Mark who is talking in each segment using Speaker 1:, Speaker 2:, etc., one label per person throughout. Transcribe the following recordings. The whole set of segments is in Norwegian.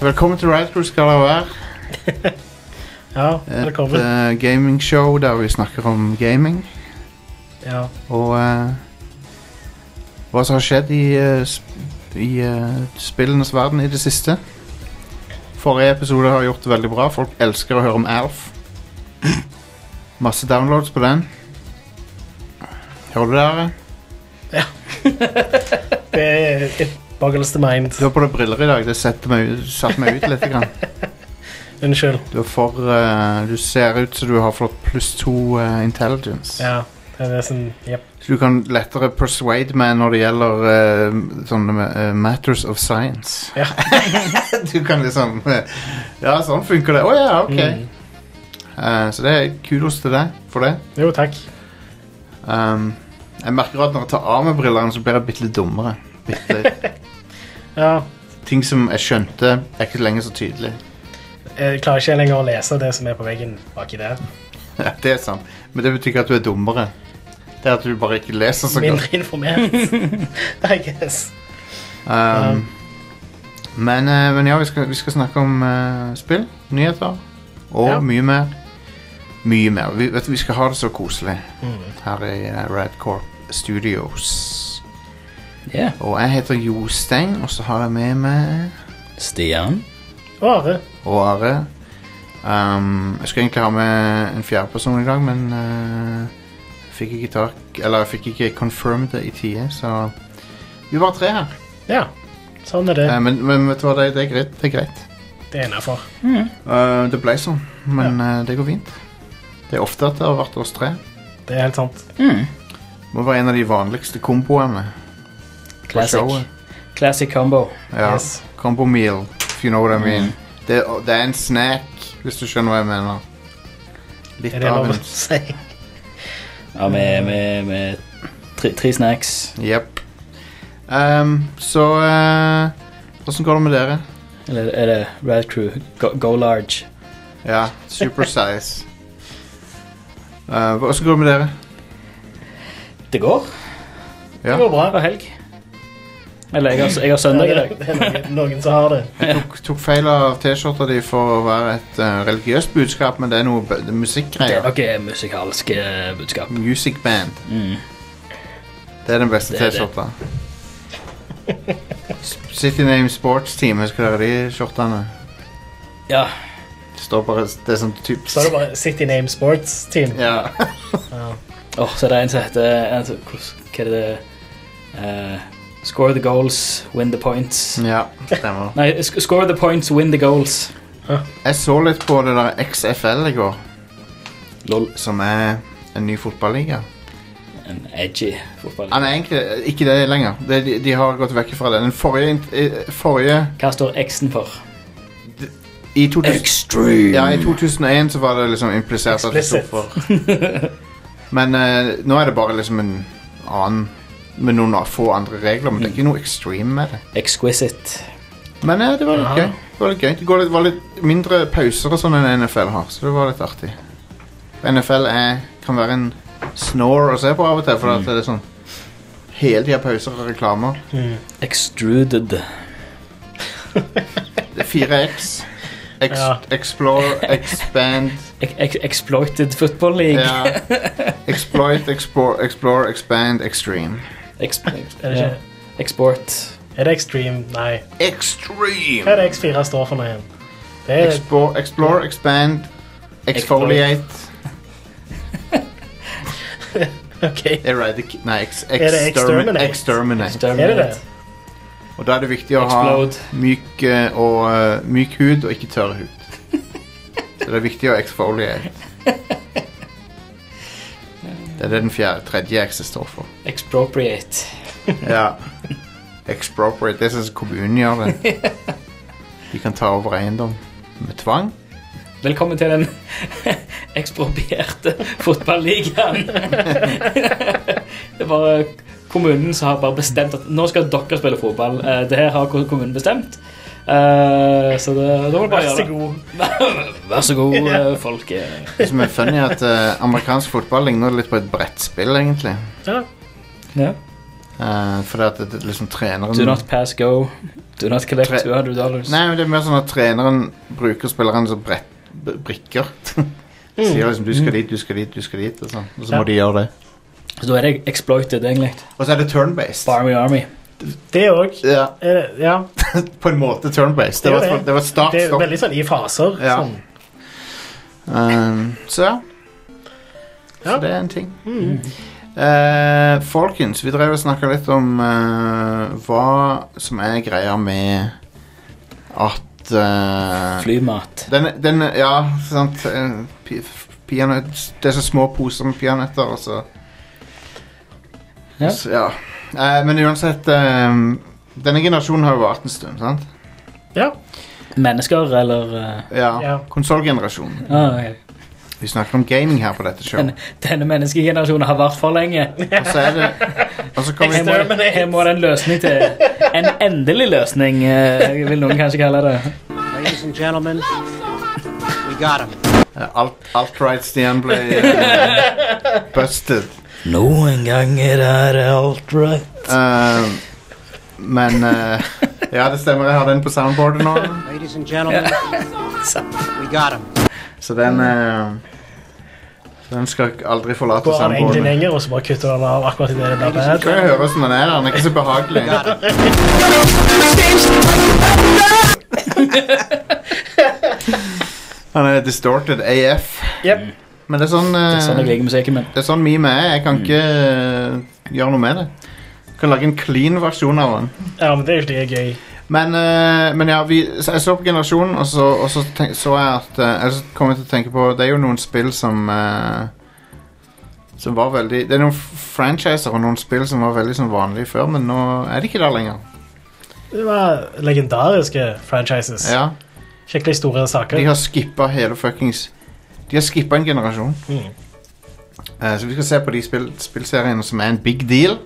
Speaker 1: Velkommen til Riot Crew skal det være.
Speaker 2: Ja,
Speaker 1: Et
Speaker 2: velkommen.
Speaker 1: eh, gamingshow der vi snakker om gaming
Speaker 2: Ja.
Speaker 1: og eh, hva som har skjedd i, eh, sp- i eh, spillenes verden i det siste. Forrige episode har gjort det veldig bra. Folk elsker å høre om Alf. Masse downloads på den. Hører du det? Are?
Speaker 2: Det er it boggles the mind.
Speaker 1: Du har på deg briller i dag. Det setter meg, ut- satte meg ut litt. Grann.
Speaker 2: Unnskyld.
Speaker 1: Du, er for, eh, du ser ut som du har fått pluss to eh, intelligence.
Speaker 2: Ja, det er sånn Jepp.
Speaker 1: Så du kan lettere persuade meg når det gjelder eh, sånne eh, matters of science.
Speaker 2: Ja.
Speaker 1: du kan liksom eh, Ja, sånn funker det. Å ja, ok.
Speaker 2: Mm.
Speaker 1: Eh, så det er kudos til deg for det.
Speaker 2: Jo, takk.
Speaker 1: Um, jeg merker at når jeg tar av meg brillene, så blir jeg bitte litt dummere. Bitte.
Speaker 2: Ja.
Speaker 1: Ting som jeg skjønte, er ikke lenger så tydelig.
Speaker 2: Jeg klarer ikke lenger å lese det som er på veggen baki der.
Speaker 1: Ja, det er sant. Men det betyr ikke at du er dummere. Det er at du bare ikke leser så godt.
Speaker 2: Mindre informert, I guess.
Speaker 1: Um, men, eh, men ja, vi skal, vi skal snakke om eh, spill, nyheter og
Speaker 2: Ja.
Speaker 1: mye mer. Mye mer. Vi, vet, du, vi skal ha det så koselig
Speaker 2: Mm.
Speaker 1: her i eh, Radcorp Studios.
Speaker 3: Ja.
Speaker 1: Og jeg heter Jostein, og så har jeg med meg
Speaker 3: Stian.
Speaker 2: Og Are.
Speaker 1: og Are. Um, jeg skulle egentlig ha med en fjerdeperson i dag, men eh, jeg fikk ikke tak Eller jeg fikk ikke confirmed det i tide, så vi var tre her.
Speaker 2: Ja. Sånn er det.
Speaker 1: Eh, men, men vet du hva, det, det er greit. Det er greit.
Speaker 2: Det er innafor.
Speaker 3: Mm,
Speaker 1: Eh, det ble sånn, men eh, det går fint. Det er ofte at det har vært oss tre.
Speaker 2: Det er helt sant.
Speaker 3: mm.
Speaker 1: Må være en av de vanligste komboene. på
Speaker 3: Classic.
Speaker 1: showet.
Speaker 3: Classic combo.
Speaker 1: Ja,
Speaker 2: Yes. Mm.
Speaker 1: Combo meal, if you know what I mean. Det, det er en snack, hvis du skjønner hva jeg mener. Litt
Speaker 2: Er det
Speaker 1: av
Speaker 2: lov å
Speaker 1: en
Speaker 2: si?
Speaker 3: Ja, med, med, med tre, tre snacks.
Speaker 1: Jepp. Ehm, så eh, Hvordan går det med dere?
Speaker 3: Eller er det Rad Crew? Go, go large.
Speaker 1: Ja, super size. Eh, hvordan går det med dere?
Speaker 3: Det går.
Speaker 1: Ja.
Speaker 2: Det går
Speaker 3: Det var
Speaker 2: bra.
Speaker 3: helg. Eller jeg har, jeg har søndag i dag.
Speaker 2: Det er noen, noen som har det.
Speaker 1: Tok, tok feil av T-skjorta di for å være et eh, religiøst budskap, men det er noe b- det er
Speaker 3: Det er
Speaker 1: musikkgreier.
Speaker 3: noe musikalske budskap.
Speaker 1: Music band.
Speaker 3: Mm.
Speaker 1: Det er den beste
Speaker 3: Det er det.
Speaker 1: T-skjorta. S- City Name Sports Team, husker dere de skjortene?
Speaker 3: Ja.
Speaker 1: Det står bare Det er sånn typ
Speaker 2: Så er det bare City Name Sports Team.
Speaker 1: Ja.
Speaker 2: Ja.
Speaker 3: Åh, så er det en som heter en som- hvordan- Hva er det Eh, Score the goals, win the points.
Speaker 1: ja, stemmer.
Speaker 3: Nei, sk- score the points, win the goals.
Speaker 1: Jeg så litt på det der XFL i går,
Speaker 3: Lol.
Speaker 1: som er en ny fotballiga.
Speaker 3: En edgy fotball.
Speaker 1: Han er egentlig ikke det lenger. Det, de, de har gått vekk fra det. Den forrige, int- eh, forrige
Speaker 3: Hva står X-en for?
Speaker 1: I 2000
Speaker 3: Extreme.
Speaker 1: Ja, i 2001 så var det liksom implisert at det sto
Speaker 2: Explicit.
Speaker 1: for Men eh, nå er det bare liksom en annen Med noen få andre regler, men det er ikke noe extreme med det.
Speaker 3: Exquisite.
Speaker 1: Men eh, det var litt
Speaker 2: Ja.
Speaker 1: gøy. Det var litt gøy. Det går litt, var litt mindre pauser og sånn enn NFL har, så det var litt artig. NFL er, kan være en snore å se på av og til, for at det er sånn Hele tida pauser og reklamer.
Speaker 2: Mm.
Speaker 3: Extruded.
Speaker 1: Det er 4X. Ex
Speaker 2: Ja.
Speaker 1: Explore, expand
Speaker 3: Ex ex exploited Football League.
Speaker 1: ja. Exploit, explore, explore, expand, extreme.
Speaker 3: Ex
Speaker 2: Er det ikke?
Speaker 3: Export.
Speaker 2: Er det Extreme? Nei. Hva
Speaker 1: Extreme!
Speaker 2: er det X4 står for nå igjen? Det er
Speaker 1: Explore, explore expand, exfoliate
Speaker 3: Ok.
Speaker 1: Eradic... Nei, ex,
Speaker 2: Er det
Speaker 1: exterminate.
Speaker 2: exterminate?
Speaker 1: exterminate.
Speaker 2: Er det det?
Speaker 1: Og da er det viktig å
Speaker 3: Explode.
Speaker 1: ha myk, eh, og, eh, myk hud og ikke tørr hud. Så det er viktig å exfoliate. Det er det den fjerde, tredje X står for.
Speaker 3: Expropriate.
Speaker 1: Ja. Expropriate. Det er sånn som kommunen gjør det. De kan ta over eiendom med tvang.
Speaker 3: Velkommen til den eksproprierte fotballigaen. det er bare kommunen som har bare bestemt at nå skal dere spille fotball. Eh, Det her har kommunen bestemt. Eh, så det, da må du
Speaker 2: Vær
Speaker 3: bare gjøre
Speaker 2: så
Speaker 3: det.
Speaker 2: god.
Speaker 3: Vær så god, eh, folk. eh.
Speaker 1: Det som er funny, er at eh, amerikansk fotball ligner litt på et brettspill, egentlig.
Speaker 2: Ja.
Speaker 3: Ja.
Speaker 1: Eh, fordi at det, det, liksom treneren
Speaker 3: Do not pass go. Do not collect
Speaker 1: Tre-
Speaker 3: 200 dollars.
Speaker 1: Nei, men det er mer sånn at treneren bruker spillerne som brett, b- brikker. Sier liksom 'du skal dit, du skal dit, du skal dit', og sånn. Og så
Speaker 2: Mm. Ja.
Speaker 1: må de gjøre det.
Speaker 3: Så da er det exploited, egentlig.
Speaker 1: Og så er det turn-based.
Speaker 3: Barmy Army.
Speaker 2: Det òg.
Speaker 1: Ja,
Speaker 2: Ja,
Speaker 1: på en måte turn-based. Det,
Speaker 2: Det er
Speaker 1: var-
Speaker 2: det.
Speaker 1: det var start
Speaker 2: det er
Speaker 1: stopp.
Speaker 2: veldig sånn i faser.
Speaker 1: Ja.
Speaker 2: Sånn.
Speaker 1: Um, så ja. Så
Speaker 2: Ja.
Speaker 1: det er en ting.
Speaker 2: Mm.
Speaker 1: Eh, folkens, vi drev og snakka litt om eh, hva som er greia med at eh,
Speaker 3: Flymat.
Speaker 1: Den, den Ja, sant. eh, pi- f- Peanøtt Det er så små poser med peanøtter, og så
Speaker 3: Ja.
Speaker 1: Så, ja. Eh, men uansett eh, Denne generasjonen har jo vart en stund, sant?
Speaker 2: Ja.
Speaker 3: Mennesker, eller eh,
Speaker 1: Ja.
Speaker 2: Ja.
Speaker 1: Konsollgenerasjonen.
Speaker 3: ah, ok.
Speaker 1: Vi snakker om gaming her på dette
Speaker 3: Den,
Speaker 1: showet.
Speaker 3: Denne menneskegenerasjonen har vært for lenge.
Speaker 1: Og så er det Og så kommer
Speaker 3: Her må, det, her må det en løsning til. En endelig løsning, eh, vil noen kanskje kalle det.
Speaker 4: Ladies and gentlemen, we got him.
Speaker 1: Ja, alt, Alt-right-Stian ble eh, busted.
Speaker 3: Noen ganger er det alt right.
Speaker 1: Eh, men eh, Ja, det stemmer. Jeg har den på soundboardet nå.
Speaker 4: Ladies and gentlemen, we got him.
Speaker 1: Så
Speaker 3: Mm.
Speaker 1: den eh, Den skal ikke- aldri forlate
Speaker 2: Går han egentlig
Speaker 1: soundboardet.
Speaker 2: lenger, og så bare kutter han av akkurat idet det blir
Speaker 1: Jeg
Speaker 2: bad?
Speaker 1: tror jeg hører hvordan den er. Den er ikke så behagelig.
Speaker 4: We got him.
Speaker 1: Han er distorted AF.
Speaker 2: Jep.
Speaker 1: Men det er sånn eh,
Speaker 3: Det er sånn jeg Mm. liker musikken min.
Speaker 1: Det er sånn meme er. Jeg kan ikke eh, gjøre noe med det. Jeg kan lage en clean versjon av den.
Speaker 2: Ja, men det er jo ikke det gøy.
Speaker 1: Men, eh, men ja, vi, så jeg så på generasjonen, og så, og så tenk, så jeg at eh, Eller så kom jeg til å tenke på Det er jo noen spill som eh, Som var veldig Det er noen f- franchiser og noen spill som var veldig sånn vanlige før, men nå er de ikke der lenger.
Speaker 2: Det var legendariske franchises.
Speaker 1: Ja,
Speaker 2: Skikkelig store saker.
Speaker 1: De har skippa hele fuckings De har skippa en generasjon.
Speaker 2: Mm.
Speaker 1: Eh, så vi skal se på de spill, spillseriene som er en big deal,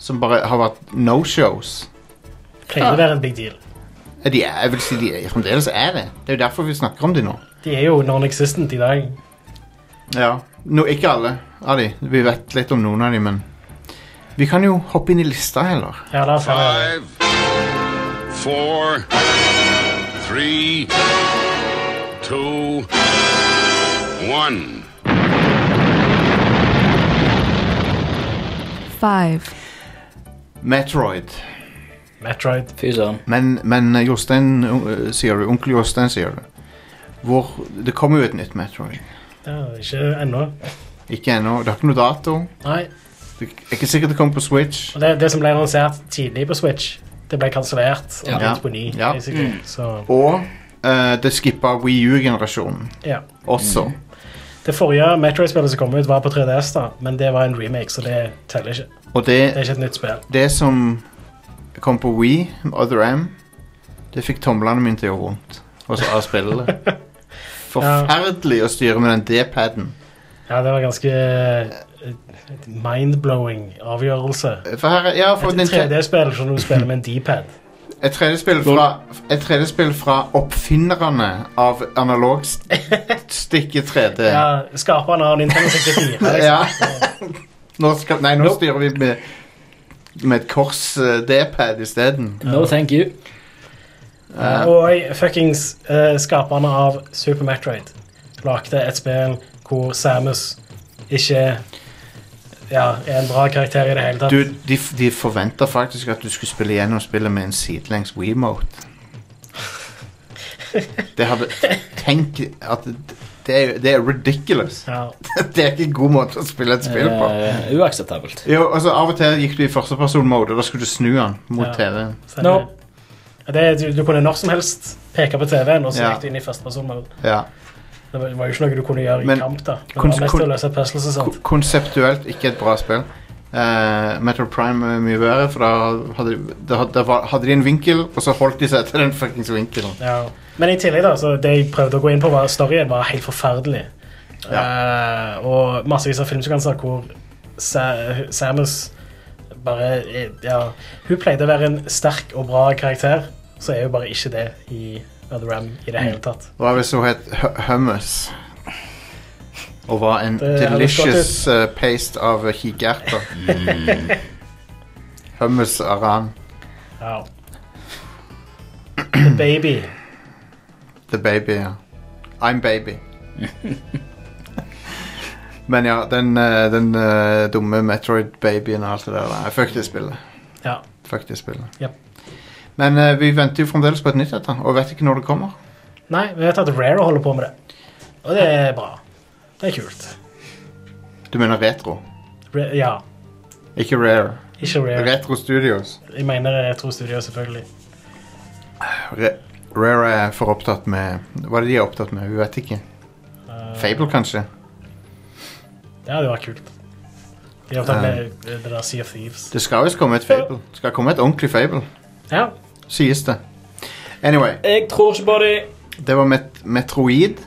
Speaker 1: som bare har vært no shows.
Speaker 2: Pleier å være en big deal.
Speaker 1: Eh, De er, jeg vil si de er, fremdeles er det. Det er jo derfor vi snakker om de nå.
Speaker 2: De er jo non-existent i dag.
Speaker 1: Ja, no, Ikke alle av de. Vi vet litt om noen av de, men Vi kan jo hoppe inn i lista heller.
Speaker 2: Ja, da får jeg
Speaker 5: Five, four, three, two, one.
Speaker 6: Five.
Speaker 1: Metroid.
Speaker 2: Metroid.
Speaker 3: Fy søren.
Speaker 1: Men, men eh, Jostein eh, sier du. Onkel Jostein sier du. Hvor Det kommer jo et nytt Metroid.
Speaker 2: Ja, ikke ennå.
Speaker 1: Ikke ennå. Det har ikke noe dato.
Speaker 2: Nei.
Speaker 1: Det er ikke sikkert det kommer på Switch.
Speaker 2: Og det, det som ble annonsert tidlig på Switch, det ble kansellert og
Speaker 3: Ja.
Speaker 2: begynt på ny.
Speaker 1: Ja. Mm.
Speaker 2: basically. Så
Speaker 1: Og eh, det skippa Wii U-generasjonen
Speaker 2: ja.
Speaker 1: også.
Speaker 2: Det forrige Metroid-spillet som kom ut, var på 3DS, da, men det var en remake, så det teller ikke.
Speaker 1: Og
Speaker 2: Det er
Speaker 1: det,
Speaker 2: ikke et nytt spill.
Speaker 1: det som kom på Wii, Other M, det fikk tomlene mine til å gjøre vondt. Og så av spillet. Forferdelig å styre med den D-paden.
Speaker 2: Ja, det var ganske eh, mind-blowing avgjørelse.
Speaker 1: For her, ja, for
Speaker 2: Et
Speaker 1: Nintendo-
Speaker 2: 3D-spill som du spiller med en D-pad.
Speaker 1: Et 3D-spill fra, et 3D-spill fra oppfinnerne av analog stikke 3D.
Speaker 2: Ja, Skaperen av Nintendo 64. Liksom.
Speaker 1: Ja. Nå skal, nei, nå styrer vi med, med et kors eh, D-pad isteden.
Speaker 3: No thank you.
Speaker 1: Eh,
Speaker 2: Og fuckings eh, skaperne av Super Metroid lagde et spill hvor Samus ikke ja, er en bra karakter i det hele tatt.
Speaker 1: du, de, f- de forventa faktisk at du skulle spille gjennom spillet med en sidelengs WeMote. Det hadde Tenk at det er, det er ridiculous.
Speaker 2: Ja,
Speaker 1: Det er ikke en god måte å spille et spill på.
Speaker 3: Eh, uakseptabelt.
Speaker 1: Jo, altså Av og til gikk du i førsteperson-mode, og da skulle du snu den mot
Speaker 2: Ja.
Speaker 1: TV-en.
Speaker 2: så
Speaker 3: No.
Speaker 2: det- det, du, du kunne når som helst peke på TV-en, og så
Speaker 1: Ja.
Speaker 2: gikk du inn i førstepersonmode.
Speaker 1: Ja.
Speaker 2: Det var- det var jo ikke noe du kunne gjøre
Speaker 1: Men-
Speaker 2: i kamp. da Det var
Speaker 1: kun-
Speaker 2: mest
Speaker 1: kun-
Speaker 2: til å løse puzzles og
Speaker 1: Ko-
Speaker 2: sånt.
Speaker 1: Konseptuelt ikke et bra spill. Eh, Metal Prime er mye bedre, for da hadde, da, hadde- da var- hadde de en vinkel, og så holdt de seg til den fuckings vinkelen.
Speaker 2: Ja. Men i tillegg, da, så det jeg prøvde å gå inn på, var storyen var helt forferdelig. Eh, og massevis av filmsekvenser hvor Sa Samus bare eh, Ja, hun pleide å være en sterk og bra karakter, så er hun bare ikke det i Other Ram i
Speaker 1: Mm.
Speaker 2: det hele tatt.
Speaker 1: Hva hvis hun het Hu- Hummus? Og var en
Speaker 2: Det høres
Speaker 1: delicious eh, paste av kikerter. Hummus Aran.
Speaker 2: Ja. The Baby.
Speaker 1: The Baby, ja. I'm Baby. Men ja, den, eh, den eh, dumme Metroid-babyen og alt det der. da. Fuck det spillet.
Speaker 2: Ja.
Speaker 1: Fuck det spillet.
Speaker 2: Japp.
Speaker 1: Men eh, vi venter jo fremdeles på et nytt et, da, og vet ikke når det kommer.
Speaker 2: Nei, vi vet at Rare holder på med det. Og det er bra. Det er kult.
Speaker 1: Du mener retro,
Speaker 2: Re ja.
Speaker 1: ikke rare.
Speaker 2: Ikke Rare.
Speaker 1: Retro Studios.
Speaker 2: Jeg mener Retro Studio, selvfølgelig.
Speaker 1: Re rare er for opptatt med Hva er det de er opptatt med? Vi vet ikke.
Speaker 2: Eh,
Speaker 1: Fable, kanskje?
Speaker 2: Det hadde jo vært kult. De har tatt med eh, det der Sea of Thieves.
Speaker 1: Det skal visst komme et Fable. Det skal komme et ordentlig Fable,
Speaker 2: Ja.
Speaker 1: sies det. Anyway,
Speaker 3: Jeg tror ikke på dem.
Speaker 1: det var met Metroid.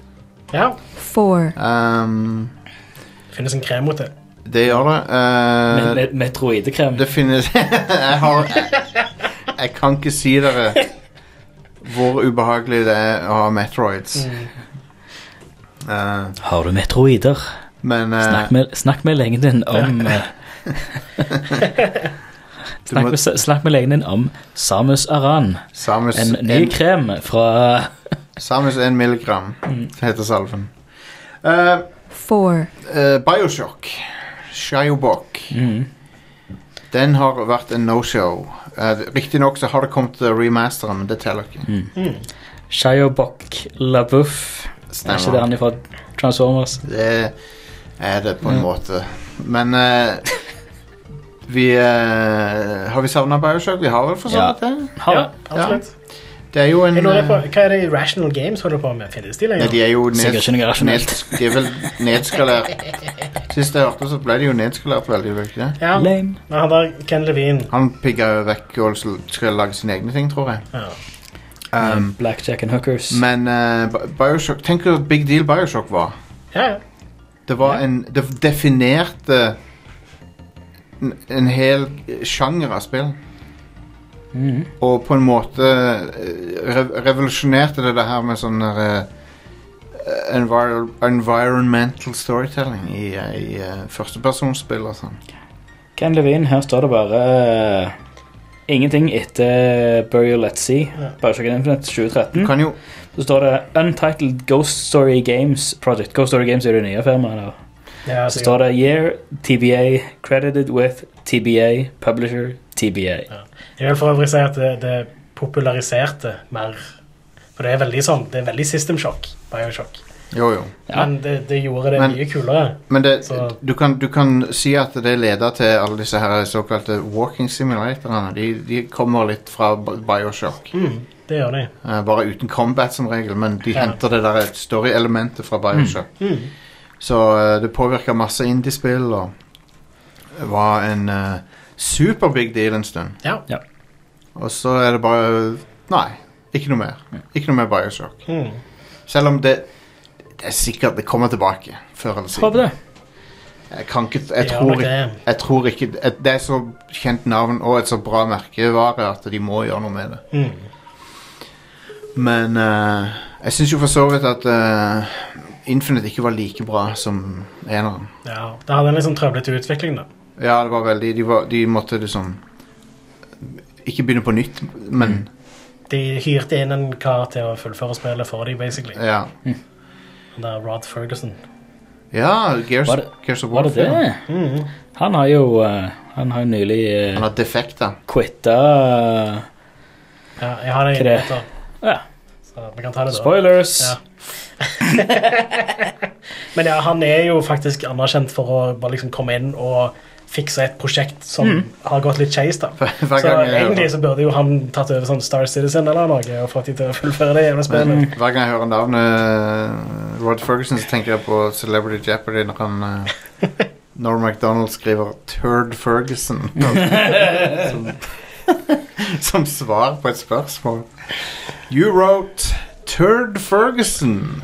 Speaker 2: ja.
Speaker 6: Four.
Speaker 1: Um,
Speaker 2: Det finnes en krem mot det.
Speaker 1: det gjør det. Uh,
Speaker 3: Med, med metroidekrem.
Speaker 1: Det finnes jeg, har, jeg, jeg kan ikke si dere hvor ubehagelig det er å ha Metroids.
Speaker 3: Mm.
Speaker 1: Eh,
Speaker 3: Har du metroider?
Speaker 1: men eh,
Speaker 3: Snakk med, snakk med legen din om eh,
Speaker 1: du
Speaker 3: snakk,
Speaker 1: må,
Speaker 3: med, snakk med legen din om Samus Aran.
Speaker 1: Samus,
Speaker 3: En ny
Speaker 1: en-
Speaker 3: krem fra
Speaker 1: Samus 1 milligram
Speaker 3: Mm.
Speaker 1: heter salven. Eh,
Speaker 6: Four.
Speaker 1: eh, Bioshock, Shiobok,
Speaker 3: mm.
Speaker 1: den har vært en no-show. Uh, Riktignok så har det kommet til remasteren, men det teller ikke.
Speaker 3: Shiobok LaBouffe. Er ikke det han er fra Transformers?
Speaker 1: Det er det på en
Speaker 3: Ja.
Speaker 1: måte. Men eh, vi eh, Har vi savna Bioshock? Vi har vel for så
Speaker 3: Ja.
Speaker 1: vidt det?
Speaker 3: Har
Speaker 2: ja,
Speaker 3: det.
Speaker 2: absolutt.
Speaker 1: Det er jo en
Speaker 2: Jeg lurer på,
Speaker 1: eh,
Speaker 2: Hva er det Irrational Games holder på med? Finnes de
Speaker 1: Nei,
Speaker 2: lenger?
Speaker 1: de er jo ned,
Speaker 3: Sikkert ikke noe rasjonelt.
Speaker 1: ned- De er vel nedskalert. Sist jeg hørte, så ble de jo nedskalert veldig. var det Ikke? det?
Speaker 2: Ja, men
Speaker 3: Lame.
Speaker 2: han der Ken Levine
Speaker 1: Han pigga jo vekk og sl- skal lage sine egne ting, tror jeg.
Speaker 2: ja.
Speaker 1: Um,
Speaker 3: Blackjack and Hookers.
Speaker 1: men eh, Bi- Bioshock Tenk hvor big deal Bioshock var.
Speaker 2: ja, ja.
Speaker 1: Det var
Speaker 3: Ja.
Speaker 1: en Det definerte en, en hel sjanger av spill.
Speaker 3: Mhm.
Speaker 1: Og på en måte eh, rev- revolusjonerte det det her med sånn der eh, envir Environmental storytelling i, eh, i eh, førstepersonsspill og sånn.
Speaker 3: Ken Levine, her står det bare eh, Ingenting etter Burial at Sea.
Speaker 2: Ja.
Speaker 3: Bare sjekk Infinite 2013.
Speaker 1: Kan jo
Speaker 3: Så står det Untitled Ghost Story Games Project. Ghost Story Games er det nye firmaet. da.
Speaker 2: ja
Speaker 3: Så
Speaker 2: sikkert.
Speaker 3: står det Year TBA Credited with TBA Publisher TBA.
Speaker 2: Jeg vil for øvrig si at det, det populariserte mer. For det er veldig sånn, det er veldig system shock, Bioshock.
Speaker 1: Jo, jo.
Speaker 3: Ja.
Speaker 2: Men det, det gjorde det
Speaker 1: Men-
Speaker 2: mye kulere.
Speaker 1: Men det,
Speaker 2: Så-
Speaker 1: du, kan, du kan si at det leder til alle disse her såkalte walking simulatorene. De, de kommer litt fra Bi- Bioshock.
Speaker 2: Mm, det gjør de.
Speaker 1: Eh, bare uten combat som regel, men de
Speaker 2: Ja.
Speaker 1: henter det der story-elementet fra Bioshock.
Speaker 2: Mm.
Speaker 1: Så eh, det påvirka masse indiespill og var en eh, super big deal en stund.
Speaker 2: Ja.
Speaker 3: Ja.
Speaker 1: Og så er det bare eh, Nei, ikke noe mer. Ikke noe mer Bioshock.
Speaker 2: Mm.
Speaker 1: Selv om det, det er sikkert det kommer tilbake før eller siden.
Speaker 3: Håper det.
Speaker 1: Jeg kan ikke
Speaker 2: Det
Speaker 1: Jeg
Speaker 2: gjør
Speaker 1: tror
Speaker 2: nok
Speaker 1: ikke
Speaker 2: det.
Speaker 1: jeg tror ikke et, Det er så kjent navn og et så bra merkevare at de må gjøre noe med det.
Speaker 2: Mm.
Speaker 1: Men eh, jeg syns jo for så vidt at eh, Infinite ikke var like bra som eneren.
Speaker 2: Ja, Det hadde en litt sånn trøblete utvikling, da.
Speaker 1: Ja, det var veldig De, var, de måtte liksom Ikke begynne på nytt, men
Speaker 3: Mm.
Speaker 2: De hyrte inn en kar til å fullføre spillet for dem, basically.
Speaker 1: ja.
Speaker 2: Den der Rod Ferguson.
Speaker 1: Ja, Gears,
Speaker 3: Var det-
Speaker 1: Gears of
Speaker 3: Var det
Speaker 1: Warfare.
Speaker 3: det?
Speaker 2: Mm.
Speaker 3: Han har jo eh, Han har jo nylig eh,
Speaker 1: Han har defekter.
Speaker 3: quitta eh,
Speaker 2: Ja, jeg har det inne
Speaker 3: Hva er det?
Speaker 2: etter.
Speaker 3: Ja.
Speaker 2: Så vi kan ta det da.
Speaker 3: Spoilers!
Speaker 2: Ja. Men ja, han er jo faktisk anerkjent for å bare liksom komme inn og fikse et prosjekt som
Speaker 1: Mm.
Speaker 2: har gått litt skeis, da.
Speaker 1: Hver
Speaker 2: Så
Speaker 1: gang, jeg
Speaker 2: egentlig
Speaker 1: hører,
Speaker 2: så burde jo han tatt over sånn Star Citizen eller noe og fått de til å fullføre det jævla spillet.
Speaker 1: hver gang jeg hører navnet Rod Ferguson, så tenker jeg på Celebrity Jeopardy når han eh, Norm MacDonald skriver 'Turd Ferguson' som, som svar på et spørsmål. You wrote 'Turd Ferguson'.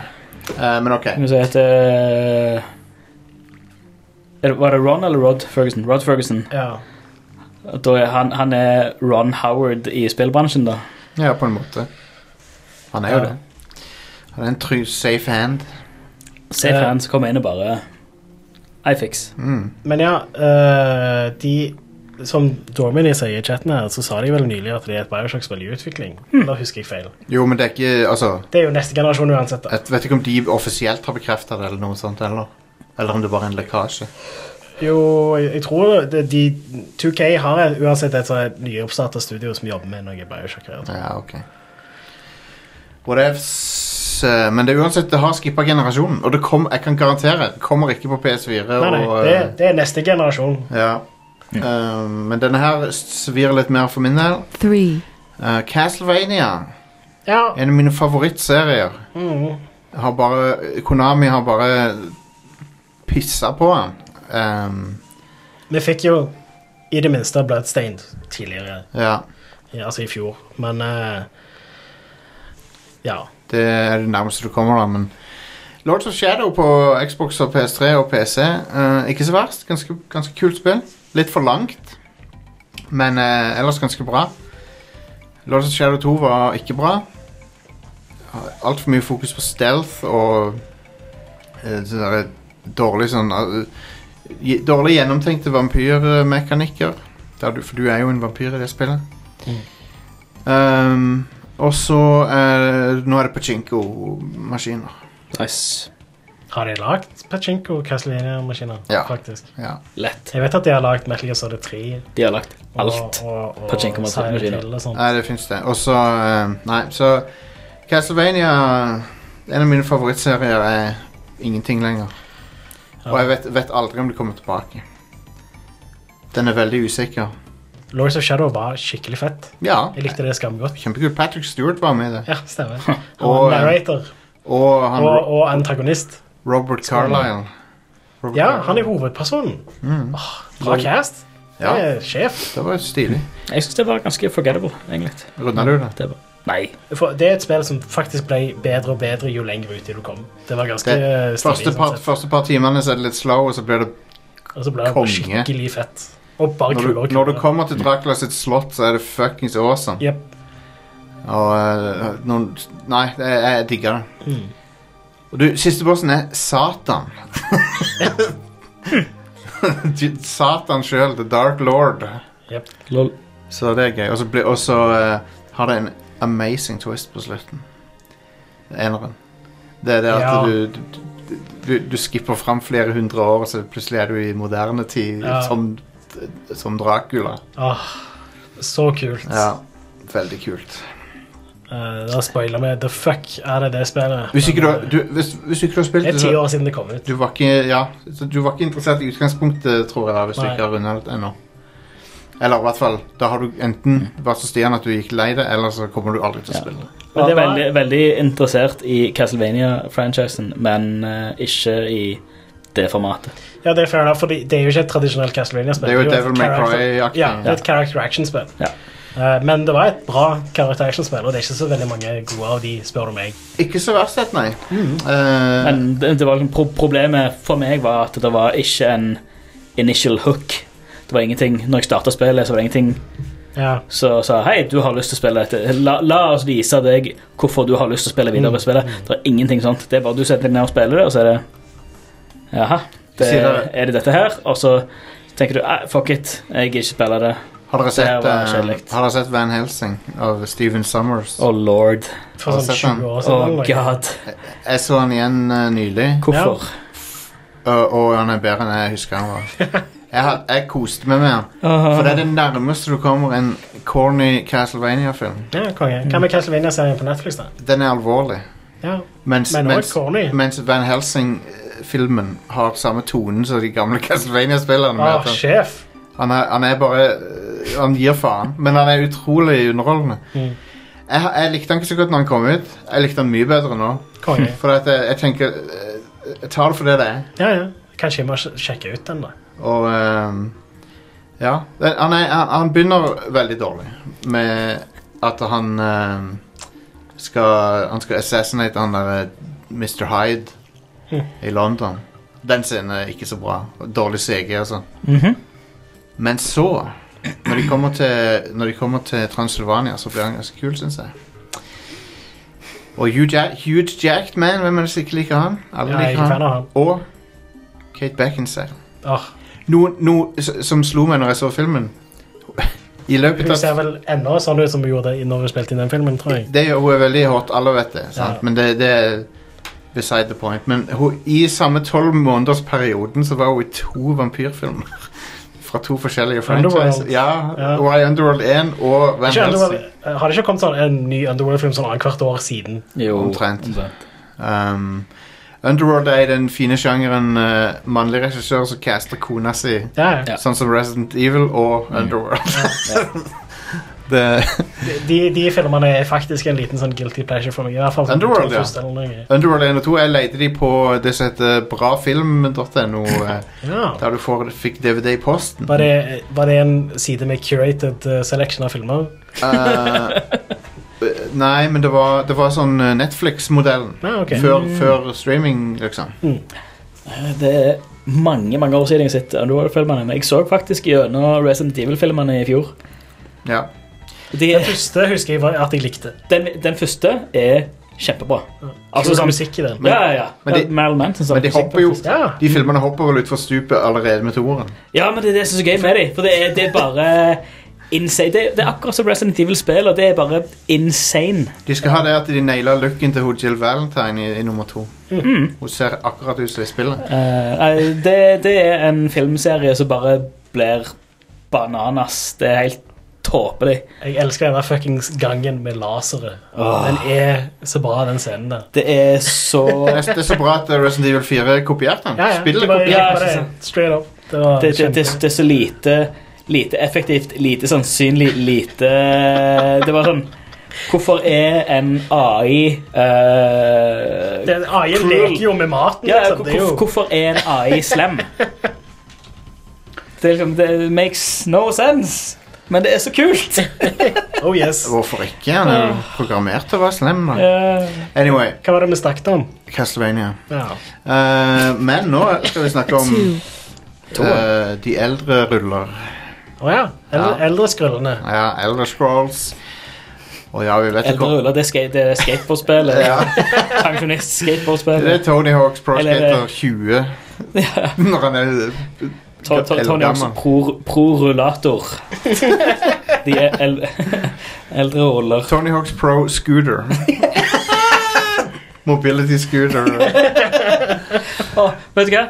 Speaker 1: Eh, men OK.
Speaker 3: Skal vi si at eh, er det- Var det Ron eller Rod Ferguson? Rod Ferguson.
Speaker 2: Ja.
Speaker 3: Da er han, han er Ron Howard i spillbransjen, da.
Speaker 1: Ja, på en måte. Han er jo
Speaker 3: Ja.
Speaker 1: det. Han er en try safe hand.
Speaker 3: Safe
Speaker 2: Eh.
Speaker 3: hands kommer inn og bare I fix.
Speaker 1: Mm.
Speaker 2: Men ja, øh, de som Dormany sier i chatten her, så sa de vel nylig at det er et Bioshock-spill i utvikling. Da husker jeg feil.
Speaker 1: Jo, men det er ikke Altså,
Speaker 2: Det er jo neste generasjon uansett, da.
Speaker 1: jeg vet ikke om de offisielt har bekrefta det, eller noe sånt, eller? Eller om det bare er en lekkasje.
Speaker 2: Jo, jeg jeg tror det, de 2K har et- uansett et sånt nyoppstarta studio som jobber med noe Bioshock-relatert.
Speaker 1: Ja, ok. Whatevs. eh, Men det er uansett, det har skippa generasjonen. Og det kom, jeg kan garantere, det kommer ikke på PS4.
Speaker 2: Nei, nei,
Speaker 1: og,
Speaker 2: det,
Speaker 1: eh,
Speaker 2: det er neste generasjon.
Speaker 1: ja. Eh, men denne her svir litt mer for min del.
Speaker 6: three,
Speaker 1: Eh, Castlevania,
Speaker 2: Ja.
Speaker 1: en av mine favorittserier,
Speaker 2: Mm.
Speaker 1: har bare Konami har bare pissa på den. Ehm,
Speaker 2: Vi fikk jo i det minste Bloodstained tidligere,
Speaker 1: ja.
Speaker 2: ja, altså i fjor, men eh, Ja.
Speaker 1: Det er det nærmeste du kommer, da. Men Lords of Shadow på Xbox og PS3 og PC. eh, ikke så verst. Ganske, ganske kult spill. Litt for langt, men eh, ellers ganske bra. Lords of Shadow 2 var ikke bra. Altfor mye fokus på stealth og eh, sånne der dårlig sånn eh, gi- Dårlig gjennomtenkte vampyrmekanikker. Der du, for du er jo en vampyr i det spillet. Um, og så eh, Nå er det Pachinko-maskiner.
Speaker 3: Nice.
Speaker 2: Har de lagd Pachinko Castlevania-maskiner?
Speaker 1: Ja.
Speaker 2: Faktisk.
Speaker 1: Ja.
Speaker 3: Lett.
Speaker 2: Jeg vet at de har lagd Metal Gear Solid 3
Speaker 3: De har lagt
Speaker 2: og,
Speaker 3: alt.
Speaker 2: og, og
Speaker 3: Pachinko-maskiner.
Speaker 2: Silent Hill og sånt.
Speaker 1: Nei, det fins det. Og så eh, Nei, så Castlevania En av mine favorittserier er ingenting lenger. Og jeg vet, vet aldri om det kommer tilbake. Den er veldig usikker.
Speaker 2: Lords of Shadow var skikkelig fett.
Speaker 1: Ja.
Speaker 2: Jeg likte det skamgodt.
Speaker 1: Kjempekult. Patrick Stewart var med i det.
Speaker 2: Ja, stemmer. Han
Speaker 1: Og,
Speaker 2: var narrator
Speaker 1: Og han
Speaker 2: og, og antagonist.
Speaker 1: Ro- Robert Carlisle. Robert
Speaker 2: Ja,
Speaker 1: Carlyle.
Speaker 2: han er hovedpersonen. Åh, bra cast.
Speaker 1: Mm. Ja.
Speaker 2: Han er sjef.
Speaker 1: Det var stilig.
Speaker 3: Jeg syns det var ganske forgettable, egentlig.
Speaker 1: Runda du det?
Speaker 3: Det var... Nei.
Speaker 2: For det er et spill som faktisk ble bedre og bedre jo lenger ut i du kom. Det var ganske eh,
Speaker 1: Det,
Speaker 2: stilig,
Speaker 1: første,
Speaker 2: sånn
Speaker 1: par,
Speaker 2: sett.
Speaker 1: første par timene så er det litt slow, og så blir det
Speaker 2: Og så ble det
Speaker 1: konge.
Speaker 2: bare skikkelig fett. Og bare
Speaker 1: Når
Speaker 2: kulere
Speaker 1: du,
Speaker 2: og
Speaker 1: når du
Speaker 2: kulere.
Speaker 1: kommer til Dracula sitt slott, så er det fuckings awesome.
Speaker 2: Jep.
Speaker 1: Og eh, noen, Nei, det- jeg, jeg digger det.
Speaker 2: Mm.
Speaker 1: Og du, siste bossen er Satan. Du- Satan sjøl, the dark lord.
Speaker 2: Jep.
Speaker 3: Lol.
Speaker 1: Så det er gøy. Og så blir- Og så eh, har det en amazing twist på slutten. Eneren. Det er det at
Speaker 2: Ja.
Speaker 1: du, du, du, du skipper fram flere hundre år, og så plutselig er du i moderne tid
Speaker 2: Ja.
Speaker 1: som, som Dracula.
Speaker 2: Åh, så kult.
Speaker 1: Ja, veldig kult.
Speaker 2: Eh, da spoiler vi. The fuck er det det spillet?
Speaker 1: Hvis ikke du, har-
Speaker 2: Men, eh,
Speaker 1: du, hvis, hvis ikke du har spilt
Speaker 2: Det er
Speaker 1: det,
Speaker 2: ti
Speaker 1: så
Speaker 2: år siden det kom ut.
Speaker 1: du var, ikke, ja, så du var ikke interessert i utgangspunktet, tror jeg, hvis du
Speaker 2: Nei.
Speaker 1: ikke har runda det ennå. Eller i hvert fall, da har du enten vært så stian at du gikk lei det, eller så kommer du aldri til å
Speaker 3: Ja.
Speaker 1: spille det.
Speaker 2: Men
Speaker 3: Var
Speaker 2: det var-
Speaker 3: veldig, veldig interessert i Castlevania-franchisen, men eh, ikke i det formatet.
Speaker 2: Ja, det er fair enough, for det er jo ikke et tradisjonelt Castlevania-spill.
Speaker 1: Det er jo
Speaker 2: et
Speaker 1: Devil May
Speaker 2: character-
Speaker 1: Cry-aktig.
Speaker 2: Ja, det er et character action-spill.
Speaker 3: Ja.
Speaker 2: Eh, men det var et bra character action-spill, og det er ikke så veldig mange gode av de, spør du meg.
Speaker 1: Ikke så verst sett, nei. Eh,
Speaker 3: Men det, det var liksom pro problemet for meg var at det var ikke en initial hook. Det var ingenting, Når jeg starta spillet, så var det ingenting
Speaker 2: Ja.
Speaker 3: som sa hei, du har lyst til å spille dette. La, la oss vise deg hvorfor du har lyst til å spille
Speaker 2: Mm.
Speaker 3: videre. med spillet. Det er ingenting sånt. Det er bare du setter deg ned og spiller det, og så er det Jaha, det,
Speaker 1: Sier det-
Speaker 3: er det dette her? Og så tenker du "Ah, fuck it, jeg gidder ikke spille det.
Speaker 1: har, dere
Speaker 3: det her
Speaker 1: sett,
Speaker 3: var
Speaker 1: eh,
Speaker 3: kjedelig.
Speaker 1: har dere sett Van Helsing av Steven Summers?
Speaker 3: Oh lord.
Speaker 2: For
Speaker 1: Har du
Speaker 2: sånn
Speaker 1: sett den?
Speaker 2: 20 år siden.
Speaker 3: Oh
Speaker 2: eller?
Speaker 3: god.
Speaker 1: Jeg så han igjen eh, nylig,
Speaker 3: Hvorfor?
Speaker 1: og, og han er bedre enn jeg husker han var. Jeg, har- jeg koste meg med han. For det er det nærmeste du kommer en corny Castlevania-film.
Speaker 2: Ja, konge. Hva med Castlevania-serien på Netflix, da?
Speaker 1: Den er alvorlig.
Speaker 2: Ja.
Speaker 1: Mens,
Speaker 2: Men
Speaker 1: mens,
Speaker 2: også corny.
Speaker 1: mens Van Helsing-filmen har samme tonen som de gamle Castlevania-spillerne. med
Speaker 2: Ah,
Speaker 1: at han-
Speaker 2: sjef.
Speaker 1: han, er- han er bare øh, Han gir faen, men han er utrolig underholdende.
Speaker 2: Mm.
Speaker 1: Jeg, har- jeg likte han ikke så godt når han kom ut. Jeg likte han mye bedre nå.
Speaker 2: Konge.
Speaker 1: For at eh, jeg, jeg tenker øh, Jeg tar det for det det er.
Speaker 2: Ja, ja. Kanskje jeg må sj- sjekke ut den, da.
Speaker 1: Og øhm, Ja. Det- Han, er, han, han begynner veldig dårlig med at han øhm, skal Han skal assassinate han derre Mr. Hyde
Speaker 2: Hm.
Speaker 1: i London. Den scenen er ikke så bra. og Dårlig CG og sånn.
Speaker 3: Mhm.
Speaker 1: Men så, når de kommer til, når de kommer til Transylvania, så blir han ganske kul, syns jeg. Og Hugh, ja Hugh Jackman, hvem er det som ikke liker han? Alle
Speaker 2: Ja, jeg er
Speaker 1: liker
Speaker 2: ikke
Speaker 1: han.
Speaker 2: fan av han.
Speaker 1: Og Kate Beckinsale.
Speaker 2: Åh,
Speaker 1: Noe, noe s- som slo meg når jeg så filmen, I løpet
Speaker 2: Hun ser
Speaker 1: av
Speaker 2: vel ennå sånn ut som hun gjorde i- når hun spilte inn den filmen, tror jeg.
Speaker 1: Det er jo hun er veldig hot, alle vet det, sant?
Speaker 2: Ja.
Speaker 1: men det, det er beside the point. Men hun, i samme tolv månedersperioden så var hun i to vampyrfilmer. Fra to forskjellige
Speaker 2: Underworld.
Speaker 1: franchises. Ja,
Speaker 2: Ja.
Speaker 1: Hun var i Underworld 1 og Van Helsing.
Speaker 2: Ikke Underworld, har det ikke kommet sånn en ny Underworld-film sånn annethvert år siden?
Speaker 3: Jo,
Speaker 1: Omtrent. Um, Underworld er i den fine sjangeren eh, mannlig regissør som caster kona si.
Speaker 2: Ja, ja.
Speaker 3: Ja.
Speaker 1: Sånn som Resident Evil og Underworld. det,
Speaker 2: De, de filmene er faktisk en liten sånn guilty pleasure for meg. I hvert fall sånn
Speaker 1: Underworld,
Speaker 2: to
Speaker 1: ja.
Speaker 2: første eller noe.
Speaker 1: Underworld 1 og 2 Jeg leide de på det som heter brafilm.no, eh,
Speaker 2: Ja.
Speaker 1: der du får, fikk DVD i posten.
Speaker 2: Var det, var det en side med curated eh, selection av filmer?
Speaker 1: Eh, nei, men det var, det var sånn eh, Netflix-modellen.
Speaker 2: Ja, ok.
Speaker 1: Før, før streaming, liksom.
Speaker 3: Det er mange mange år siden jeg har sett eh, Underworld-filmene. Men jeg så faktisk gjennom Resident Evil-filmene i fjor.
Speaker 1: Ja.
Speaker 3: De,
Speaker 2: Den første husker jeg var at jeg likte.
Speaker 3: den, den første er kjempebra.
Speaker 2: Altså,
Speaker 3: Altså,
Speaker 2: sånn
Speaker 3: som-
Speaker 2: musikk i den.
Speaker 3: ja, ja, ja.
Speaker 1: men de-
Speaker 3: Marilyn Manson som
Speaker 1: Men de
Speaker 3: musikk
Speaker 1: hopper jo
Speaker 3: faktisk.
Speaker 2: Ja.
Speaker 1: De filmene hopper vel utfor stupet allerede med toeren.
Speaker 3: Ja, men det er det som er så gøy med dem. For det er, det er bare insane. Det, det er akkurat som Resident Evil-spiller. Det er bare insane.
Speaker 1: De skal ha det at de naila looken til hun Jill Valentine i, i nummer to.
Speaker 2: Mm.
Speaker 1: Hun ser akkurat ut som i spillet.
Speaker 3: Eh, nei, det, det er en filmserie som bare blir bananas. Det er helt tåpelig.
Speaker 2: Jeg elsker den der fuckings gangen med lasere.
Speaker 3: Åh.
Speaker 2: Den
Speaker 1: Ah.
Speaker 2: er så bra, den scenen der.
Speaker 3: Det er så
Speaker 1: Det er- det er så bra at eh, Resident Evil 4 kopierte den.
Speaker 2: Ja, ja.
Speaker 1: Spillet
Speaker 2: Det var-
Speaker 1: kopierte
Speaker 2: det
Speaker 3: kopiert.
Speaker 2: var det.
Speaker 3: Ja,
Speaker 2: Straight up. Det var
Speaker 3: Det, det, det,
Speaker 2: kjempe-
Speaker 3: det er så lite, lite effektivt, lite sannsynlig, lite Det var sånn Hvorfor er en AI eh,
Speaker 2: Den AI-en
Speaker 3: Cruel.
Speaker 2: leker jo med maten.
Speaker 3: ja,
Speaker 2: liksom.
Speaker 3: hvor,
Speaker 2: det er
Speaker 3: hvor,
Speaker 2: jo
Speaker 3: Hvorfor er en AI slem? Det, er liksom, det makes no sense. Men det er så kult!
Speaker 2: Oh yes.
Speaker 1: Hvorfor ikke? Han er jo programmert til å være slem. Da. Anyway,
Speaker 2: Hva var det vi snakket om?
Speaker 1: Castlevania.
Speaker 2: Ja.
Speaker 1: Eh, men nå skal vi snakke om eh, de eldre ruller.
Speaker 2: Å ja. Eldre,
Speaker 1: Ja.
Speaker 2: eldre skrullene.
Speaker 1: Ja, Elder Scrolls. Og ja, vi vet
Speaker 3: Eldre
Speaker 1: ikke
Speaker 3: ruller, det er, skate, det er skateboardspillet.
Speaker 1: Ja. Det er
Speaker 3: Pensjonist-skateboardspillet.
Speaker 1: Tony Hawks Pro
Speaker 3: Eller-
Speaker 1: Skater
Speaker 3: eh,
Speaker 1: 20. Når han er
Speaker 3: To- to- Tony er også
Speaker 1: eldgammel.
Speaker 3: pro- pro-rullator. De er el eldre ruller.
Speaker 1: Tony Hawks Pro Scooter. Mobility Scooter.
Speaker 3: Å, vet du hva?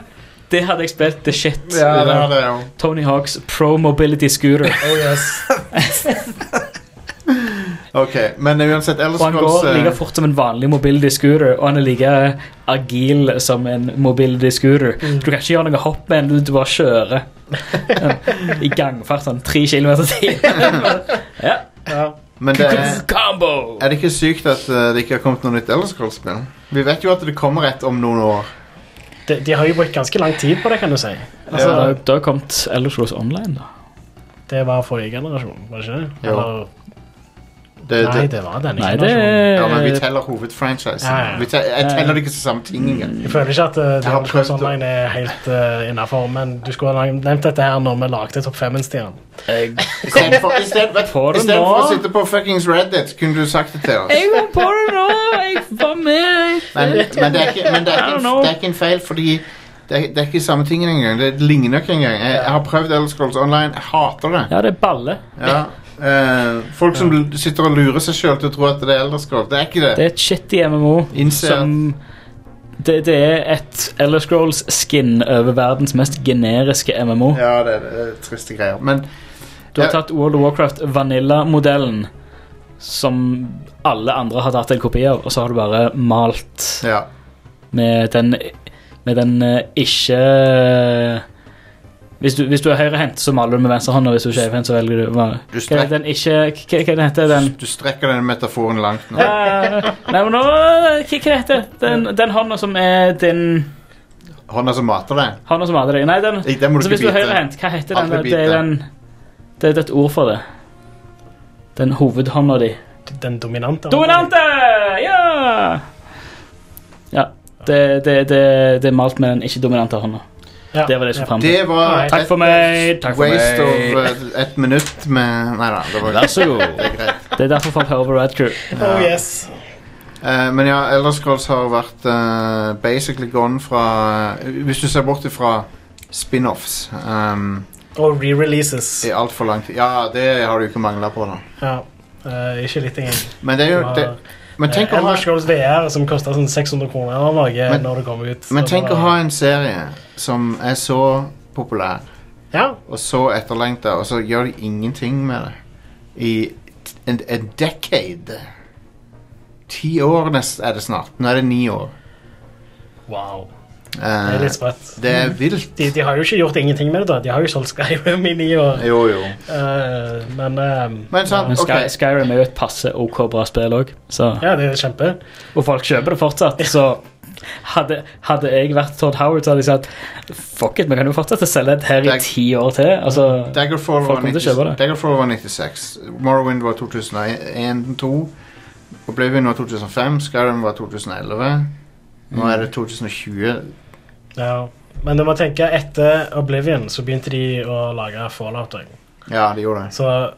Speaker 3: Det hadde jeg spilt the shit.
Speaker 1: Ja, det er det jo.
Speaker 3: Tony Hawks Pro Mobility Scooter.
Speaker 2: Oh yes.
Speaker 1: Ok, men uansett, Elder
Speaker 3: Og han
Speaker 1: Scrolls
Speaker 3: går
Speaker 1: eh,
Speaker 3: like fort som en vanlig mobility scooter, og han er like agil som en mobility scooter.
Speaker 1: Mm.
Speaker 3: Du kan ikke gjøre noe hopp med den, du bare kjører. I gangfart sånn tre kilometer i timen. Ja.
Speaker 2: Ja.
Speaker 1: Men det er,
Speaker 3: Combo!
Speaker 1: er det ikke sykt at eh, det ikke har kommet noe nytt Elder Scrolls-spill? Vi vet jo at det kommer et om noen år.
Speaker 2: De, de har jo brukt ganske lang tid på det, kan du si.
Speaker 3: Altså,
Speaker 1: Ja.
Speaker 3: da, da har kommet Elder Scrolls Online, da.
Speaker 2: Det var forrige generasjon, var det ikke det?
Speaker 1: Jo.
Speaker 2: Eller,
Speaker 1: Det,
Speaker 2: nei, det var denne
Speaker 3: Nei, det
Speaker 2: generasjonen.
Speaker 1: Ja, men vi
Speaker 3: er
Speaker 1: teller hovedfranchisen.
Speaker 2: Ja, ja.
Speaker 1: Vi te- Jeg teller det ikke som samme ting engang.
Speaker 2: Jeg føler ikke at uh, The
Speaker 1: har
Speaker 2: Elder Scrolls
Speaker 1: prøvd å-
Speaker 2: Online er helt uh, innafor, men du skulle ha nevnt dette her når vi lagde Topp 5-en, Stian.
Speaker 3: Jeg
Speaker 1: Istedenfor
Speaker 3: Får du
Speaker 1: å
Speaker 3: nå?
Speaker 1: sitte på fuckings Reddit, kunne du sagt det til oss.
Speaker 3: var på det nå! Jeg var med!
Speaker 1: Men, men, det, er ikke, men det, er ikke,
Speaker 3: I
Speaker 1: en-
Speaker 3: don't know.
Speaker 1: det er ikke en feil, fordi det er, det er ikke samme tingen engang. Det ligner ikke engang. Jeg, jeg har prøvd Elder Scrolls Online. Jeg hater det.
Speaker 3: Ja, det er balle.
Speaker 1: Ja. Eh, folk som l- sitter og lurer seg sjøl til å tro at det er Elder Scrolls. Det er ikke
Speaker 3: Det
Speaker 1: det.
Speaker 3: er et shitty MMO
Speaker 1: Innser at-
Speaker 3: som det, det er et Elder Scrolls-skin over verdens mest generiske MMO.
Speaker 1: Ja, det er, det er triste greier. Men
Speaker 3: Du har
Speaker 1: Ja.
Speaker 3: tatt World of Warcraft Vanilla-modellen, som alle andre har tatt en kopi av, og så har du bare malt
Speaker 1: ja.
Speaker 3: med den, med den eh, ikke hvis du, hvis du er høyrehendt, så maler du med venstre hånd, og hvis du er skjevhendt, så velger du hva-
Speaker 1: Du
Speaker 3: Hva er
Speaker 1: strekker,
Speaker 3: den ikke Hva, hva den heter den?
Speaker 1: du strekker den metaforen langt nå.
Speaker 3: Eh, Nei, men nå Hva hva heter det? Den, den hånda som er din
Speaker 1: Hånda som mater deg.
Speaker 3: Hånda som hadde deg. Nei, den
Speaker 1: Nei, Den må du ikke
Speaker 3: Så Altså, hvis du er
Speaker 1: bite.
Speaker 3: høyrehendt, hva heter
Speaker 1: Aldri
Speaker 3: den? da? Det er
Speaker 1: bite.
Speaker 3: den Det er et ord for det. Den hovedhånda di.
Speaker 2: Den dominante.
Speaker 3: Dominante! Ja! Ja. Det, det, det, det er malt med den ikke-dominante hånda.
Speaker 2: Ja.
Speaker 3: Det var det jeg skulle fram til.
Speaker 1: Det var
Speaker 2: Nei.
Speaker 3: Takk for meg! Takk for
Speaker 1: waste
Speaker 3: meg.
Speaker 1: of eh, et minutt med Nei da, det var
Speaker 3: Vær så god.
Speaker 1: det er greit.
Speaker 3: Det er derfor folk hører på Red Crew.
Speaker 2: Oh yes.
Speaker 1: Eh, men ja, Elder Scrolls har vært eh, basically gone fra Hvis du ser bort ifra spin-offs ehm,
Speaker 2: Og re-releases.
Speaker 1: I altfor lang tid. Ja, det har du ikke mangla på, da.
Speaker 2: Ja. Eh, ikke litt engang. eh,
Speaker 1: Men det er jo det, Men tenk å ha,
Speaker 2: Elder Scrolls VR som koster sånn 600 kroner eller noe
Speaker 1: Men-
Speaker 2: når det kommer ut.
Speaker 1: men
Speaker 2: Så
Speaker 1: tenk
Speaker 2: bare-
Speaker 1: å ha en serie som er så populær
Speaker 2: Ja,
Speaker 1: og så etterlengta, og så gjør de ingenting med det i t- en, en decade. Ti år nest, er det snart. Nå er det ni år.
Speaker 2: wow. Det
Speaker 1: Eh,
Speaker 2: er litt sprøtt.
Speaker 1: det er vilt.
Speaker 2: De, de har jo ikke gjort ingenting med det, da. De har jo solgt Skyrim i ni år.
Speaker 1: Jo, jo.
Speaker 2: Eh, men eh,
Speaker 1: Men sant,
Speaker 3: Men Sky,
Speaker 1: ok.
Speaker 3: Skyrim er jo et passe OK bra spill òg,
Speaker 2: Ja, det er kjempe.
Speaker 3: og folk kjøper det fortsatt. Så hadde, hadde jeg vært Todd Howard, så hadde jeg sagt fuck it, vi kan jo fortsette å selge dette her i
Speaker 1: Det-
Speaker 3: ti år til. Altså,
Speaker 1: Daggerfall
Speaker 3: Folk
Speaker 1: var,
Speaker 3: kommer til
Speaker 1: 90,
Speaker 3: å kjøpe det.
Speaker 1: Daggerfall var 96. Morrowind var 2001-2002. Oblivion var 2005. Skyrim var 2011. Nå er det 2020.
Speaker 2: Ja. Men du må tenke etter Oblivion så begynte de å lage Fallout. også.
Speaker 1: Ja, de gjorde det.
Speaker 2: Så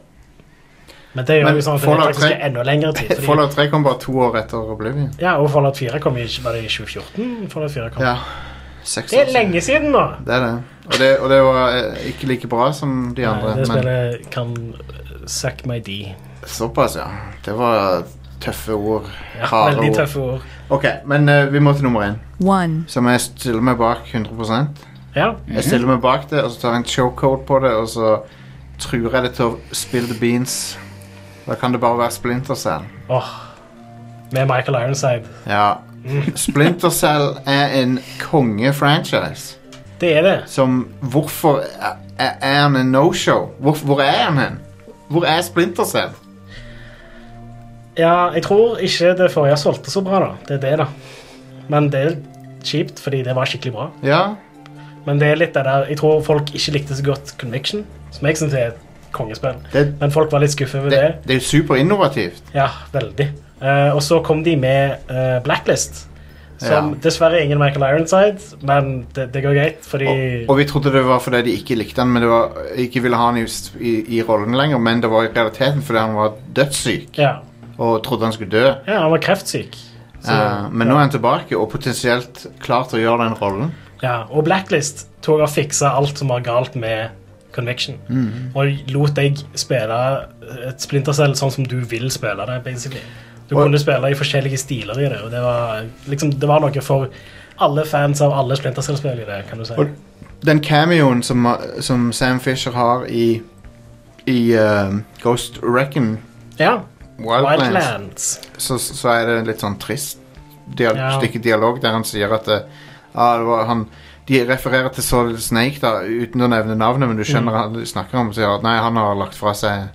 Speaker 2: Men det gjør
Speaker 1: Men
Speaker 2: jo sånn at det
Speaker 1: Fallout
Speaker 2: faktisk
Speaker 1: tre-
Speaker 2: er enda lengre tid. Fordi,
Speaker 1: Fallout 3 kom bare to år etter Oblivion.
Speaker 2: Ja, og Fallout 4 kom i, var det i 2014. Fallout 4 kom.
Speaker 1: Ja. Seks
Speaker 2: Det
Speaker 1: år
Speaker 2: er lenge siden nå!
Speaker 1: Det er det. Og det, og det var eh, ikke like bra som de
Speaker 2: Nei,
Speaker 1: andre.
Speaker 2: det
Speaker 1: men
Speaker 2: spillet kan uh, suck my D.
Speaker 1: såpass, ja. Det var tøffe ord.
Speaker 2: Ja,
Speaker 1: Harde
Speaker 2: veldig
Speaker 1: ord.
Speaker 2: tøffe ord.
Speaker 1: Ok, men eh, vi må til nummer én,
Speaker 6: one,
Speaker 1: som jeg stiller meg bak 100
Speaker 2: Ja.
Speaker 1: Jeg stiller meg bak det, og så tar jeg en showcode på det, og så truer jeg det til å spille the beans. Da kan det bare være Splinter Cell.
Speaker 2: Åh. Med Michael Ironside.
Speaker 1: Ja.
Speaker 2: Mm.
Speaker 1: Splinter Cell er en konge-franchise.
Speaker 2: Det er det.
Speaker 1: Som Hvorfor er, er er han en no-show? Hvor, hvor er han hen? Hvor er Splinter Cell?
Speaker 2: Ja, jeg tror ikke det forrige solgte så bra, da. Det er det, da. Men det er kjipt, fordi det var skikkelig bra.
Speaker 1: Ja,
Speaker 2: Men det er litt det der Jeg tror folk ikke likte så godt Conviction, som jeg syns er et kongespill.
Speaker 1: det,
Speaker 2: Men folk var litt skuffet over
Speaker 1: det,
Speaker 2: det.
Speaker 1: det er jo superinnovativt.
Speaker 2: Ja, veldig. Eh, og så kom de med eh, Blacklist. Som
Speaker 1: Ja.
Speaker 2: dessverre er ingen Michael Ironside, men det, det går greit, fordi
Speaker 1: Og, og vi trodde det var fordi de ikke likte han, men det var, ikke ville ha han i, i, i rollen lenger, men det var i realiteten fordi han var dødssyk
Speaker 2: ja.
Speaker 1: og trodde han skulle dø.
Speaker 2: ja, han var kreftsyk. Så,
Speaker 1: Eh, men nå er han tilbake og potensielt klar til å gjøre den rollen.
Speaker 2: Ja, og Blacklist tok og fiksa alt som var galt med Conviction.
Speaker 1: Mm.
Speaker 2: Og lot deg spille et splintercell sånn som du vil spille det, basically. Du
Speaker 1: Og-
Speaker 2: kunne spille i forskjellige stiler i det, og det var, liksom, det var noe for alle fans av alle splintercell-spill i det, kan du si.
Speaker 1: Og- Den cameoen som, eh, som Sam Fisher har i, i eh, Ghost Reckon
Speaker 2: Ja,
Speaker 1: Wildlands,
Speaker 2: Wildlands.
Speaker 1: Så, så er det litt sånn trist dial
Speaker 2: Ja.
Speaker 1: stykke dialog der han sier at eh, ah, det var han, De refererer til Solid Snake da, uten å nevne navnet, men du
Speaker 2: Mm.
Speaker 1: skjønner hva de snakker om. Sier at nei, han har lagt fra seg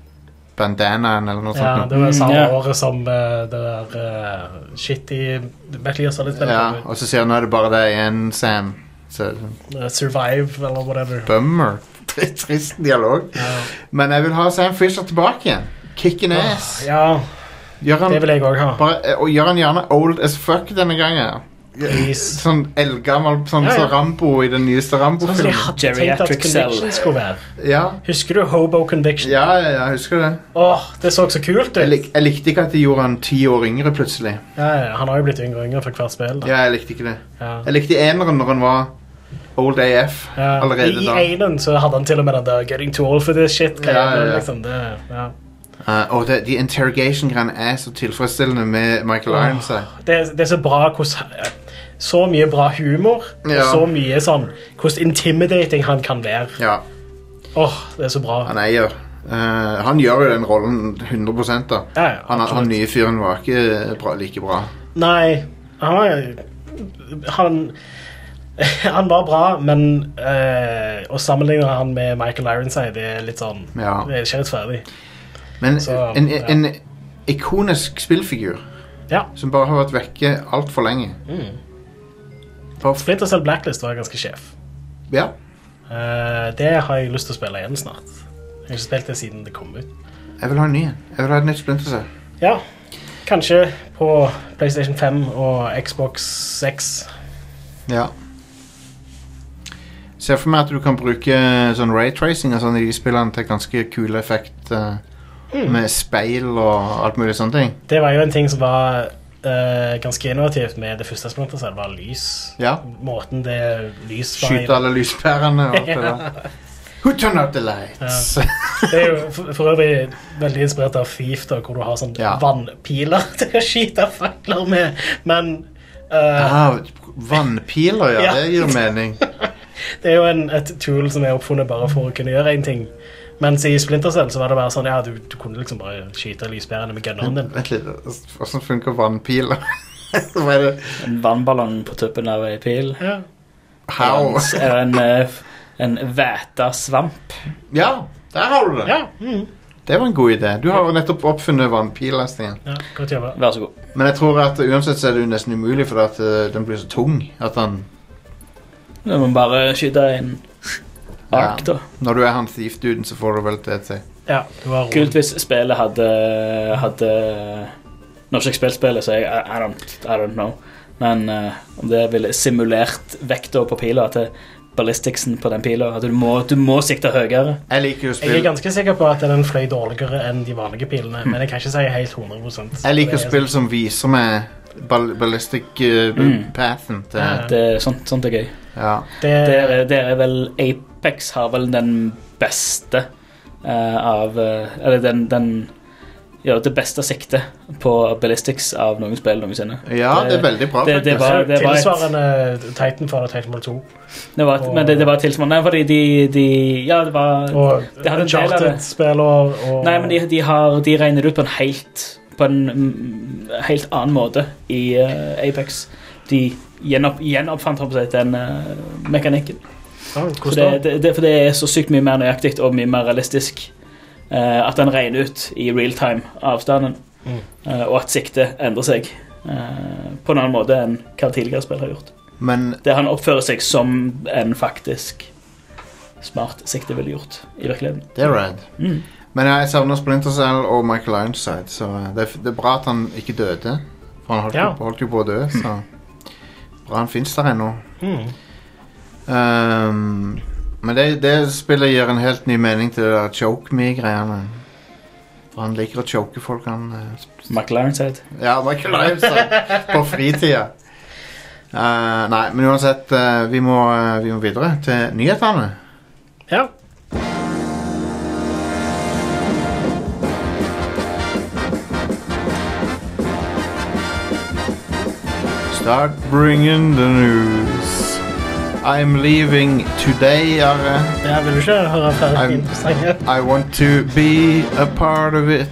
Speaker 1: bandanaen eller noe
Speaker 2: Ja,
Speaker 1: sånt.
Speaker 2: det var samme
Speaker 3: Mm, ja.
Speaker 2: året som eh, det der eh, shitty Metal Gear
Speaker 1: nå.
Speaker 2: Solid-spillet.
Speaker 1: Ja,
Speaker 2: kom ut.
Speaker 1: og så sier han nå er det bare deg igjen, Sam. Så, det er sånn,
Speaker 2: Eh, Survive, eller whatever.
Speaker 1: bummer. Det er Trist dialog.
Speaker 2: Ja.
Speaker 1: Men jeg vil ha Sam Fisher tilbake igjen. Kick an ass.
Speaker 2: Ah, ja,
Speaker 1: Gjør han,
Speaker 2: det vil jeg òg ha.
Speaker 1: bare, eh, og gjør han gjerne old as fuck denne gangen.
Speaker 2: Please.
Speaker 1: Sånn eldgammel sånn
Speaker 2: Ja, ja.
Speaker 1: som Rambo i den nyeste
Speaker 2: Sånn som de
Speaker 1: Rambo-filmen.
Speaker 2: hadde tenkt at
Speaker 3: Geriatric cell.
Speaker 2: Conviction skulle være.
Speaker 1: Ja.
Speaker 2: Husker du Hobo Conviction?
Speaker 1: Ja, ja, ja, jeg husker det.
Speaker 2: Åh, det så så kult ut!
Speaker 1: Jeg, lik, jeg likte ikke at de gjorde han ti år yngre plutselig.
Speaker 2: Ja, ja, han har jo blitt yngre og yngre for hvert spill. Da.
Speaker 1: Ja, jeg likte ikke det.
Speaker 2: Ja.
Speaker 1: Jeg likte eneren når han var old AF
Speaker 2: Ja,
Speaker 1: allerede
Speaker 2: I
Speaker 1: da.
Speaker 2: Einen så hadde han til og med den der 'getting too old for this shit'.
Speaker 1: Ja, ja, ja.
Speaker 2: Liksom, det, ja.
Speaker 1: Eh, og det, de interrogation-greiene er så tilfredsstillende med Michael
Speaker 2: Åh.
Speaker 1: Irons. eh, her.
Speaker 2: Det, er- det er så bra hvordan eh, Så mye bra humor, og
Speaker 1: Ja.
Speaker 2: så mye sånn hvordan intimidating han kan være.
Speaker 1: Ja,
Speaker 2: Åh, det er så bra.
Speaker 1: han eier. Eh, han gjør jo den rollen 100 da.
Speaker 2: Ja, ja,
Speaker 1: Han,
Speaker 2: absolutt.
Speaker 1: han nye fyren var ikke bra, like bra.
Speaker 2: Nei, han var Han, han var bra, men eh, å sammenligne han med Michael Ironside det er litt sånn
Speaker 1: Ja.
Speaker 2: Det er ikke rettferdig.
Speaker 1: Men
Speaker 2: Så,
Speaker 1: en,
Speaker 2: ja.
Speaker 1: en ikonisk spillfigur
Speaker 2: Ja.
Speaker 1: som bare har vært vekke altfor lenge. Bare f-
Speaker 2: Splinter Cell Blacklist var ganske sjef.
Speaker 1: ja.
Speaker 2: Eh, det har jeg lyst til å spille igjen snart. Jeg har ikke spilt det siden det kom ut.
Speaker 1: Jeg vil ha en ny. Jeg vil ha et nytt Splinter Cell.
Speaker 2: Ja, kanskje på PlayStation 5 og Xbox 6.
Speaker 1: Ja. Ser for meg at du kan bruke sånn raytracing og sånn i de spillene til ganske kul effekt eh,
Speaker 2: Mm.
Speaker 1: med speil og alt mulig sånne ting.
Speaker 2: Det var jo en ting som var eh, ganske innovativt med det første Splinter Cell, var lys.
Speaker 1: Ja.
Speaker 2: Måten det lys var i.
Speaker 1: Skyte alle lyspærene og alt det der. Who turned out the lights?
Speaker 2: Det er jo for, for øvrig veldig inspirert av Thief, da, hvor du har sånn
Speaker 1: Ja.
Speaker 2: vannpiler til å skyte fakler med. Men eh,
Speaker 1: Ah, vannpiler, ja.
Speaker 2: Ja.
Speaker 1: Det gir mening.
Speaker 2: det er jo en, et tool som er oppfunnet bare for å kunne gjøre én ting. Mens i Splinter Cell så var det bare sånn, ja, du, du kunne liksom bare skyte lyspærene med gunneren din.
Speaker 1: Vent litt, Hvordan funker vannpiler? Hva er det?
Speaker 3: En vannballong på tuppen av ei pil.
Speaker 2: Ja.
Speaker 1: How?
Speaker 3: Eller en, eh, en væta svamp.
Speaker 1: Ja, der har du det.
Speaker 2: ja. Mm.
Speaker 1: Det var en god idé. Du har jo nettopp oppfunnet vannpiler. Stian.
Speaker 2: ja godt jobba.
Speaker 3: Vær så god.
Speaker 1: Men jeg tror at uansett så er det jo nesten umulig, for at eh, den blir så tung. At den,
Speaker 3: Nå må vi bare skyte en ark, da.
Speaker 1: når du er han thief-duden, så får du vel det til.
Speaker 2: Ja, du har
Speaker 3: Kult hvis spillet hadde, hadde Nå har ikke jeg spilt spillet, så jeg I, I, don't, I don't know. Men eh, om det ville simulert vekta på pila til ballisticsen på den pila At du må, du må sikte høyere.
Speaker 1: Jeg liker jo å
Speaker 2: Jeg er
Speaker 1: spille,
Speaker 2: ganske sikker på at den fløy dårligere enn de vanlige pilene, men jeg kan ikke si helt 100
Speaker 1: Mm. jeg liker å
Speaker 2: Det altså. er-
Speaker 1: spille som viser meg ball ballistic eh,
Speaker 3: Mm.
Speaker 1: pathen til
Speaker 2: Ja.
Speaker 3: Det, er sånt, sånt er gøy.
Speaker 1: Ja.
Speaker 3: Der,
Speaker 2: Det,
Speaker 3: er- der er vel Apex har vel den beste eh, av eh, Eller den, den Ja, det beste siktet på ballistics av noen spill noensinne.
Speaker 1: ja, det er veldig bra,
Speaker 3: det- det
Speaker 1: faktisk.
Speaker 3: var- det et-
Speaker 2: tilsvarende Titanfall og Titanfall 2.
Speaker 3: Det var, men det, det var tilsvarende. Nei, fordi de, de Ja, det var
Speaker 2: Og
Speaker 3: Det hadde en del av det.
Speaker 2: Charted-spill og, og
Speaker 3: Nei, men de, de, har, de regner det ut på en helt På en mm, helt annen måte i eh, Apex. De gjenopp, gjenoppfant holdt på å si, den eh, mekanikken.
Speaker 2: Ja,
Speaker 3: For
Speaker 2: hvordan
Speaker 3: det,
Speaker 2: da?
Speaker 3: det, det, for det er så sykt mye mer nøyaktig og mye mer realistisk eh, at den regner ut i real time avstanden,
Speaker 2: Mm.
Speaker 3: eh, og at siktet endrer seg eh, på en annen måte enn hva tidligere spill har gjort.
Speaker 1: Men
Speaker 3: Det Han oppfører seg som en faktisk smart sikte ville gjort i virkeligheten.
Speaker 1: det er rad.
Speaker 3: Mm.
Speaker 1: Men jeg savner Splinter Cell og Michael Ironside, så eh, det er, det er bra at han ikke døde. For han holdt,
Speaker 2: Ja.
Speaker 1: jo, holdt jo på å dø, så bra han fins der ennå.
Speaker 2: Mm.
Speaker 1: Ehm, men det, det spillet gir en helt ny mening til det der choke me-greiene. For han liker å choke folk, han eh, sp-
Speaker 3: McLaren said.
Speaker 1: Ja, Michael Ironside på fritida. Eh, nei, men uansett, eh, vi, må, eh, vi må videre til nyhetene.
Speaker 2: Ja.
Speaker 1: Start bringing the news. I'm leaving today, Are.
Speaker 2: ja, vil du ikke høre flere
Speaker 1: I'm-
Speaker 2: interessante
Speaker 1: I want to be a part of it.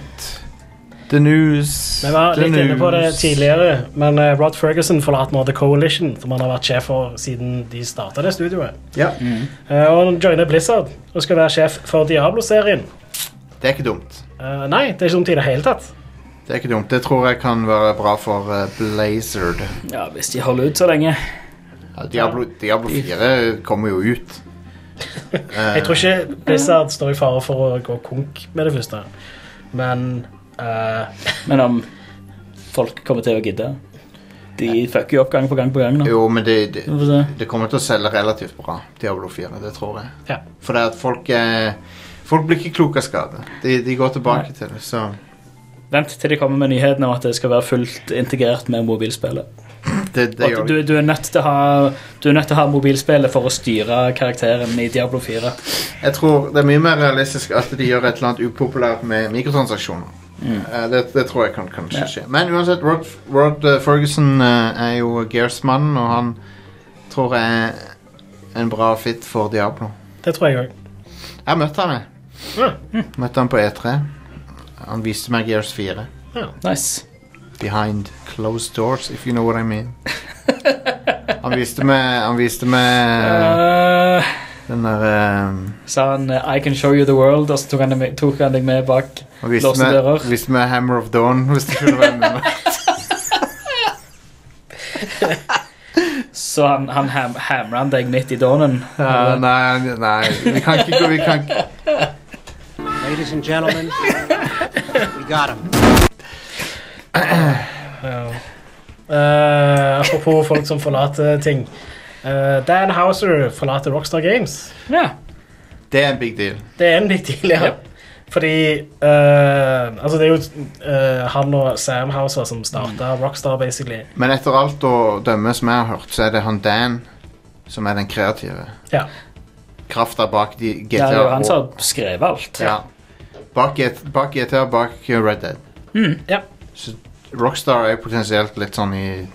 Speaker 1: The news.
Speaker 2: Vi var
Speaker 1: the
Speaker 2: litt inne på det
Speaker 1: news.
Speaker 2: tidligere, men eh, Rod Ferguson forlater nå The Coalition, som han har vært sjef for siden de starta det studioet.
Speaker 1: Ja,
Speaker 2: Eh, Og han joiner Blizzard og skal være sjef for Diablo-serien.
Speaker 1: det er ikke dumt.
Speaker 2: Eh, Nei, det er ikke dumt i det hele tatt.
Speaker 1: Det er ikke dumt. Det tror jeg kan være bra for eh, Blazard.
Speaker 3: Ja, hvis de holder ut så lenge.
Speaker 1: Ja, Diablo, Diablo 4 kommer jo ut.
Speaker 2: Jeg tror ikke Blizzard står i fare for å gå konk med det første. Men eh,
Speaker 3: Men om folk kommer til å gidde De fucker jo opp gang på gang på gang nå.
Speaker 1: Jo, men det, det,
Speaker 3: Vi får se.
Speaker 1: det kommer til å selge relativt bra, Diablo 4. Det tror jeg.
Speaker 2: ja.
Speaker 1: For det er at folk, eh, folk blir ikke kloke av skade. De, de går tilbake til det, så
Speaker 3: Vent til de kommer med nyheten om at det skal være fullt integrert med mobilspillet.
Speaker 1: det, det
Speaker 3: At
Speaker 1: gjør
Speaker 3: du, du, er nødt til å ha, du er nødt til å ha mobilspillet for å styre karakteren i Diablo 4.
Speaker 1: Jeg tror det er mye mer realistisk at de gjør et eller annet upopulært med mikrotransaksjoner. Eh, det, det tror jeg kan kanskje
Speaker 3: Mm. Ja.
Speaker 1: skje. Men uansett, Rod, Rod eh, Ferguson eh, er jo Gears-mann, og han tror jeg er en bra fit for Diablo.
Speaker 2: Det tror jeg òg.
Speaker 1: Jeg møtte han, jeg.
Speaker 2: Ja.
Speaker 1: Møtte han på E3. Han viste meg Gears 4.
Speaker 3: Nice.
Speaker 1: Behind closed doors, if you know what I mean. Han viste meg, han viste meg
Speaker 3: Eh,
Speaker 1: den ehm, derre
Speaker 3: sa han eh, 'I can show you the world', og så tok han, deg med- tok han deg med bak
Speaker 1: Han viste
Speaker 3: låste
Speaker 1: meg,
Speaker 3: dører.
Speaker 1: viste meg Hammer of Dawn, hvis du skjønner hva jeg mener.
Speaker 3: Så han, han ham, hamra han deg midt i dawnen.
Speaker 1: Ja, nei, nei, vi kan ikke gå Vi kan ikke
Speaker 4: Ladies and gentlemen, we got him.
Speaker 2: Eh, apropos folk som forlater ting. Eh, Dan Houser forlater Rockstar Games.
Speaker 3: Ja.
Speaker 1: Det er en big deal.
Speaker 2: Det er en big deal, ja.
Speaker 3: Ja.
Speaker 2: Fordi eh, Altså, det er jo eh, han og Sam Houser som starta Rockstar, basically.
Speaker 1: Men etter alt å dømme som jeg har hørt, så er det han Dan som er den kreative.
Speaker 2: Ja.
Speaker 1: krafta bak de GTA.
Speaker 3: Ja, det var han
Speaker 1: og-
Speaker 3: som har skrevet alt.
Speaker 1: ja. bak, G- bak GTA, bak eh, Red Dead.
Speaker 2: Ja.
Speaker 1: Så Rockstar er potensielt litt sånn i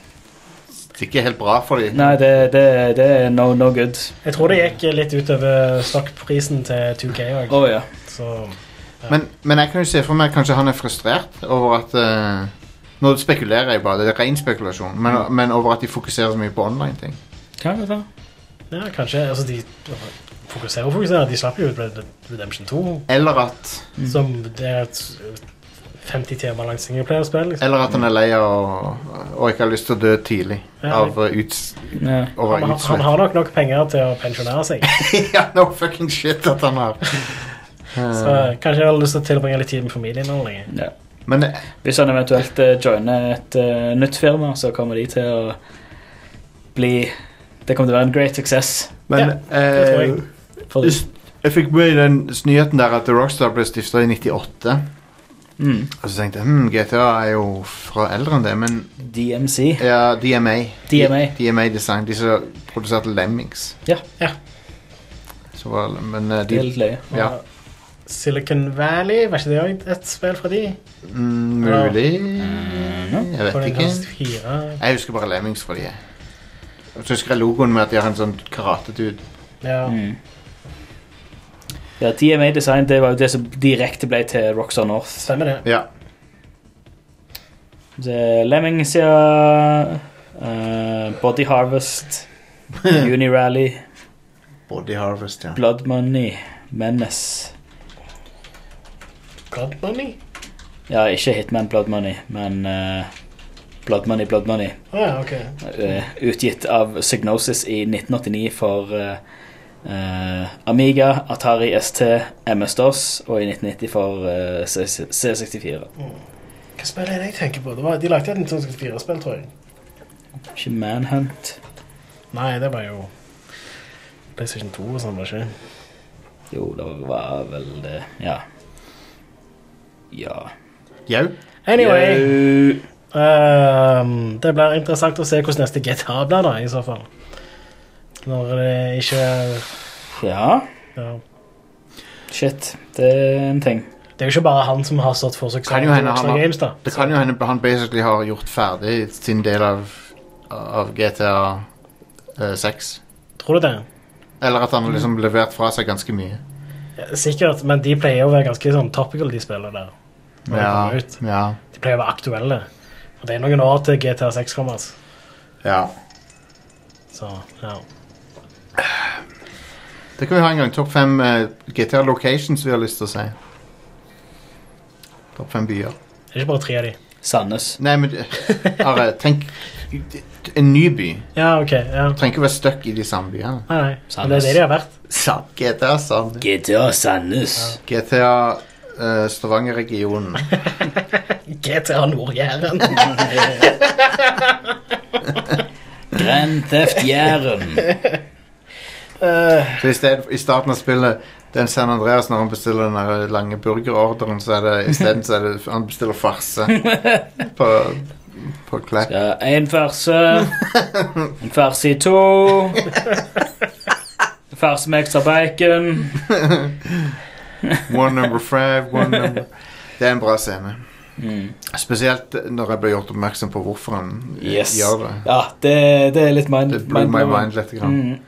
Speaker 1: Det er ikke helt bra for dem.
Speaker 3: Nei, det, det, det er no, no good.
Speaker 2: Jeg tror det gikk litt utover stokkprisen til 2K òg,
Speaker 3: Å ja.
Speaker 2: så
Speaker 1: Men, men jeg kan jo se for meg kanskje han er frustrert over at eh, Nå spekulerer jeg bare, det er ren spekulasjon, men,
Speaker 2: Mm.
Speaker 1: men over at de fokuserer så mye på online-ting.
Speaker 3: Kan vi ta?
Speaker 2: ja, kanskje Altså, de fokuserer og fokuserer. De slapp jo ut Red Dead Redemption 2,
Speaker 1: Eller at,
Speaker 3: Mm.
Speaker 2: som det er et 50 timer langt singleplayerspill. Liksom.
Speaker 1: eller at han er lei av å- og ikke har lyst til å dø tidlig
Speaker 2: Ja.
Speaker 1: av eh, uts,
Speaker 3: Ja.
Speaker 1: over
Speaker 2: Han, har- han
Speaker 1: utslett.
Speaker 2: har nok nok penger til å pensjonere seg,
Speaker 1: ja, no fucking shit at han har. Eh,
Speaker 2: så kanskje jeg har lyst til å tilbringe litt tid med familien. nå lenger.
Speaker 3: Ja.
Speaker 1: Men eh,
Speaker 3: Hvis han eventuelt eh, joiner et eh, nytt firma, så kommer de til å bli Det kommer til å være en great success.
Speaker 1: Men
Speaker 2: det tror jeg.
Speaker 1: eh,
Speaker 3: For de.
Speaker 1: Just- jeg fikk med i den nyheten der at Rockstar ble stifta i 98.
Speaker 3: Mm.
Speaker 1: Og så tenkte jeg hm, GTA er jo fra eldre enn det, men
Speaker 3: DMC.
Speaker 1: ja, DMA.
Speaker 3: DMA.
Speaker 1: DMA Design. De som produserte Lemmings.
Speaker 3: Ja.
Speaker 2: Ja.
Speaker 1: Så var, men eh,
Speaker 3: Det er
Speaker 1: de
Speaker 3: litt løye.
Speaker 2: Og
Speaker 1: Ja.
Speaker 2: Silicon Valley, var ikke det òg et spill fra de?
Speaker 1: mm, Mulig Jeg
Speaker 2: På
Speaker 1: vet ikke.
Speaker 2: Nintendo 64.
Speaker 1: Jeg husker bare Lemmings fra de er. Og så husker jeg logoen med at de har en sånn karatedude.
Speaker 2: Ja.
Speaker 3: Mm. Ja, DMA Design det var jo det som direkte ble til Rockstar North.
Speaker 2: Stemmer det.
Speaker 1: Ja.
Speaker 3: Det er Lemmings, ja. eh, Body Harvest. Unirally.
Speaker 1: Body Harvest, ja.
Speaker 3: Blood Money. Menace.
Speaker 2: God Bunny?
Speaker 3: Ja, ikke Hitman Blood Money, men eh, Blood Money, Blood Money.
Speaker 2: Å ja, ok.
Speaker 3: Eh, utgitt av Psygnosis i 1989 for eh, eh, Amiga, Atari ST, MS-DOS og i 1990 for eh, C- C64.
Speaker 2: Hva spill er det jeg tenker på? Det var, de lagde et 1964-spill, tror jeg.
Speaker 3: Ikke Manhunt.
Speaker 2: Nei, det var jo PlayStation 2 og sånn, var det ikke?
Speaker 3: Jo, det var vel det Ja. Ja.
Speaker 1: Jau.
Speaker 2: Anyway,
Speaker 3: Jau.
Speaker 2: ehm, det blir interessant å se hvordan neste GTA blir, da, i så fall. Når det ikke
Speaker 3: Ja.
Speaker 2: ja.
Speaker 3: Shit. Det er en ting.
Speaker 2: Det er jo ikke bare han som har stått for
Speaker 1: Kan
Speaker 2: suksessen
Speaker 1: jo
Speaker 2: i
Speaker 1: hende han
Speaker 2: Rockstar
Speaker 1: har-
Speaker 2: Games, da.
Speaker 1: Det kan jo hende han basically har gjort ferdig sin del av, av GTA eh, 6.
Speaker 2: Tror du det?
Speaker 1: Eller at han har liksom levert fra seg ganske mye.
Speaker 2: Ja, Sikkert, men de pleier å være ganske sånn topical, de spillene der. Når de kommer ut.
Speaker 1: ja,
Speaker 2: De pleier å være aktuelle. Og det er noen år til GTA 6 kommer. altså.
Speaker 1: ja.
Speaker 2: Så, ja.
Speaker 1: Det kan vi ha en gang. Topp fem eh, GTA locations vi har lyst til å si. Topp fem byer.
Speaker 2: Det er ikke bare tre av de.
Speaker 3: Sandnes.
Speaker 1: Nei, men eh, Are, tenk En ny by.
Speaker 2: Ja, ok. ja.
Speaker 1: Trenger ikke å være stuck i de samme byene.
Speaker 2: Nei, nei. Men det
Speaker 3: Sandnes.
Speaker 2: er det de har vært.
Speaker 1: Sa- GTA Sand.
Speaker 3: GTA Sandnes.
Speaker 1: GTA eh, Stavanger-regionen.
Speaker 2: GTA Nord-Jæren.
Speaker 3: Grand Theft Jæren.
Speaker 1: Så i, sted, I starten av spillet den San Andreas når han bestiller den der lange burgerorderen, så er det isteden så er det han bestiller farse på, på Klepp.
Speaker 3: Ja, en farse. En farse i to. En farse med ekstra bacon.
Speaker 1: One number five, one number Det er en bra scene.
Speaker 3: Mm.
Speaker 1: Spesielt når jeg ble gjort oppmerksom på hvorfor han eh,
Speaker 3: Yes.
Speaker 1: gjør det.
Speaker 3: Ja, det, det er litt mind...
Speaker 1: Det blew my mind
Speaker 3: mindblowing.
Speaker 1: liksom. litt. Grann.
Speaker 3: Mm.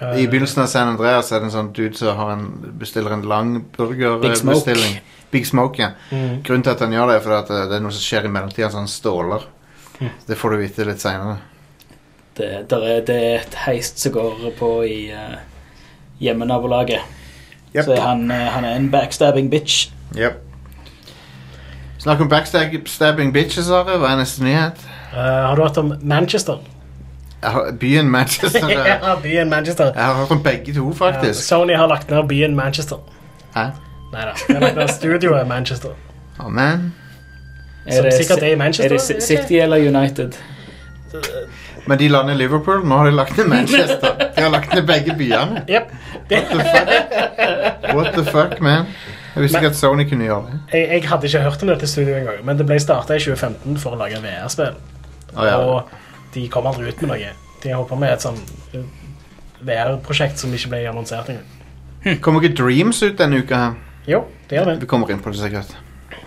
Speaker 2: Eh,
Speaker 1: I begynnelsen av San Andreas er det en sånn dude som har en, bestiller en lang
Speaker 3: Big Smoke.
Speaker 1: burgerbestilling. Big Smoke, ja.
Speaker 2: Mm.
Speaker 1: Grunnen til at han gjør det, er fordi at eh, det er noe som skjer i mellomtida, så han ståler.
Speaker 3: Mm.
Speaker 1: Det får du vite litt seinere.
Speaker 3: Det, der er, det er et heist som går på i eh, hjemmenabolaget.
Speaker 1: Yep.
Speaker 3: Så han, eh, han er en backstabbing bitch.
Speaker 1: Yep. Snakk om backstabbing bitches, Are. Hva er neste nyhet?
Speaker 2: Eh, har du hørt om Manchester?
Speaker 1: Jeg har, byen Manchester. eh,
Speaker 2: ja, byen Manchester.
Speaker 1: Jeg har hørt om begge to,
Speaker 2: Ja,
Speaker 1: faktisk.
Speaker 2: Sony har lagt ned byen Manchester.
Speaker 1: Hæ?
Speaker 2: Nei da. De har lagt ned studioet Manchester.
Speaker 1: Å, men.
Speaker 2: Som sikkert er i Manchester,
Speaker 3: Er det
Speaker 2: er
Speaker 3: Ci-
Speaker 2: det ikke?
Speaker 3: City eller United?
Speaker 1: Men de lander i Liverpool. Nå har de lagt ned Manchester. De har lagt ned begge byene.
Speaker 2: Jep. Det-
Speaker 1: What the fuck, What the fuck man? Jeg visste ikke at Sony kunne gjøre det.
Speaker 2: Jeg, jeg hadde ikke hørt om dette studioet engang, men det ble starta i 2015 for å lage VR-spill.
Speaker 1: Å, ja.
Speaker 2: Og de kom aldri ut med noe. De holdt på med et sånn VR-prosjekt som ikke ble annonsert engang.
Speaker 1: Kommer ikke Dreams ut denne uka? her?
Speaker 2: Jo, det gjør det.
Speaker 1: Vi kommer inn på det sikkert.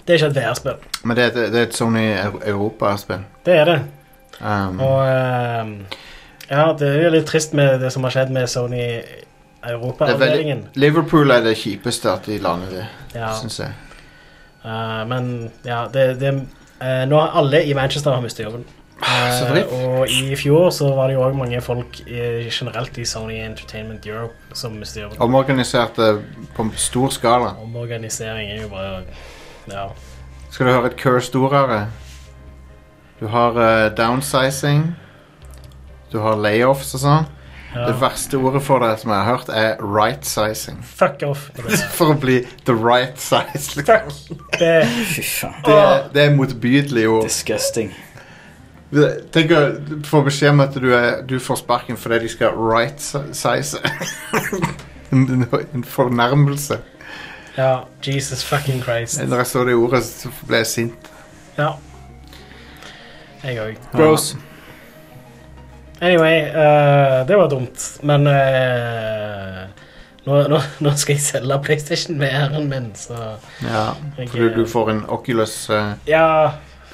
Speaker 2: Det er ikke et VR-spill.
Speaker 1: Men det, er et- det er et Sony Eu- Europa-spill.
Speaker 2: Det er det.
Speaker 1: Um,
Speaker 2: Mm. Og ehm, ja, det er jo litt trist med det som har skjedd med Sony
Speaker 1: det er veldig,
Speaker 2: Europa-avdelingen.
Speaker 1: Liverpool er det kjipeste at de lander det,
Speaker 2: Ja,
Speaker 1: syns jeg.
Speaker 2: eh, men ja, det, det eh, Nå har alle i Manchester har mistet jobben. Eh,
Speaker 1: Så dritt.
Speaker 2: og i fjor så var det jo òg mange folk i, generelt i Sony Entertainment Europe som mistet jobben.
Speaker 1: Omorganiserte eh, på stor skala.
Speaker 2: Omorganisering er jo bare Ja.
Speaker 1: Skal du høre et cursed-ordere? eh? Du har eh, downsizing. Du har layoffs og sånn.
Speaker 2: ja.
Speaker 1: Det verste ordet for det som jeg har hørt, er right-sizing.
Speaker 2: Fuck off.
Speaker 1: For å bli the right size. Liksom.
Speaker 2: Det,
Speaker 3: Fy faen.
Speaker 1: Det, det er motbydelig ord.
Speaker 3: Disgusting.
Speaker 1: Det- Tenk å få beskjed om at du, er, du får sparken fordi de skal right-size. en en fornærmelse.
Speaker 2: ja, Jesus fucking Christ.
Speaker 1: Når jeg så det ordet, så ble jeg sint.
Speaker 2: Ja. Jeg òg.
Speaker 3: Gross.
Speaker 2: Anyway, eh, det var dumt, men eh, nå, nå, nå skal jeg selge PlayStation med æren min, så
Speaker 1: Ja,
Speaker 2: Jeg,
Speaker 1: fordi
Speaker 2: eh,
Speaker 1: du får en Oculus eh,
Speaker 2: Ja.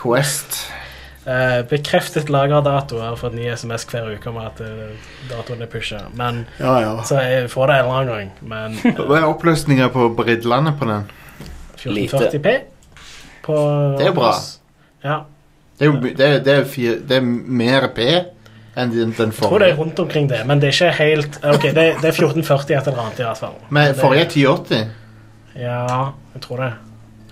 Speaker 1: Quest.
Speaker 2: eh, bekreftet lagerdato. Jeg har fått ny SMS hver uke om at eh, datoen er pusha. Men,
Speaker 1: Ja, ja.
Speaker 2: så jeg får det en eller annen gang. Men
Speaker 1: Hva er oppløsninga på bridlene på den?
Speaker 3: Lite.
Speaker 2: 1440P på
Speaker 1: Det er bra.
Speaker 2: Ja.
Speaker 1: Det er jo my- det er, det er, fire, det er mer P enn den, den
Speaker 2: Jeg tror det er
Speaker 1: forrige.
Speaker 2: rundt omkring det, men det er ikke helt eh, Ok, det, det er 1440 et eller annet i hvert fall.
Speaker 1: Men
Speaker 2: det-
Speaker 1: forrige er 1080.
Speaker 2: Ja, jeg tror det.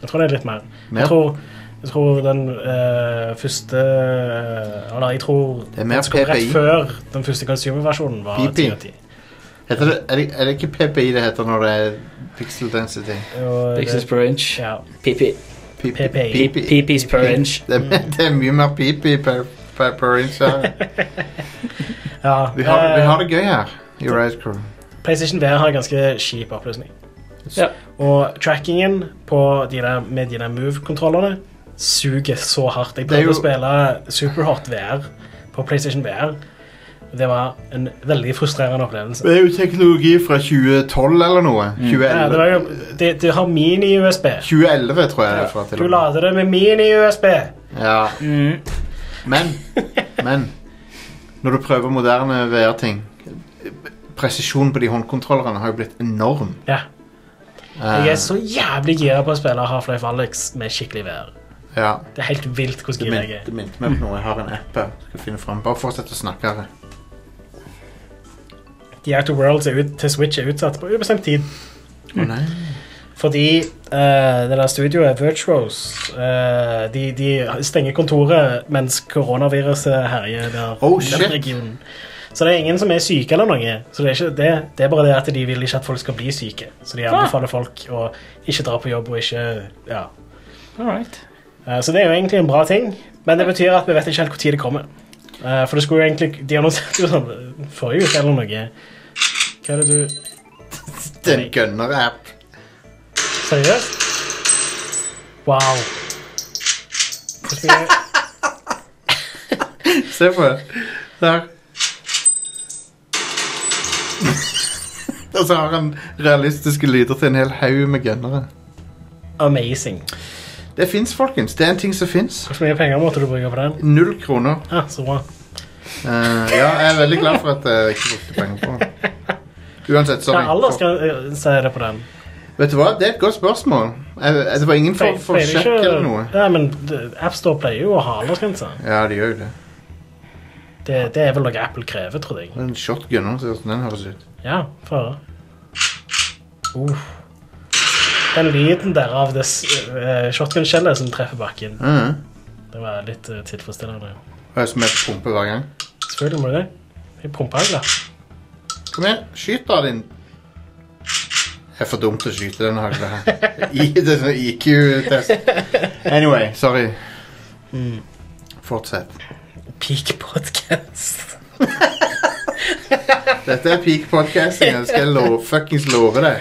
Speaker 2: Jeg tror det er litt mer.
Speaker 1: Mer.
Speaker 2: Jeg tror, jeg tror den eh, første eh, Eller jeg tror
Speaker 1: Det er mer
Speaker 2: den som kom
Speaker 1: PPI.
Speaker 2: rett før den første consumer-versjonen var
Speaker 1: PP.
Speaker 2: 10 av 10.
Speaker 1: Heter det, er, det, er det ikke PPI det heter når det er pixel density?
Speaker 2: Og det-
Speaker 3: Pixels per inch.
Speaker 2: Ja,
Speaker 3: PP.
Speaker 1: P-
Speaker 2: PPI.
Speaker 1: P- P-
Speaker 3: PPs per inch.
Speaker 1: Det, er-
Speaker 2: Mm.
Speaker 1: det er mye mer pipi per, per, per inch. her.
Speaker 2: ja.
Speaker 1: Vi har, vi
Speaker 2: eh,
Speaker 1: har det gøy her i Red Crew.
Speaker 2: PlayStation VR har ganske kjip oppløsning.
Speaker 3: Ja.
Speaker 2: Og trackingen på de der, med de der Move-kontrollene suger så hardt. Jeg
Speaker 1: Det er
Speaker 2: prøvde
Speaker 1: jo-
Speaker 2: å spille Superhot VR på PlayStation VR. Det var en veldig frustrerende opplevelse.
Speaker 1: Det er jo teknologi fra 2012 eller noe.
Speaker 2: Ja, det,
Speaker 1: 2011,
Speaker 2: var jo, det, det har mini-USB.
Speaker 1: 2011 tror jeg det er fra. til
Speaker 2: Du
Speaker 1: og med.
Speaker 2: lader det med mini-USB.
Speaker 1: Ja.
Speaker 3: Mm.
Speaker 1: Men, men Når du prøver moderne VR-ting Presisjonen på de håndkontrollerne har jo blitt enorm.
Speaker 2: Ja.
Speaker 1: Eh,
Speaker 2: Jeg er så jævlig gira på å spille Half-Life Alex med skikkelig VR.
Speaker 1: ja,
Speaker 2: Det er helt vilt hvor
Speaker 1: det
Speaker 2: gira jeg
Speaker 1: minte-
Speaker 2: er.
Speaker 1: det minte meg på noe. Jeg har en app her. Skal finne frem. Bare fortsett å snakke. her.
Speaker 2: The Outer Worlds er ut, til Switch er utsatt på ubestemt tid.
Speaker 1: Å nei.
Speaker 2: Fordi eh, det der studioet, Virtuos, eh, de, de stenger kontoret mens koronaviruset herjer der.
Speaker 1: Oh,
Speaker 2: i den
Speaker 1: shit.
Speaker 2: regionen. Så det er ingen som er syke eller noe. Så det er, ikke det. det er bare det at de vil ikke at folk skal bli syke. Så
Speaker 3: Ah.
Speaker 2: de anbefaler folk å ikke dra på jobb og ikke Ja.
Speaker 3: All right.
Speaker 2: Eh, Så det er jo egentlig en bra ting, men det betyr at vi vet ikke helt når det kommer. Eh, For det skulle jo egentlig De annonserte jo sånn eh, forrige uke eller noe. Hva er det du
Speaker 1: Det er en gunner-app.
Speaker 2: Seriøst? Wow. Hvordan vil jeg-
Speaker 1: Se på det. Der. Og så har han realistiske lyder til en hel haug med gunnere.
Speaker 2: Amazing.
Speaker 1: Det fins, folkens. Det er en ting som fins.
Speaker 2: Hvor mye penger måtte du bruke på den?
Speaker 1: Null kroner.
Speaker 2: Ah, så bra.
Speaker 1: Eh, ja, jeg er veldig glad for at jeg ikke brukte penger på den. Uansett,
Speaker 2: Hva
Speaker 1: sorry.
Speaker 2: aldersgrense er eh, det på den?
Speaker 1: Vet du hva, det er et godt spørsmål. Jeg, jeg, det var ingen for, for
Speaker 2: Pleier det
Speaker 1: sjekk
Speaker 2: ikke-
Speaker 1: eller noe.
Speaker 2: Nei, men det- AppStore pleier jo å ha aldersgrense.
Speaker 1: Ja, det gjør jo det.
Speaker 2: Det, det er vel noe Apple krever, tror jeg.
Speaker 1: Det er En shotgun nå, ser hvordan den høres ut.
Speaker 2: Ja, få høre. Uff. Den lyden der av det s- eh, shotgun-skjellet som treffer bakken,
Speaker 1: Mhm.
Speaker 2: det var litt eh, tilfredsstillende.
Speaker 1: Og jeg som er pumpe hver gang.
Speaker 2: Selvfølgelig må du det. Jeg pumper ikke, da.
Speaker 1: Kom igjen, skyt da, din Jeg er for dum til å skyte den hagla her. I, det er sånn IQ-test. Anyway, sorry. Fortsett.
Speaker 2: Mm. Peak podcast.
Speaker 1: Dette er peak podcasting. Jeg skal love, fuckings love deg.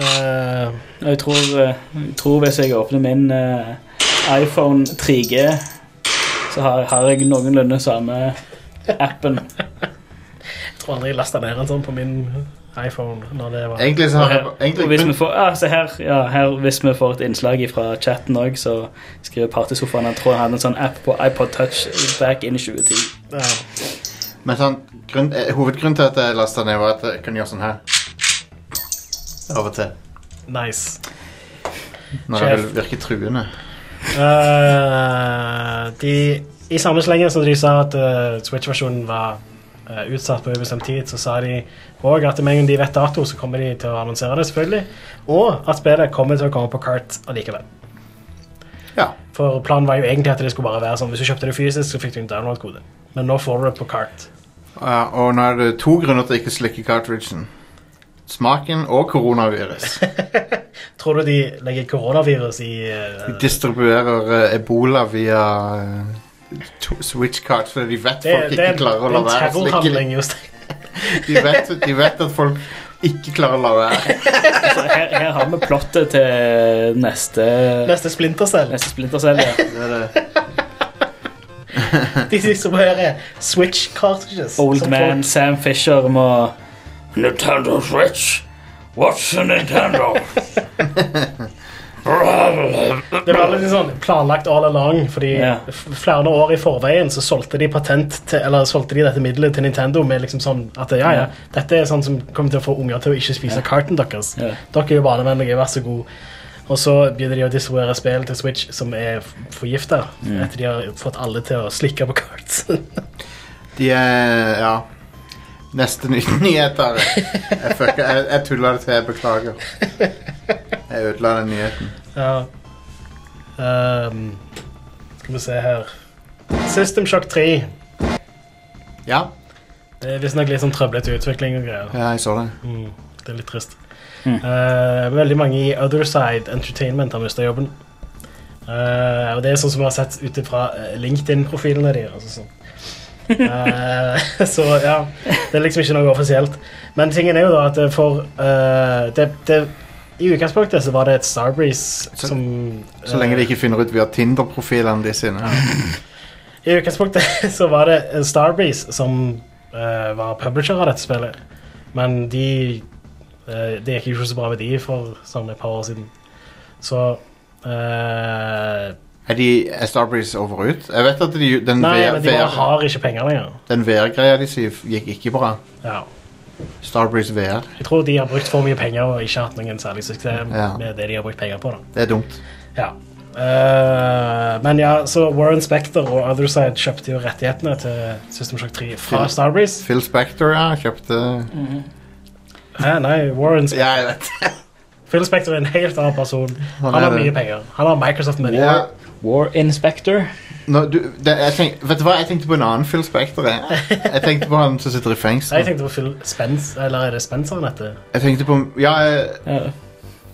Speaker 2: Eh,
Speaker 3: Og Jeg tror, eh, jeg tror hvis jeg åpner min eh, iPhone 3G, så har, har jeg noenlunde samme appen.
Speaker 2: Jeg tror aldri jeg lasta ned en sånn på min iPhone. Når det var.
Speaker 1: Egentlig så
Speaker 3: Og
Speaker 1: har jeg
Speaker 3: her-
Speaker 1: egentlig
Speaker 3: og hvis vi
Speaker 1: kun,
Speaker 3: får, ja, se her, ja, her, hvis vi får et innslag fra chatten òg, så skriver Partysofaen han tror han hadde en sånn app på iPod Touch back in 2010.
Speaker 2: Ja.
Speaker 1: Men sånn, grunn, eh, hovedgrunnen til at jeg lasta ned, var at jeg kunne gjøre sånn her. Av og til.
Speaker 2: Nice.
Speaker 1: Når det
Speaker 2: Sjef.
Speaker 1: vil virke truende.
Speaker 2: Eh, de, I samme slenge som de sa at eh, Switch-versjonen var eh, utsatt på ubestemt tid, så sa de òg at med en gang de vet dato, så kommer de til å annonsere det, selvfølgelig. Og at spillet kommer til å komme på kart allikevel.
Speaker 1: Ja.
Speaker 2: For planen var jo egentlig at det skulle bare være sånn hvis du kjøpte det fysisk, så fikk du en download-kode. Men nå får du det på kart.
Speaker 1: ja. Eh, Og nå er det to grunner til å ikke slikke cartridgen. Smaken og koronavirus.
Speaker 2: Tror du de legger koronavirus i eh,
Speaker 1: De distribuerer eh, ebola via eh, to- Switch cards fordi de vet
Speaker 2: det,
Speaker 1: folk
Speaker 2: det,
Speaker 1: ikke
Speaker 2: er-
Speaker 1: klarer å
Speaker 2: det er
Speaker 1: la
Speaker 2: en
Speaker 1: være. å slikke de.
Speaker 2: terrorhandling, Jostein.
Speaker 1: De vet, de vet at folk ikke klarer å la være.
Speaker 3: Så her, her har vi plottet til neste,
Speaker 2: Neste splintercell.
Speaker 3: neste Splinter Cell. Ja.
Speaker 1: Det er det.
Speaker 2: De distribuerer Switch cartridges.
Speaker 3: Old
Speaker 2: som
Speaker 3: man
Speaker 2: folk-
Speaker 3: Sam Fisher må Nintendo Switch. What's a Nintendo?
Speaker 2: Det var litt sånn planlagt all along, fordi
Speaker 3: Ja.
Speaker 2: f- flere år i forveien så solgte de patent til, eller solgte de dette middelet til Nintendo med liksom sånn at ja, ja,
Speaker 3: Ja.
Speaker 2: dette er sånn som kommer til å få unger til å ikke spise karten deres.
Speaker 3: Ja.
Speaker 2: Dere er jo barnevennlige, vær så god. Og så begynner de å distribuere spill til Switch som er f- forgifta, etter de har fått alle til å slikke på kart.
Speaker 1: De er Ja. Neste ny nyhet er Jeg, fucker- jeg, jeg tulla det til. Jeg beklager. Jeg ødela den nyheten.
Speaker 2: ja. Ehm, skal vi se her System Shock 3.
Speaker 1: Ja,
Speaker 2: Det er visstnok litt sånn trøblete utvikling og greier.
Speaker 1: ja jeg så det.
Speaker 2: Mm, det er litt trist.
Speaker 3: Mm.
Speaker 2: Eh, veldig mange i Otherside Entertainment har mista jobben. Eh, og det er sånn som vi har sett ut fra eh, LinkedIn-profilene deres. Altså, sånn. Eh, så ja, det er liksom ikke noe offisielt. Men tingen er jo da at det for eh, det, det, I utgangspunktet så var det et Starbreeze
Speaker 1: Så-
Speaker 2: som
Speaker 1: Så lenge de ikke finner ut via Tinder-profilene de sine.
Speaker 2: I utgangspunktet så var det eh, Starbreeze som eh, var publisher av dette spillet. Men de eh, Det gikk jo ikke så bra med de for sånn et par år siden. Så eh,
Speaker 1: Er, de, er Starbreeze over ut? Jeg vet at de, den
Speaker 2: Nei, men de bare
Speaker 1: VR-greia
Speaker 2: har ikke penger lenger.
Speaker 1: den VR-greia de sier, gikk ikke bra.
Speaker 2: Ja.
Speaker 1: Starbreeze VR.
Speaker 2: Jeg tror de har brukt for mye penger og ikke hatt noen særlig suksess
Speaker 1: Ja.
Speaker 2: med det de har brukt penger på. da
Speaker 1: Det er dumt.
Speaker 2: Ja. Eh, men ja, så Warren Spector og Otherside kjøpte jo rettighetene til System Shock 3 fra
Speaker 1: Til-
Speaker 2: Starbreeze.
Speaker 1: Phil Spector ja, kjøpte
Speaker 2: Mm. Hæ, nei, Warren Spector
Speaker 1: Ja, jeg vet.
Speaker 2: Phil Spector er en helt annen person. Han,
Speaker 1: er
Speaker 2: har
Speaker 1: det.
Speaker 2: mye penger. Han har Microsoft Money.
Speaker 1: Ja.
Speaker 3: War Inspector.
Speaker 1: Nå, du, det, jeg tenk, vet du hva, jeg tenkte på en annen Phil Spector. Jeg, jeg tenkte på han som sitter i
Speaker 2: Nei, Jeg
Speaker 1: fengsel.
Speaker 2: tenkte på Phil Spence, eller er det Spencer han heter?
Speaker 1: Jeg tenkte på Ja, jeg-
Speaker 3: Ja.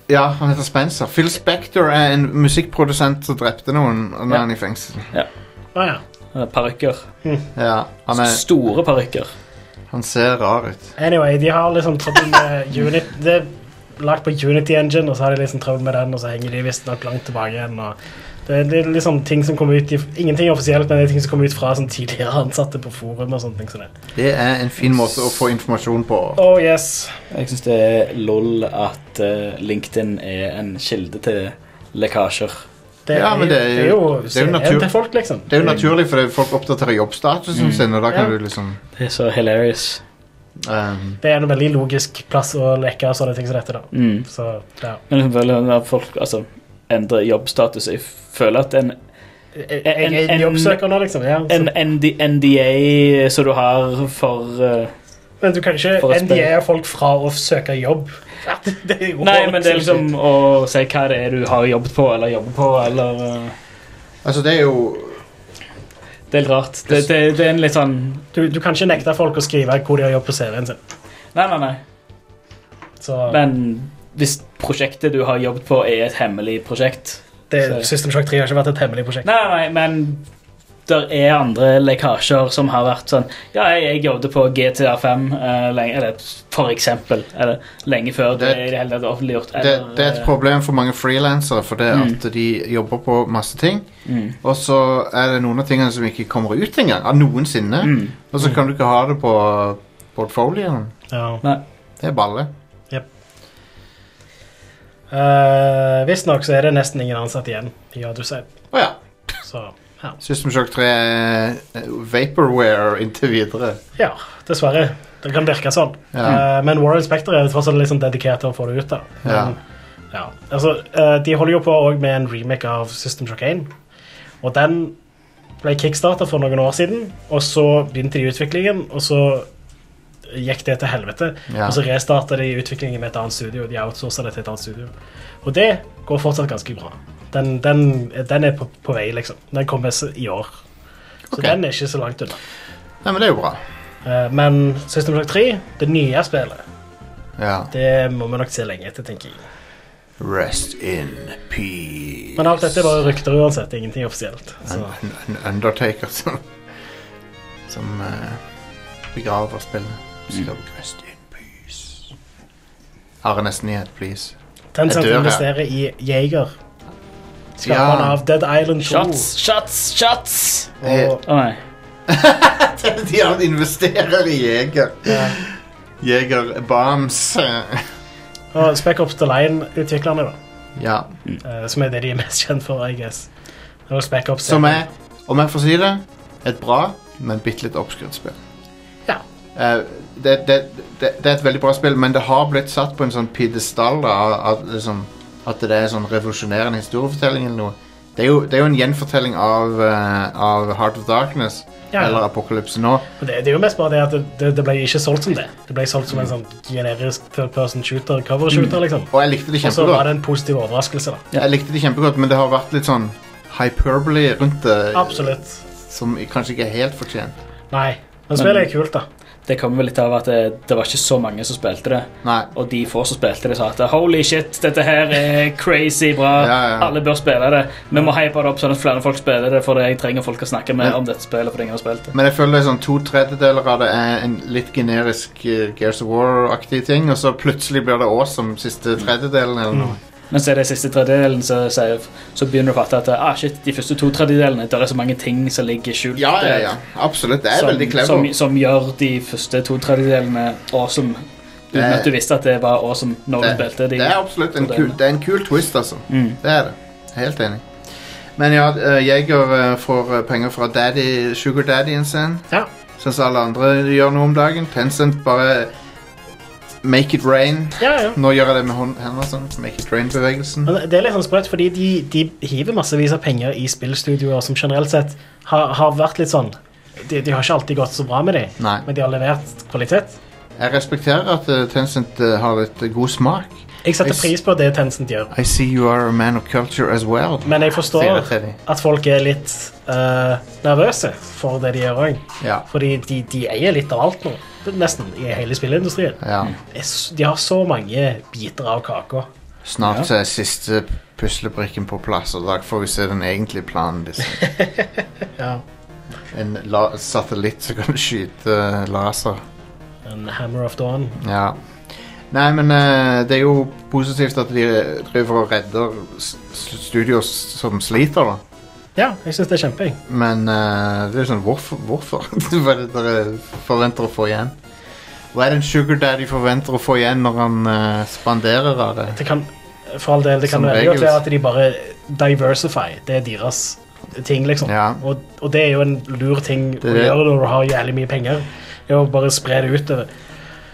Speaker 1: ja han heter Spencer. Phil Spector er en musikkprodusent som drepte noen når
Speaker 3: Ja.
Speaker 1: han er i fengsel.
Speaker 2: Å ja.
Speaker 3: Parykker.
Speaker 1: Ja, han, er,
Speaker 3: Store parykker.
Speaker 1: han ser rar ut.
Speaker 2: Anyway, de har liksom trøbbel med unit. Det er lagt på Unity Engine, og så har de liksom trøbbel med den, og så henger de visstnok langt tilbake igjen. Og det er- det er liksom ting som kommer ut i, Ingenting er offisielt, men det er ting som kommer ut fra sånn tidligere ansatte på forum og sånne ting som det.
Speaker 1: Det er en fin måte å få informasjon på.
Speaker 2: Oh yes.
Speaker 3: Jeg syns det er lol at eh, LinkedIn er en kilde til lekkasjer.
Speaker 2: Det,
Speaker 1: Ja,
Speaker 2: er-
Speaker 1: men det er jo-
Speaker 2: det er jo,
Speaker 1: det er jo natur-
Speaker 2: til folk, liksom.
Speaker 1: Det er jo naturlig, for det- folk oppdaterer jobbstatusen sin, og da kan
Speaker 2: Ja.
Speaker 1: du liksom
Speaker 3: Det er så hilarious.
Speaker 1: ehm,
Speaker 2: Det er en veldig logisk plass å leke og sånne ting som dette, da.
Speaker 3: Mm.
Speaker 2: Så ja.
Speaker 3: Men selvfølgelig at folk altså, endrer jobbstatus. Jeg føler at en,
Speaker 2: Jeg, jeg, jeg er
Speaker 3: En- en-
Speaker 2: jobbsøker nå, liksom. Ja, så-
Speaker 3: en ND, NDA som du har for eh,
Speaker 2: Men du kan ikke
Speaker 3: For å spille.
Speaker 2: NDA folk fra å søke jobb. Det er jo
Speaker 3: Nei, men det er liksom å si hva det er du har jobbet på, eller jobber på, eller eh,
Speaker 1: Altså, det er jo
Speaker 3: Det er litt rart. Det, det, det er en litt sånn
Speaker 2: du, du kan ikke nekte folk å skrive hvor de har jobb på CV-en sin.
Speaker 3: Nei, nei, nei.
Speaker 2: Så
Speaker 3: Men hvis prosjektet du har jobbet på, er et hemmelig prosjekt
Speaker 2: det,
Speaker 3: så-
Speaker 2: System Shock 3 har ikke vært et hemmelig prosjekt.
Speaker 3: Nei, nei, men der er andre lekkasjer som har vært sånn Ja, jeg, jeg jobbet på GTA5 eh, lenge, eller for eksempel. Eller lenge før det,
Speaker 1: Det-
Speaker 3: i det hele tatt er offentliggjort.
Speaker 1: det,
Speaker 3: Eller, eh,
Speaker 1: det er et problem for mange frilansere, for det er at de jobber på masse ting,
Speaker 3: Mm.
Speaker 1: og så er det noen av tingene som ikke kommer ut engang, av noensinne,
Speaker 3: Mm.
Speaker 1: og så kan du ikke ha det på portfolioen.
Speaker 2: Ja.
Speaker 3: Nei.
Speaker 1: Det er balle.
Speaker 2: Uh, Visstnok så er det nesten ingen ansatt igjen i Adusei,
Speaker 1: Å ja.
Speaker 2: så ja.
Speaker 1: System Shock 3 er eh, vaporware inntil videre.
Speaker 2: ja. Dessverre. Det kan virke sånn.
Speaker 1: Ja.
Speaker 2: Eh, men Warren Spector er jo tross alt litt sånn dedikert til å få det ut. da.
Speaker 1: Ja.
Speaker 2: Men, ja. Altså, eh, de holder jo på også med en remake av System Shock 1. Og den ble kickstarta for noen år siden, og så begynte de utviklingen, og så gikk det til helvete.
Speaker 1: Ja.
Speaker 2: Og så restarta de utviklingen med et annet studio. De outsourcet det til et annet studio. Og det går fortsatt ganske bra. Den, den, den er på, på vei, liksom. Den kommer s- i år. Så
Speaker 1: Ok.
Speaker 2: den er ikke så langt unna.
Speaker 1: Nei, men det er jo bra.
Speaker 2: Eh, Men System Shock 3, det nye spillet,
Speaker 1: Ja.
Speaker 2: det må vi nok se lenge etter, tenker jeg.
Speaker 1: Rest in peace.
Speaker 2: Men alt dette er bare rykter uansett. Ingenting offisielt. Så.
Speaker 1: En, en, en undertaker som Som eh, begraver spillet. Skal rest in peace. Are nesten nyhet, please.
Speaker 2: Tencent
Speaker 1: Jeg dør, ja.
Speaker 2: investerer i Jaeger. Skaperen
Speaker 1: Ja.
Speaker 2: av Dead Island 2.
Speaker 3: Shots, shots, shots!
Speaker 2: Og,
Speaker 3: Å nei.
Speaker 1: Eh, De har investerer i jeger. eh,
Speaker 2: Ja.
Speaker 1: Jegerbombs.
Speaker 2: og Spec Ops The Line-utviklerne, da.
Speaker 1: ja.
Speaker 2: Eh, som er det de er mest kjent for, I guess. Og Spec Ops
Speaker 1: Som er, om jeg får si det, et bra, men bitte litt oppskrytt spill.
Speaker 2: Ja.
Speaker 1: Eh, det, det, det, det er et veldig bra spill, men det har blitt satt på en sånn pidestall da, av, av liksom, at det er en sånn revolusjonerende historiefortelling eller noe. Det er jo, det er jo en gjenfortelling av, eh, av Heart of Darkness,
Speaker 2: Ja, ja.
Speaker 1: eller Apokalypse nå.
Speaker 2: Men Det, det er jo mest bare det at det, det, det ble ikke solgt som det. Det ble solgt som en sånn generisk third person shooter, cover shooter, liksom.
Speaker 1: Og jeg likte det
Speaker 2: Og så var
Speaker 1: kjempegodt.
Speaker 2: det en positiv overraskelse, da.
Speaker 1: Jeg likte Mm. det kjempegodt, men det har vært litt sånn hyperbole rundt det,
Speaker 2: Absolutt.
Speaker 1: som kanskje ikke er helt fortjent.
Speaker 2: Nei. Men spillet er kult, da.
Speaker 3: Det kommer vel litt av at det, det var ikke så mange som spilte det.
Speaker 1: Nei.
Speaker 3: Og de få som spilte det, sa at holy shit, dette her er crazy bra.
Speaker 1: Ja, ja.
Speaker 3: Alle bør spille det. Vi må hype det opp sånn at flere folk spiller det, for jeg trenger folk å snakke med
Speaker 1: Ja.
Speaker 3: om dette spillet. fordi ingen har spilt det.
Speaker 1: Men jeg føler det er sånn to tredjedeler av det er en litt generisk eh, Gears of War-aktig ting, og så plutselig blir det awesome siste tredjedelen eller noe.
Speaker 3: Men så er det siste tredjedelen så, sier- så begynner du å fatte at ah, shit, de første to tredjedelene der er så mange ting som ligger skjult
Speaker 1: Ja, ja, ja. Absolutt. Det er
Speaker 3: som,
Speaker 1: veldig clever.
Speaker 3: som, som gjør de første to tredjedelene awesome. Uten
Speaker 1: Det-
Speaker 3: at du visste at det var awesome når du spilte. De,
Speaker 1: det er absolutt en
Speaker 3: det-
Speaker 1: kul, det er en kul twist, altså.
Speaker 3: Mm.
Speaker 1: Det er det. Helt enig. Men ja, eh, Jeger eh, får eh, penger fra daddy, Sugar Daddyen sin.
Speaker 2: Ja.
Speaker 1: Sånn som alle andre gjør nå om dagen. Tencent bare make it rain.
Speaker 2: Ja, ja.
Speaker 1: Nå gjør jeg det med hånd- hendene sånn. Make it rain-bevegelsen.
Speaker 2: Men det er litt sånn sprøtt, fordi de, de hiver massevis av penger i spillstudioer som generelt sett har, har vært litt sånn de, de har ikke alltid gått så bra med dem,
Speaker 1: Nei.
Speaker 2: men de har levert kvalitet.
Speaker 1: Jeg respekterer at eh, Tencent eh, har litt eh, god smak.
Speaker 2: Jeg setter
Speaker 1: Jeg s-
Speaker 2: pris på det Tencent gjør,
Speaker 1: I see you are a man of culture as well.
Speaker 2: men jeg
Speaker 1: Sier
Speaker 2: forstår
Speaker 1: det til de.
Speaker 2: at folk er litt eh, nervøse for det de gjør òg.
Speaker 1: Ja.
Speaker 2: Fordi de, de eier litt av alt nå, nesten, i hele spillindustrien.
Speaker 1: ja.
Speaker 2: Det er s- De har så mange biter av kaka.
Speaker 1: Snart så er siste puslebrikken på plass, og da får vi se den egentlige planen. Liksom.
Speaker 2: Ja.
Speaker 1: En la satellitt som kan skyte eh, laser.
Speaker 2: En Hammer of Dawn.
Speaker 1: Ja. Nei, men eh, det er jo positivt at de driver og redder s- studios som sliter, da.
Speaker 2: Ja, jeg syns det er kjempe. jeg.
Speaker 1: Men eh, det er jo sånn Hvorfor? hvorfor? Hva er det dere forventer å få igjen? Hva er det en sugar daddy forventer å få igjen når han eh, spanderer av det?
Speaker 2: Det kan, for all del, det kan
Speaker 1: Som
Speaker 2: veldig godt
Speaker 1: regel.
Speaker 2: være at de bare diversify. Det er deres ting, liksom.
Speaker 1: Ja.
Speaker 2: Og, og det er jo en lur ting
Speaker 1: Det
Speaker 2: å
Speaker 1: er det.
Speaker 2: gjøre når du har jævlig mye penger. Det er å bare spre det utover.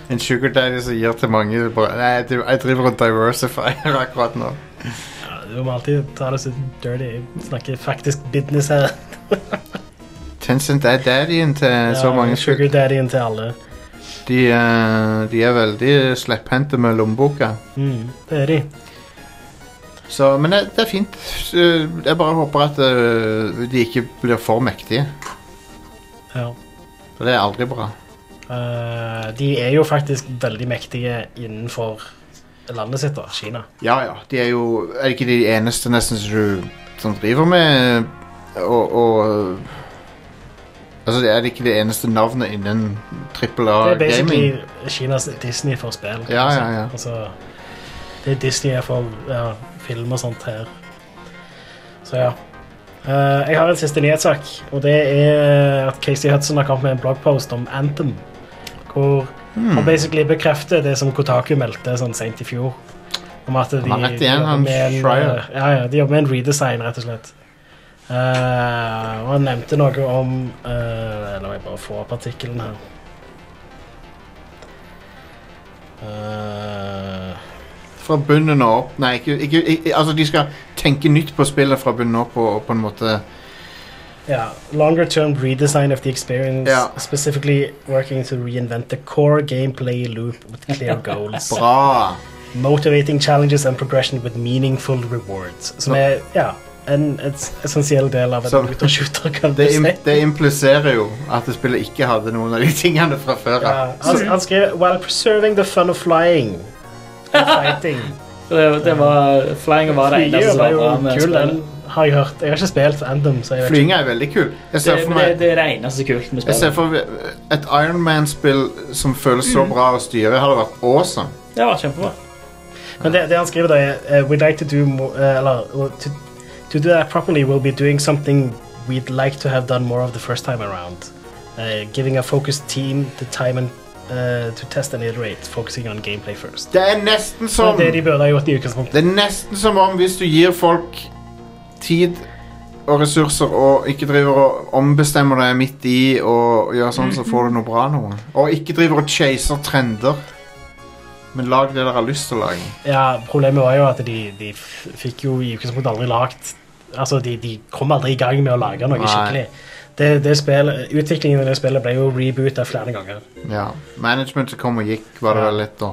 Speaker 1: En sugar daddy som gir til mange bare, Nei, jeg driver- jeg driver og diversifier akkurat nå.
Speaker 2: Ja, du må alltid ta det så dirty. Jeg snakker faktisk business her.
Speaker 1: Tencent er daddyen til så mange
Speaker 2: Sugar daddyen til alle.
Speaker 1: De, eh, de er veldig slepphendte med lommeboka.
Speaker 2: Mm, det er de.
Speaker 1: Så, men det, det er fint. Så, Jeg bare håper at eh, de ikke blir for mektige.
Speaker 2: Ja.
Speaker 1: For det er aldri bra.
Speaker 2: Eh, de er jo faktisk veldig mektige innenfor landet sitt, da. Kina.
Speaker 1: Ja ja, de er jo Er ikke de eneste nesten som du som driver med og, og Altså, er det ikke det eneste navnet innen trippel
Speaker 2: Det er
Speaker 1: A-gaming?
Speaker 2: basically Kinas Disney for spill.
Speaker 1: Ja, ja, ja.
Speaker 2: Altså, det er Disney er for ja, film og sånt her. Så ja. Eh, jeg har en siste nyhetssak, og det er at Casey Hudson har kommet med en bloggpost om Anthem. hvor
Speaker 1: Hmm.
Speaker 2: han basically bekrefter det som Kotaku meldte sånn sent i fjor. Om at de,
Speaker 1: Han har rett igjen,
Speaker 2: jobber
Speaker 1: han
Speaker 2: med en,
Speaker 1: Schreier.
Speaker 2: eh, ja, ja, de jobber med en redesign, rett og slett. Eh, og han nevnte noe om eh, La meg bare få opp artikkelen her. Eh,
Speaker 1: Fra bunnen og opp Nei, ikke, ikke, ikke Altså, de skal tenke nytt på spillet fra bunnen opp og, og på en måte
Speaker 2: Yeah, longer term redesign of the experience,
Speaker 1: Yeah.
Speaker 2: specifically working to reinvent the core gameplay loop with clear goals,
Speaker 1: Bra!
Speaker 2: motivating challenges and progression with meaningful rewards. Som
Speaker 1: No.
Speaker 2: er ja, en et essensiell del av en
Speaker 1: Så-
Speaker 2: motorshooter, kan du
Speaker 1: Det,
Speaker 2: si.
Speaker 1: im, det impliserer jo at det spillet ikke hadde noen av de tingene fra før.
Speaker 2: Ja,
Speaker 1: av.
Speaker 2: han, han skrev While preserving the fun of flying and fighting.
Speaker 3: Det, det var, flying var det eneste
Speaker 2: Flyet
Speaker 3: som
Speaker 2: var
Speaker 3: var
Speaker 2: jo
Speaker 3: bra med
Speaker 2: kul, den
Speaker 3: spillet.
Speaker 2: har jeg hørt. Jeg har ikke spilt Anthem, så jeg vet
Speaker 1: Flyginga er veldig kul. Jeg
Speaker 3: Det,
Speaker 1: ser for
Speaker 3: men det,
Speaker 1: meg,
Speaker 3: det er det eneste kult med
Speaker 1: jeg ser
Speaker 3: spillet.
Speaker 1: for meg et Ironman-spill som føles
Speaker 2: Mm.
Speaker 1: så bra å styre, hadde vært awesome.
Speaker 3: Det var kjempebra.
Speaker 2: Men det, det han skriver da er uh, We'd like to do more uh, Eller uh, to, to do that properly We'll be doing something We'd like to have done more of the first time around uh, Giving a focused team The time and, uh, to test and iterate Focusing on gameplay first
Speaker 1: Det er nesten
Speaker 2: Så
Speaker 1: som
Speaker 2: det de burde ha gjort i utgangspunktet
Speaker 1: Det er nesten som om hvis du gir folk tid og ressurser og ikke driver og ombestemmer deg midt i og gjør sånn, så får du noe bra noe. Og ikke driver og chaser trender. Men lag det dere har lyst til å lage.
Speaker 2: Ja, problemet var jo at de, de f- fikk jo i utgangspunktet aldri lagt Altså, de, de kom aldri i gang med å lage noe
Speaker 1: Nei.
Speaker 2: skikkelig det, det spillet, Utviklingen i det spillet ble jo rebootet flere ganger
Speaker 1: Ja. Managementet kom og gikk, var det
Speaker 2: Ja.
Speaker 1: vel litt da.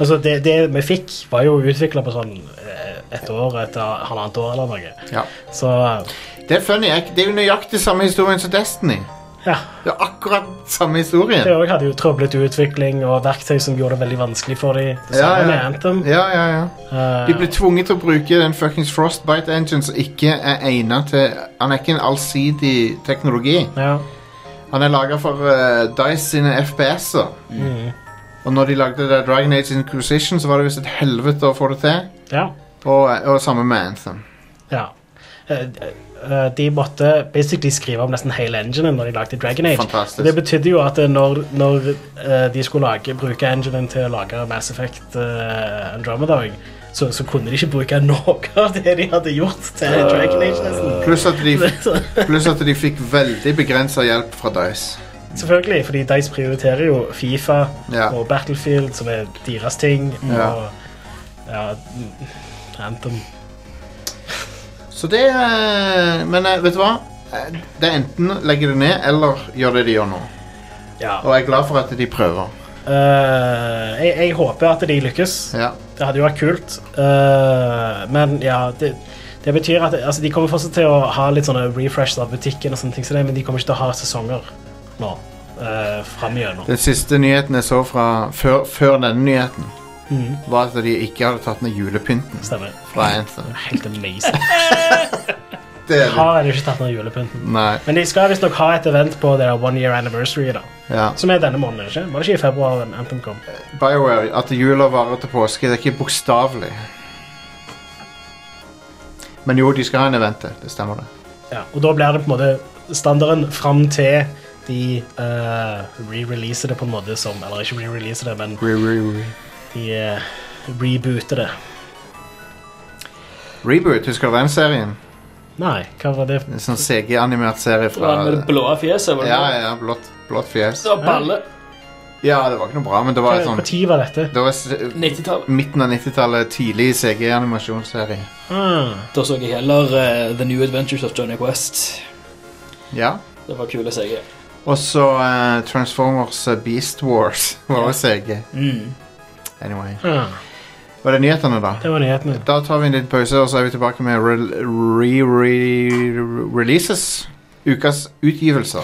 Speaker 2: Altså, det, det vi fikk, var jo utvikla på sånn eh, et år, et halvannet år eller noe.
Speaker 1: Ja.
Speaker 2: Så eh,
Speaker 1: Det er funny. jeg- Det er jo nøyaktig samme historien som Destiny.
Speaker 2: ja.
Speaker 1: Det er akkurat samme
Speaker 2: Det
Speaker 1: historien.
Speaker 2: òg hadde jo trøblete utvikling og verktøy som gjorde det veldig vanskelig for dem. Det
Speaker 1: Ja,
Speaker 2: samme
Speaker 1: ja.
Speaker 2: med Anthem.
Speaker 1: Ja, ja, ja.
Speaker 2: Eh,
Speaker 1: De ble tvunget til å bruke den fuckings Frostbite Engine som ikke er egnet til Han er ikke en allsidig teknologi.
Speaker 2: ja.
Speaker 1: Han er laga for eh, Dice sine FPS-er.
Speaker 2: Mm.
Speaker 1: Og når de lagde det Dragon Age Inquisition, så var det visst et helvete å få det til.
Speaker 2: ja.
Speaker 1: Og, eh, og samme med Anthem.
Speaker 2: ja. Eh, eh, de måtte basically skrive om nesten hele enginen når de lagde Dragon Age.
Speaker 1: Fantastisk.
Speaker 2: Det betydde jo at eh, når, når eh, de skulle lage, bruke enginen til å lage Mass Effect eh, Andromeda, så, så kunne de ikke bruke noe av det de hadde gjort til
Speaker 1: Øh.
Speaker 2: Dragon Age. nesten.
Speaker 1: Pluss at de,
Speaker 2: Så-
Speaker 1: pluss at de fikk veldig begrensa hjelp fra Dice.
Speaker 2: Selvfølgelig, fordi Dice prioriterer jo Fifa
Speaker 1: Ja.
Speaker 2: og Battlefield, som er deres ting,
Speaker 1: Ja.
Speaker 2: og ja, Anthem.
Speaker 1: Så det eh, Men eh, vet du hva? Eh, Det er enten legge det ned, eller gjør det de gjør nå.
Speaker 2: Ja.
Speaker 1: Og jeg er glad for at de prøver.
Speaker 2: Eh, jeg, jeg håper at de lykkes.
Speaker 1: Ja.
Speaker 2: Det hadde jo vært kult. Eh, men ja, det, det betyr at altså, de kommer fortsatt til å ha litt sånne refresh av butikken, og sånne ting, som det, men de kommer ikke til å ha sesonger nå. Uh, Fram igjennom.
Speaker 1: Den siste nyheten jeg så fra før, før denne nyheten, var at de ikke hadde tatt ned julepynten
Speaker 2: Stemmer.
Speaker 1: fra Anthem.
Speaker 2: Helt amazing.
Speaker 1: Det er det.
Speaker 2: Har ennå ikke tatt ned julepynten.
Speaker 1: Nei.
Speaker 2: Men de skal visstnok ha et event på their one year anniversary. da
Speaker 1: Ja.
Speaker 2: Som er denne måneden, ikke? Var det ikke i februar den Anthem kom?
Speaker 1: BioWare, at jula varer til påske, det er ikke bokstavelig. Men jo, de skal ha en event til. Det stemmer, det.
Speaker 2: Ja, og da blir det på en måte standarden fram til de eh, re-releaser det på en måte som Eller ikke re-releaser det, men de eh, rebooter det.
Speaker 1: Reboot, husker du den serien?
Speaker 2: Nei, hva var det?
Speaker 1: En sånn CG-animert serie
Speaker 3: Det var
Speaker 1: fra
Speaker 3: med det blå fjeset. var det
Speaker 1: Ja,
Speaker 3: det?
Speaker 1: ja, blått, blått fjes.
Speaker 3: Det var balle.
Speaker 1: Ja, det var ikke noe bra, men det var et
Speaker 2: Hva- Hvor
Speaker 1: sånt
Speaker 2: tid var dette?
Speaker 1: Det var s-
Speaker 3: 90-tallet.
Speaker 1: midten av 90-tallet, tidlig CG-animasjonsserie.
Speaker 2: Ah,
Speaker 3: Da så jeg heller eh, The New Adventures of Johnny Quest.
Speaker 1: Ja.
Speaker 3: Det var kule seger.
Speaker 1: Og så eh, Transformers eh, Beast Wars var
Speaker 3: Ja.
Speaker 1: også CG.
Speaker 3: Mm.
Speaker 1: Anyway.
Speaker 2: ah,
Speaker 1: Var det nyhetene, da?
Speaker 2: det var nyhetene.
Speaker 1: Da tar vi en liten pause, og så er vi tilbake med rel- re-re-releases. Ukas utgivelser.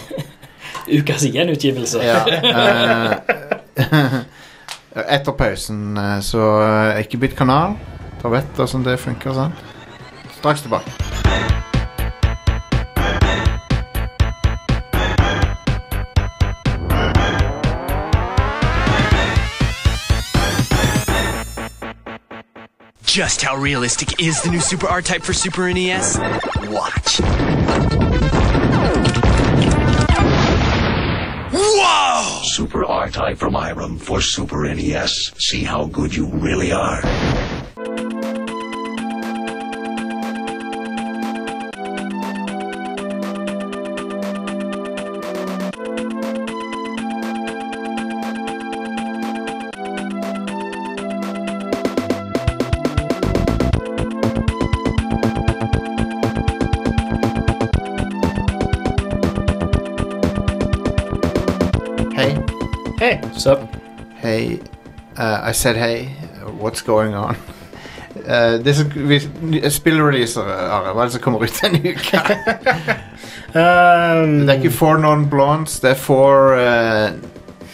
Speaker 3: Ukas gjenutgivelse.
Speaker 1: Ja. eh, etter pausen, eh, så eh, ikke bytt kanal. Da vet du hvordan det funker. sant? Straks tilbake.
Speaker 6: Just how realistic is the new Super R-Type for Super NES? Watch. Whoa!
Speaker 7: Super R-Type from Irem for Super NES. See how good you really are.
Speaker 1: Hey,
Speaker 2: Hei.
Speaker 3: Så
Speaker 1: hey. Uh, I said hey. What's going on? Uh, det som vi- Spillreleaser, Are. Hva er det som kommer ut denne uka?
Speaker 2: Um,
Speaker 1: Det er ikke Four Non-Blondes, det er Four eh,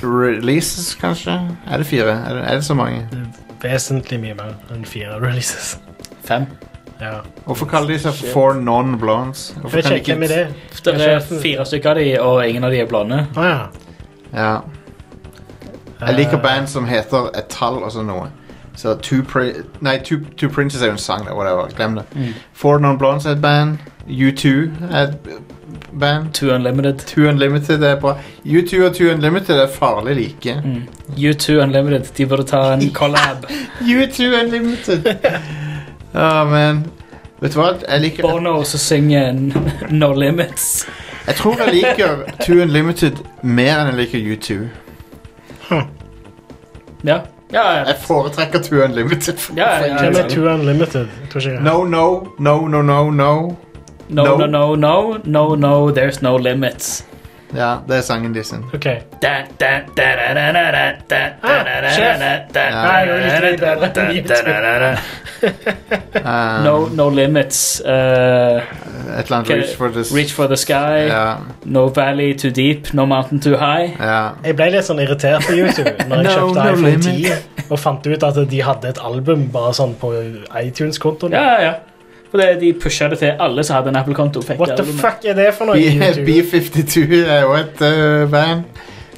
Speaker 1: Releases, kanskje? Er det fire? Er det, er det så mange?
Speaker 2: Hmm. vesentlig mye mer enn fire releases.
Speaker 3: fem.
Speaker 2: Ja.
Speaker 1: Hvorfor kaller de seg Four Non-Blondes? Hvorfor
Speaker 2: Jeg
Speaker 1: kan de
Speaker 2: sjekker med det.
Speaker 3: Det er fire stykker av de, og ingen av de er blonde.
Speaker 2: Å Ah, ja. Eh,
Speaker 1: Ja. Jeg
Speaker 3: Eh.
Speaker 1: liker band som heter et tall og sånn noe. Så Two, Pri nei, Two, Two Princes er jo en sang, da. Whatever. Glem det.
Speaker 3: Mm.
Speaker 1: Four Non-Blondes er et band. U2 er et band.
Speaker 3: Two Unlimited.
Speaker 1: Two Unlimited er bra. U2 og Two Unlimited er farlig like.
Speaker 3: U2 Mm. Unlimited. De burde ta en collab.
Speaker 1: U2 Unlimited! Å, men Vet du hva? Jeg liker
Speaker 3: Bono som synger en No Limits.
Speaker 1: Jeg tror jeg liker Two Unlimited mer enn jeg liker U2.
Speaker 3: Ja. Ja, ja.
Speaker 1: Jeg foretrekker Two Unlimited.
Speaker 3: ja, ja,
Speaker 2: Hvem
Speaker 3: ja.
Speaker 2: er Two Unlimited? Tror ikke jeg.
Speaker 1: No, no, no, no, no, no.
Speaker 3: No, no, no, no, no, no, there's no limits.
Speaker 1: Ja, det er sangen de sin.
Speaker 2: Ok.
Speaker 3: Da, da, da, da, da, da, da, da, da, da, da,
Speaker 2: sjef.
Speaker 3: da, da,
Speaker 2: Nei, det var litt
Speaker 3: da,
Speaker 2: bedre enn
Speaker 3: da, da, da, da.
Speaker 1: Um,
Speaker 3: No, no limits. eh,
Speaker 1: Et eller annet Reach for this.
Speaker 3: reach for the sky.
Speaker 1: Ja,
Speaker 3: No valley too deep. No mountain too high.
Speaker 1: ja.
Speaker 2: Jeg ble litt sånn irritert på YouTube når jeg
Speaker 1: No,
Speaker 2: kjøpte
Speaker 1: no
Speaker 2: iPhone
Speaker 1: limit.
Speaker 2: 10 og fant ut at de hadde et album bare sånn på iTunes-kontoen.
Speaker 3: Ja, ja, ja. For det, de pusha det til alle som hadde en Apple-konto. fikk
Speaker 2: What the
Speaker 3: albumet.
Speaker 2: fuck er det for noe? YouTube?
Speaker 1: B52 er jo et uh, band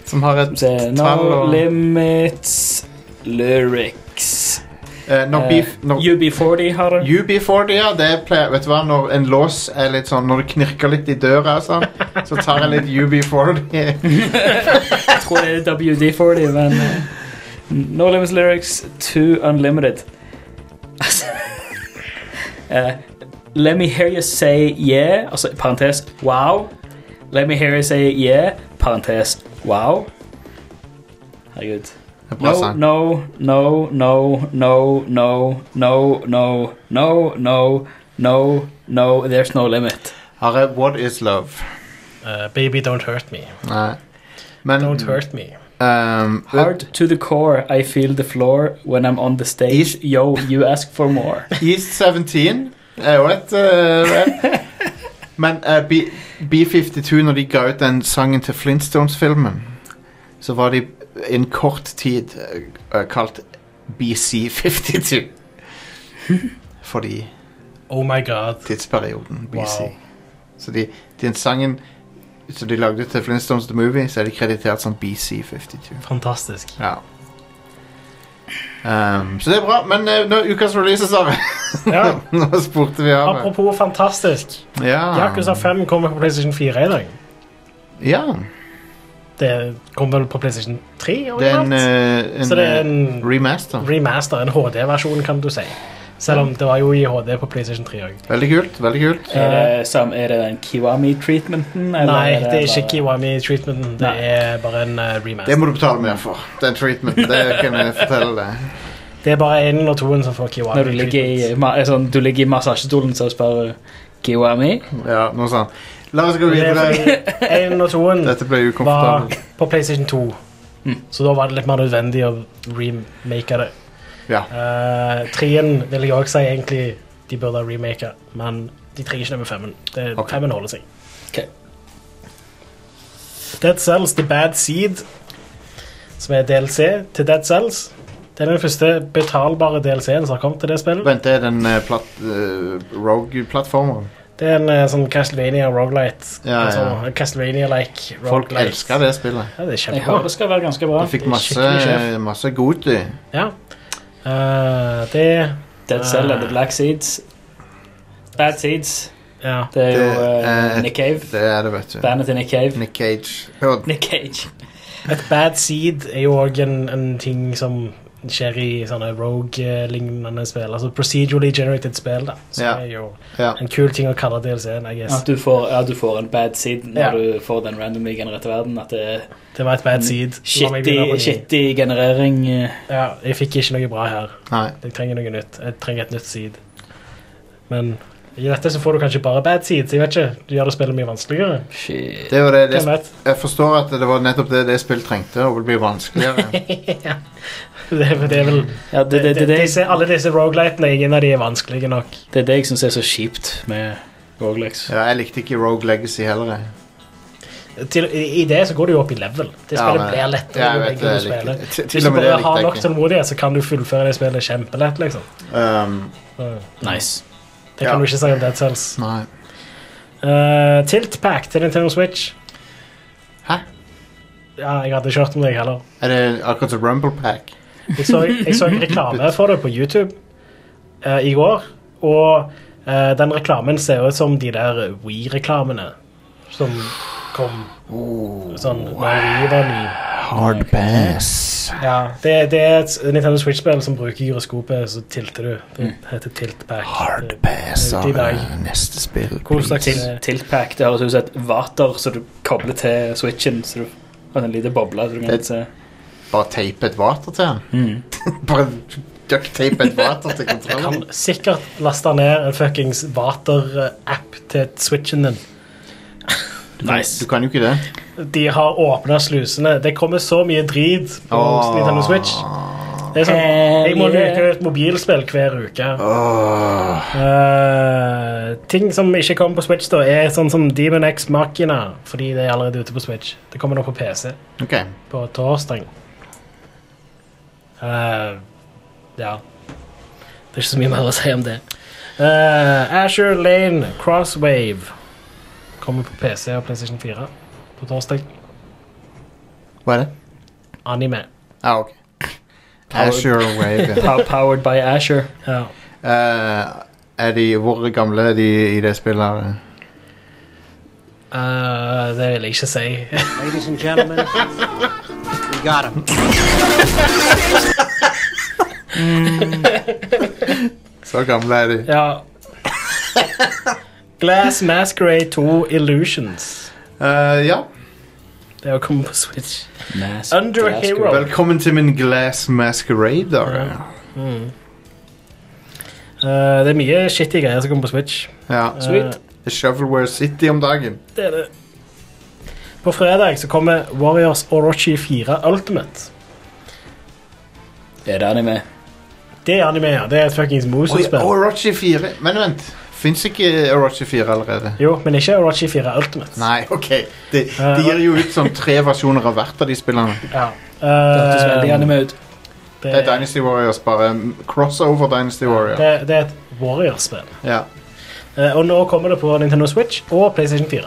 Speaker 1: som har et
Speaker 3: Se,
Speaker 1: tall
Speaker 3: No
Speaker 1: og
Speaker 3: limits lyrics.
Speaker 1: Eh, Når
Speaker 3: Eh,
Speaker 1: Beef når-
Speaker 3: UB40 har det.
Speaker 1: UB40, ja, det pleier Vet du hva, når en lås er litt sånn Når det knirker litt i døra og sånn, så tar jeg litt UB40.
Speaker 3: Jeg tror det er WD40, men eh, No limits lyrics to unlimited. Altså eh, Let me hear you say yeah, altså parentes wow. Let me hear you say yeah, parentes wow. Herregud.
Speaker 1: Det er Bra
Speaker 3: No,
Speaker 1: sang.
Speaker 3: no, no, no, no, no, no, no, no, no, no, no, there's no limit.
Speaker 1: Are, what is love?
Speaker 2: Eh, baby, don't hurt me.
Speaker 1: Nei. Men
Speaker 2: Don't hurt me.
Speaker 1: um,
Speaker 3: Hard to the core, I feel the floor when I'm on the stage. Yo, you ask for more.
Speaker 1: East 17 er jo et eh, rap. Men eh, B, B52, når de ga ut den sangen til Flintstones-filmen, så var de en kort tid eh, kalt BC52. Fordi
Speaker 2: Oh my god.
Speaker 1: tidsperioden BC.
Speaker 2: Wow.
Speaker 1: Så de, den sangen som de lagde til Flintstones The Movie, så er de kreditert som BC52.
Speaker 2: Fantastisk.
Speaker 1: Ja. Um, så det er bra, men eh, nå, ukas release, Sara.
Speaker 2: Ja.
Speaker 1: nå spurte vi av. det.
Speaker 2: Apropos fantastisk.
Speaker 3: Ah.
Speaker 1: Ja.
Speaker 2: Yakuza 5 kommer på PlayStation 4 i dag.
Speaker 1: ja.
Speaker 2: Det kommer vel på PlayStation 3?
Speaker 1: Det er en,
Speaker 2: overalt.
Speaker 1: eh, en,
Speaker 2: Så det er en
Speaker 1: eh, remaster.
Speaker 2: remaster, en HD-versjon, kan du si. Selv om det var jo i HD på PlayStation 3 òg.
Speaker 1: Veldig kult. veldig kult
Speaker 3: Er det, sam, er det den Kiwami-treatmenten? eller
Speaker 2: Nei, det er
Speaker 3: bare-
Speaker 2: ikke Kiwami-treatmenten. Det
Speaker 3: Nei.
Speaker 2: er bare en eh, remaster.
Speaker 1: Det må du betale mer for. Den treatmenten. Det kan jeg fortelle deg.
Speaker 2: Det er bare enen og toen som får
Speaker 3: Når du ligger i,
Speaker 2: Kiwami-treatment.
Speaker 3: ma- er sånn, du ligger i massasjestolen, så spør Kiwami.
Speaker 1: Ja, noe sånt. La oss gå
Speaker 2: Det er
Speaker 1: videre.
Speaker 2: fordi Enen og toen
Speaker 1: Dette ble
Speaker 2: var
Speaker 1: ukomfortabelt.
Speaker 2: på PlayStation 2.
Speaker 3: Mm.
Speaker 2: Så da var det litt mer nødvendig å remake det.
Speaker 1: Ja.
Speaker 2: Eh, Treen vil jeg også si egentlig de burde remake, men de trenger ikke det med femmen. Det,
Speaker 1: Ok.
Speaker 2: Femmen holder seg.
Speaker 3: Ok.
Speaker 2: Dead Cells The Bad Seed, som er DLC til Dead Cells. Det er den første betalbare DLC-en som har kommet til det spillet.
Speaker 1: Vent, det er den eh, platt, eh, Rogue-plattformeren.
Speaker 2: Det er en eh, sånn Castlevania roguelite.
Speaker 1: Ja,
Speaker 2: altså,
Speaker 1: ja.
Speaker 2: en Castlevania-like
Speaker 1: Folk
Speaker 2: roguelite.
Speaker 1: elsker det spillet.
Speaker 2: Ja, det er
Speaker 3: Jeg håper
Speaker 2: kjempebra.
Speaker 3: det skal være ganske bra.
Speaker 1: Jeg fikk
Speaker 2: det er
Speaker 1: masse, eh,
Speaker 2: skikkelig sjef.
Speaker 1: masse godty.
Speaker 2: Ja. Eh, det
Speaker 3: Dead Cell and The Black Seeds. Bad Seeds.
Speaker 2: Ja.
Speaker 3: Det er jo
Speaker 1: Det er-
Speaker 3: eh, Nick Cave.
Speaker 1: Det er det, vet du.
Speaker 3: Bandet til Nick Cave.
Speaker 1: Nick Cage. Hør,
Speaker 3: Nick Cage.
Speaker 2: Et bad seed er jo òg en, en ting som skjer i sånne Rogue-lignende spill. Altså procedurally generated spill, da. Så
Speaker 1: Ja.
Speaker 2: det er jo
Speaker 1: Ja.
Speaker 2: en kul ting å kalle DLC-en, I guess.
Speaker 3: At du får, ja, du får en bad seed når
Speaker 2: Ja.
Speaker 3: du får den randomly genererte verden. At det er
Speaker 2: Det var et bad seed. La meg begynne på
Speaker 3: Mm. shitty,
Speaker 2: ny.
Speaker 3: shitty generering. eh,
Speaker 2: Ja, jeg fikk ikke noe bra her.
Speaker 1: Nei.
Speaker 2: Jeg trenger noe nytt. Jeg trenger et nytt seed. Men i dette så får du kanskje bare bad seed, så jeg vet ikke. Du gjør det spillet mye vanskeligere.
Speaker 3: Shit.
Speaker 1: Det er jo det, det
Speaker 2: Hvem vet?
Speaker 1: Jeg forstår at det var nettopp det det spillet trengte, å bli vanskeligere.
Speaker 2: Det, er- det er vel
Speaker 3: Ja, det, det, det, det,
Speaker 2: disse, Alle disse rogelightene, ingen av de er vanskelige nok.
Speaker 3: det er det jeg syns er så kjipt med Roglix.
Speaker 1: Ja, jeg likte ikke Rogue Legacy heller. jeg.
Speaker 2: Til, i, I det så går du jo opp i level. Det
Speaker 1: Ja,
Speaker 2: spillet
Speaker 1: men-
Speaker 2: blir
Speaker 1: Ja,
Speaker 2: lettere.
Speaker 1: jeg
Speaker 2: jo
Speaker 1: vet
Speaker 2: lenger
Speaker 1: det,
Speaker 2: du
Speaker 1: jeg likte-
Speaker 2: spiller.
Speaker 1: til-
Speaker 2: Hvis
Speaker 1: Til
Speaker 2: du
Speaker 1: og med det
Speaker 2: bare
Speaker 1: likte
Speaker 2: har
Speaker 1: jeg
Speaker 2: nok
Speaker 1: ikke.
Speaker 2: tålmodighet, så kan du fullføre det spillet kjempelett. liksom.
Speaker 1: Um,
Speaker 3: Nice.
Speaker 2: Det kan
Speaker 1: Ja.
Speaker 2: du ikke si om Dead Cells.
Speaker 1: nei.
Speaker 2: Uh, Tiltpack til Nintendo Switch.
Speaker 1: Hæ?
Speaker 2: Ja, Jeg hadde ikke hørt om det, jeg heller.
Speaker 1: Er det akkurat som Rumble Pack?
Speaker 2: Jeg så, jeg så reklame for det på YouTube eh, i går, og eh, den reklamen ser ut som de der We-reklamene som kom sånn da We var ny.
Speaker 1: Hard Pass.
Speaker 2: Ja, det, det er et Nintendo Switch-spill som bruker gyroskopet, så tilter du. Det heter Tiltpack.
Speaker 1: Hard Pass
Speaker 2: Ut i dag.
Speaker 1: eh, neste spill.
Speaker 2: Hvor slags-
Speaker 1: please.
Speaker 3: Til, tiltpack. Det høres ut som et vater som du kobler til switchen. Så du har en liten boble. Så du kan
Speaker 1: Det-
Speaker 3: se.
Speaker 1: Bare tape et vater til han. Bare ducktape et vater til kontrollen.
Speaker 2: Kan sikkert laste ned en fuckings Vater-app til Switchen din.
Speaker 1: Du
Speaker 3: Nice.
Speaker 1: kan jo ikke det.
Speaker 2: De har åpna slusene. Det kommer så mye drit på
Speaker 1: Åh.
Speaker 2: Nintendo Switch. Det er sånn,
Speaker 3: Hell
Speaker 2: jeg må
Speaker 3: yeah.
Speaker 2: leke ut mobilspill hver uke.
Speaker 1: Åh.
Speaker 2: Eh, ting som ikke kommer på Switch, da er sånn som Demon X Machina. Fordi det er allerede ute på Switch. Det kommer nå på PC
Speaker 1: Ok.
Speaker 2: på torsdag. Eh, ja. Det er ikke så mye mer å si om det. Eh, Azure Lane Crosswave kommer på PC og PlayStation 4 på torsdag.
Speaker 1: Hva er det?
Speaker 2: Anime.
Speaker 1: Ah, ok. Azure Wave. ja.
Speaker 3: Pow- Powered by Asher.
Speaker 2: Ja.
Speaker 1: Eh, er de, hvor gamle er de i det spillet? her?
Speaker 2: Eh, det vil jeg ikke si.
Speaker 4: Ladies and gentlemen, we got him.
Speaker 1: Så gamle er de.
Speaker 2: ja. Glass Masquerade 2 Illusions.
Speaker 1: Eh, ja.
Speaker 2: Det er å komme på Switch.
Speaker 3: Mask-
Speaker 2: Under a
Speaker 3: Mask-
Speaker 2: hero.
Speaker 1: Velkommen til min Glass Masquerade. Da.
Speaker 2: Ja. Eh, det er mye shitty greier som kommer på Switch. Eh,
Speaker 1: Ja. Eh,
Speaker 3: Sweet.
Speaker 1: Shovelware City om dagen.
Speaker 2: Det er det. På fredag så kommer Warriors Orochi 4 Ultimate.
Speaker 3: Er det anime?
Speaker 2: Det er anime, ja. Det er et fuckings
Speaker 1: Oi,
Speaker 2: Mosu-spill.
Speaker 1: Orochi 4. Men vent. Fins ikke Orochi 4 allerede?
Speaker 2: Jo, men ikke Orochi 4 Ultimate.
Speaker 1: Nei, OK. De, de gir jo ut sånn tre versjoner av hvert av de spillene.
Speaker 2: Ja.
Speaker 3: Det hørtes veldig
Speaker 2: Eh,
Speaker 3: anime ut.
Speaker 1: Det er Dynasty Warriors, bare mm, crossover Dynasty Warrior.
Speaker 2: det, det er et Warriors-spill.
Speaker 1: Ja.
Speaker 2: Eh, og nå kommer det på Nintendo Switch og PlayStation 4.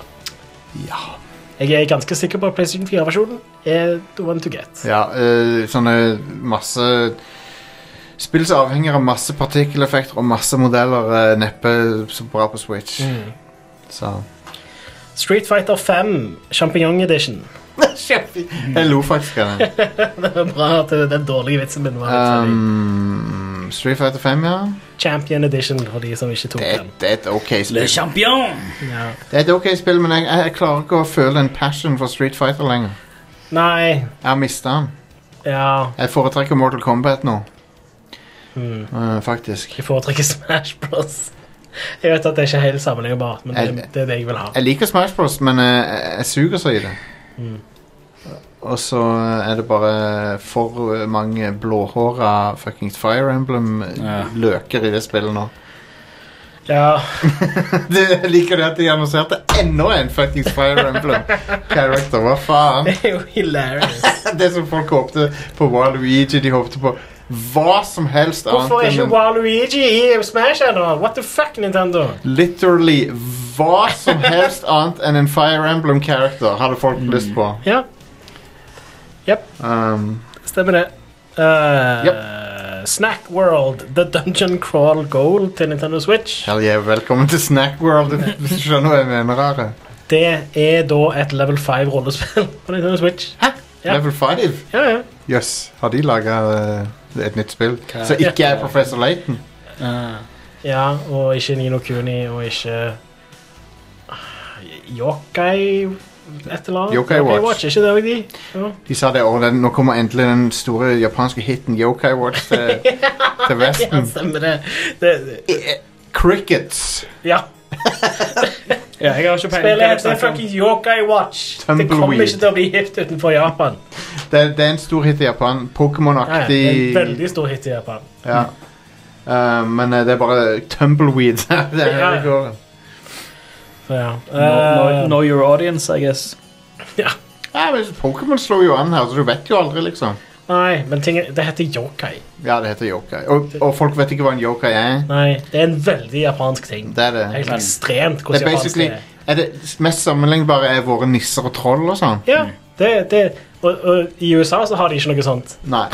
Speaker 2: Jeg er ganske sikker på at PlayStation 4-versjonen er the one to get.
Speaker 1: ja eh, sånne masse Spill som avhenger av masse partikkeleffekter og masse modeller, eh, neppe så bra på Switch.
Speaker 2: Mm.
Speaker 1: Så
Speaker 2: Street Fighter 5 Champignon Edition.
Speaker 1: Jeg lo faktisk av den.
Speaker 2: Det er Bra at det- den dårlige vitsen min var litt um,
Speaker 1: Um, Street Fighter 5, ja.
Speaker 2: Champion Edition for de som ikke tok
Speaker 1: Det er,
Speaker 2: den.
Speaker 1: det er et ok
Speaker 3: Le
Speaker 1: spill.
Speaker 3: Champion!
Speaker 2: Ja.
Speaker 1: Det er et ok spill, men jeg, jeg klarer ikke å føle en passion for Street Fighter lenger.
Speaker 2: Nei,
Speaker 1: Jeg har mistet den.
Speaker 2: ja
Speaker 1: Jeg foretrekker Mortal Kombat nå. Eh, faktisk.
Speaker 2: Jeg foretrekker Smash Bros. Jeg vet at det er ikke helt sammenlignbart, men det, det er det jeg vil ha.
Speaker 1: Jeg liker Smash Bros, men eh, jeg, jeg suger så i det. Og så er det bare for mange blåhåra fuckings Fire
Speaker 3: Ja.
Speaker 1: Emblem-løker i det spillet nå.
Speaker 2: Ja,
Speaker 1: Det, jeg liker det at de annonserte enda en fuckings Fire Emblem-character. Hva faen?
Speaker 2: det er jo hilarious.
Speaker 1: Det som folk håpte på Waluigi, de håpte på hva som helst
Speaker 2: Hvorfor er
Speaker 1: annet
Speaker 2: ikke
Speaker 1: enn
Speaker 2: Waluigi i Smash ennå? What the fuck, Nintendo?
Speaker 1: Literally hva som helst annet enn en Fire Emblem-character hadde folk lyst på.
Speaker 2: Ja,
Speaker 1: Um,
Speaker 2: stemmer det. Eh, Snack World, The Dungeon Crawl Goal til Nintendo Switch.
Speaker 1: Hell yeah, velkommen til Snack World. Du skjønner hva jeg mener? Are.
Speaker 2: Det er da et level 5-rollespill på Nintendo Switch.
Speaker 1: Hæ?
Speaker 2: Ja.
Speaker 1: Level 5.
Speaker 2: Ja, ja.
Speaker 1: Jøss, yes, har de laga et nytt spill? Så ikke er Professor Layton?
Speaker 3: Ah.
Speaker 2: ja, og ikke Nino Kuni, og ikke ah, Yokai et eller annet.
Speaker 1: Yokai Watch.
Speaker 2: Watch. Ikke det òg, de? Ja.
Speaker 1: De sa det, og den, nå kommer endelig den store japanske hiten Yokai Watch til, til
Speaker 2: Ja,
Speaker 1: Vesten.
Speaker 2: stemmer det. det, det.
Speaker 1: Eh, Crickets.
Speaker 2: Ja.
Speaker 3: Ja, jeg har
Speaker 2: Spillet
Speaker 3: ikke peiling. på hva
Speaker 2: heter
Speaker 3: jeg snakker om.
Speaker 2: fucking Yokai Watch. Det kommer
Speaker 1: Tumbleweed.
Speaker 2: ikke til å bli hipt utenfor Japan.
Speaker 1: Det, det er en stor hit i Japan.
Speaker 2: Ja, ja, det er en
Speaker 1: Pokémon-aktig
Speaker 2: veldig stor hit i Japan.
Speaker 1: ja. Eh, Men eh, det er bare tumbleweed. det er det
Speaker 2: Ja, ja.
Speaker 1: det går.
Speaker 2: Så, ja.
Speaker 3: Know,
Speaker 2: Eh,
Speaker 3: know- know your audience, I guess.
Speaker 1: Ja, men Pokémon slår jo an her, så du vet jo aldri, liksom.
Speaker 2: Nei, men ting, det heter yokai.
Speaker 1: Ja, det heter yokai. Og, og folk vet ikke hva en yokai er.
Speaker 2: Nei, det er en veldig japansk ting.
Speaker 1: Det er det.
Speaker 2: Det er helt ekstremt
Speaker 1: Det
Speaker 2: hvordan
Speaker 1: er
Speaker 2: japansk
Speaker 1: basically
Speaker 2: det er.
Speaker 1: er det mest sammenlignbare er våre nisser og troll og sånn?
Speaker 2: Ja, det, det, og, og i USA så har de ikke noe sånt.
Speaker 1: Nei.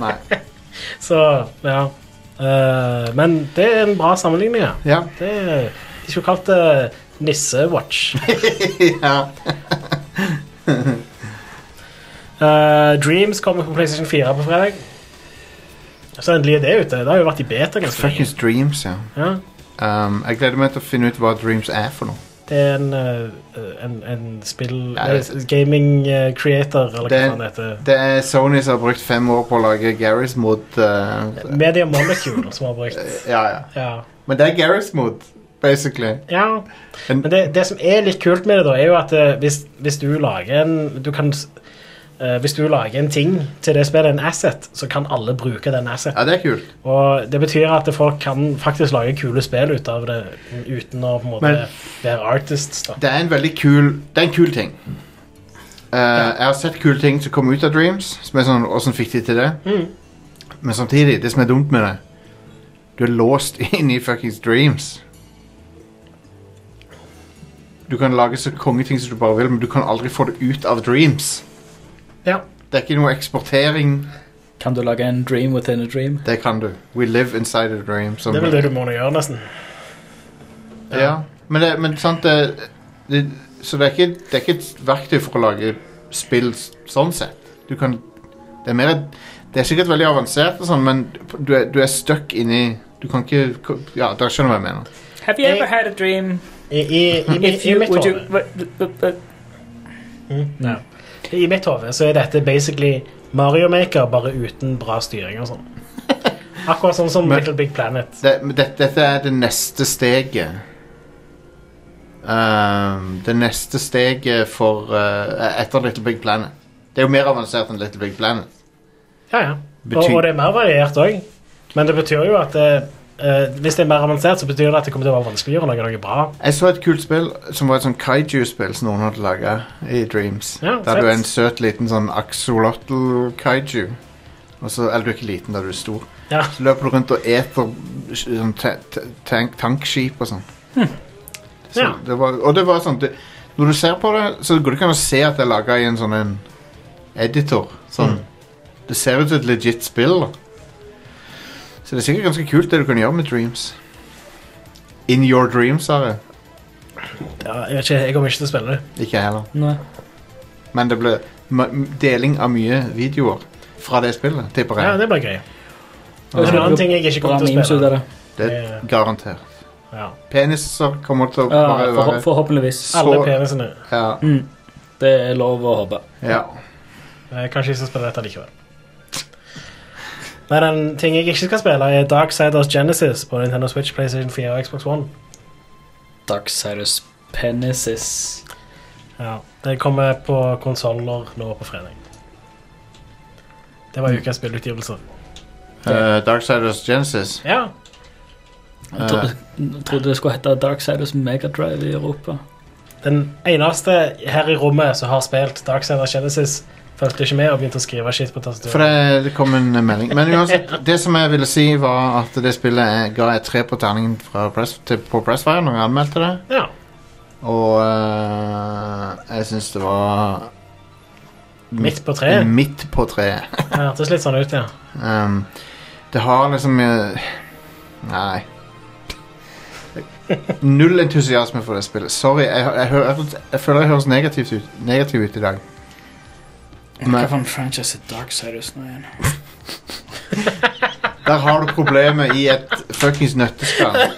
Speaker 1: Nei.
Speaker 2: Så, ja. Eh, men det er en bra sammenligning, ja.
Speaker 1: Ja.
Speaker 2: Det er, de skulle kalt det Nisse-watch.
Speaker 1: ja.
Speaker 2: Eh, Dreams kommer på PlayStation 4 på fredag. Så endelig er det ute. Det har jo vært i beta ganske lenge.
Speaker 1: Fuckings dreams, ja.
Speaker 2: Ja.
Speaker 1: Um, jeg gleder meg til å finne ut hva dreams er for noe.
Speaker 2: Det er en, eh, en, en spill...
Speaker 1: Ja, det-
Speaker 2: eh, gaming eh, creator, eller hva
Speaker 1: Det-
Speaker 2: faen det heter.
Speaker 1: Det er Sony som har brukt fem år på å lage Garris mot uh,
Speaker 2: Media Molecule som har brukt.
Speaker 1: Ja, ja.
Speaker 2: Ja.
Speaker 1: Men det er Garris mot, basically.
Speaker 2: ja.
Speaker 1: En-
Speaker 2: Men det, det som er litt kult med det, da, er jo at eh, hvis, hvis du lager en Du kan s- eh, Hvis du lager en ting til det spillet, en asset, så kan alle bruke den asset.
Speaker 1: Ja, det er kult.
Speaker 2: Og det betyr at folk kan faktisk lage kule spill ut av det uten å på en måte
Speaker 1: Men-
Speaker 2: være artists. da.
Speaker 1: Det er en veldig kul Det er en kul ting. Uh, Jeg har sett kule ting som kom ut av Dreams. Som er sånn, Åssen fikk de til det?
Speaker 2: Mm.
Speaker 1: Men samtidig, det som er dumt med det Du er låst inn i fuckings Dreams. Du kan lage så kongeting som du bare vil, men du kan aldri få det ut av Dreams.
Speaker 2: Ja.
Speaker 1: Det er ikke noe eksportering.
Speaker 3: Kan du lage en dream within a dream?
Speaker 1: Det kan du. We live inside a dream. Som,
Speaker 2: Det er vel det du må nå gjøre, nesten.
Speaker 1: Ja. Men, det, men sant det, det, Så det er, ikke, det er ikke et verktøy for å lage spill s- sånn sett. Du kan Det er mer et- Det er sikkert veldig avansert, og sånn, men du er, du er stuck inni Du kan ikke ko- Ja, dere skjønner hva jeg mener.
Speaker 3: Have you ever had a dream?
Speaker 2: I, i, i, i,
Speaker 3: If you,
Speaker 2: i mitt
Speaker 3: would you...
Speaker 2: hode-
Speaker 3: but- but- but-
Speaker 2: I mitt hode så er dette basically Mario Maker, bare uten bra styring og sånn. Akkurat sånn som
Speaker 1: Men-
Speaker 2: Little Big Planet.
Speaker 1: Det, men det, dette er det neste steget. Ehm, det neste steget for eh, Etter Little Big Planet. Det er jo mer avansert enn Little Big Planet.
Speaker 2: Ja, ja. Og,
Speaker 1: Betyr-
Speaker 2: og det er mer variert òg. Men det betyr jo at eh, eh, hvis det er mer avansert, så betyr det at det kommer til å være vanskeligere å lage noe bra.
Speaker 1: Jeg så et kult spill som var et sånn kaiju-spill som noen hadde laga i Dreams.
Speaker 2: Ja,
Speaker 1: der du
Speaker 2: fett.
Speaker 1: er en søt liten sånn axolotl-kaiju. Og så, Eller du er ikke liten, da du er stor.
Speaker 2: Ja.
Speaker 1: Så løper du rundt og eter sånn ta- ta- tank, tankskip og sånn. Så
Speaker 2: Hm. Ja.
Speaker 1: det var, og det var sånn det, Når du ser på det, så går det ikke an å se at det er laga i en sånn en editor. Sånn.
Speaker 2: Hm.
Speaker 1: Det ser ut som et legit spill. Da. Så det er sikkert ganske kult, det du kan gjøre med Dreams. In your dreams, sa jeg.
Speaker 2: Ja, jeg, vet ikke, jeg kommer ikke til å spille det.
Speaker 1: Ikke jeg heller.
Speaker 3: Nei.
Speaker 1: Men det ble ma- m- deling av mye videoer fra det spillet, tipper
Speaker 2: Ja,
Speaker 1: jeg.
Speaker 2: det blir gøy. Det er en annen ting jeg ikke kommer til å
Speaker 3: memes ut
Speaker 2: spille.
Speaker 3: av det.
Speaker 1: det,
Speaker 2: det-
Speaker 1: er garantert.
Speaker 2: Ja.
Speaker 1: Peniser kommer til å
Speaker 3: Ja,
Speaker 1: bare
Speaker 3: forhå-
Speaker 1: være
Speaker 3: Ah, forhåpentligvis.
Speaker 2: Alle
Speaker 1: så
Speaker 2: penisene.
Speaker 1: ja,
Speaker 2: Mm.
Speaker 3: Det er lov å håpe.
Speaker 1: ja.
Speaker 2: Eh, Kanskje jeg skal spille dette likevel. Men en ting jeg ikke skal spille, er Darksiders Genesis på Nintendo Switch, PlayStation 4 og Xbox One.
Speaker 3: Darksiders Penesis.
Speaker 2: Ja, Det kommer på konsoller nå på fredag. Det var ukas spillutgivelser.
Speaker 1: Eh, Darksiders Genesis.
Speaker 2: Ja,
Speaker 3: Jeg tro- trodde det skulle hete Darksiders Megadrive i Europa.
Speaker 2: Den eneste her i rommet som har spilt Darksider Genesis, fulgte ikke med og begynte å skrive shit på
Speaker 1: For
Speaker 2: tastaturet.
Speaker 1: det, det kom en melding. Men uansett, det som jeg ville si, var at det spillet er- ga jeg tre på terningen fra press, til, på Pressfire når jeg anmeldte det.
Speaker 2: Ja.
Speaker 1: Og eh, jeg syns det var
Speaker 2: Midt på treet.
Speaker 1: Midt på treet.
Speaker 2: Det hørtes litt sånn ut, ja.
Speaker 1: Um, det har liksom eh, Nei. Null entusiasme for det spillet. Sorry. Jeg, jeg, hø- jeg, jeg føler jeg høres negativt ut, negativ ut i dag. Men-
Speaker 3: Hva for en franchise er Darksiders nå igjen?
Speaker 1: Der har du problemet i et fuckings nøtteskall.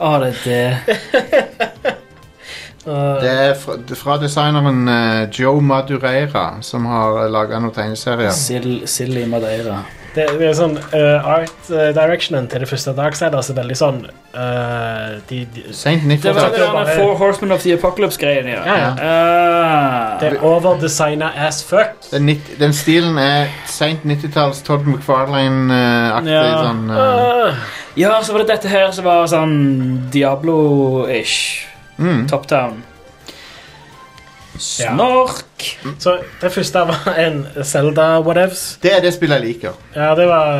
Speaker 3: Å, det er det.
Speaker 1: Det er fra, fra designeren eh, Joe Madureira, som har laga noen tegneserier.
Speaker 3: Sill- Silly Madeira.
Speaker 2: Det, det er sånn eh, Art eh, directionen til det første Darksiders er veldig sånn eh, de, de,
Speaker 1: Seint
Speaker 3: Det var
Speaker 1: 90-tall.
Speaker 2: det var
Speaker 3: denne
Speaker 2: bare-
Speaker 3: Four Horsemen of the Apocalypse-greien, ja.
Speaker 2: Ja, ja.
Speaker 3: Ah.
Speaker 2: Det er overdesigna as fuck.
Speaker 1: Den, nitt- den stilen er seint 90-talls Todd McFarlane-aktig.
Speaker 3: Ja.
Speaker 1: Sånn, eh,
Speaker 2: Ah.
Speaker 3: ja, så var det dette her som var sånn Diablo-ish.
Speaker 1: mm.
Speaker 3: Top Town.
Speaker 2: Ja.
Speaker 3: Snork!
Speaker 2: Så det første var en Zelda-whatevs.
Speaker 1: Det er det spillet jeg liker.
Speaker 2: Ja, det var,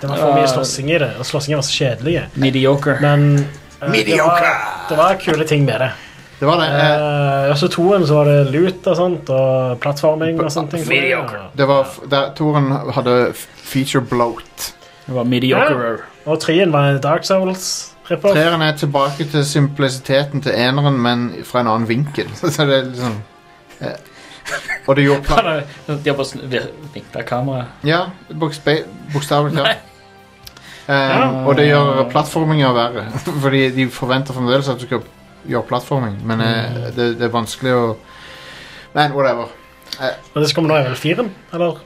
Speaker 2: det var for
Speaker 3: Ja.
Speaker 1: Ah.
Speaker 2: mye slåssing i det, og slåssinger var så kjedelige.
Speaker 3: Mediocre.
Speaker 2: Men eh, det, var, det var kule ting med det.
Speaker 1: Det var det. eh,
Speaker 2: Uh, også toen så var det lut og sånt, og plattforming og sånne ting. som det,
Speaker 3: Mediocre.
Speaker 2: og-
Speaker 1: Det var f der Toren hadde f- feature bloat.
Speaker 3: Det var mediocre.
Speaker 2: Og treen var en Dark Souls ripper.
Speaker 1: Treeren er tilbake til simplisiteten til eneren, men fra en annen vinkel. Så det er liksom eh, Og det gjorde plan...
Speaker 3: De har bare sn- vir- vinklet kameraet.
Speaker 1: Ja, bokspe- bokstavelig talt.
Speaker 3: Ja.
Speaker 1: Eh, og det gjør plattforminga verre, fordi de forventer fremdeles at du skal gjøre plattforming, men eh, det, det er vanskelig å Men whatever.
Speaker 2: Og det som kommer nå, er vel firen? Eller?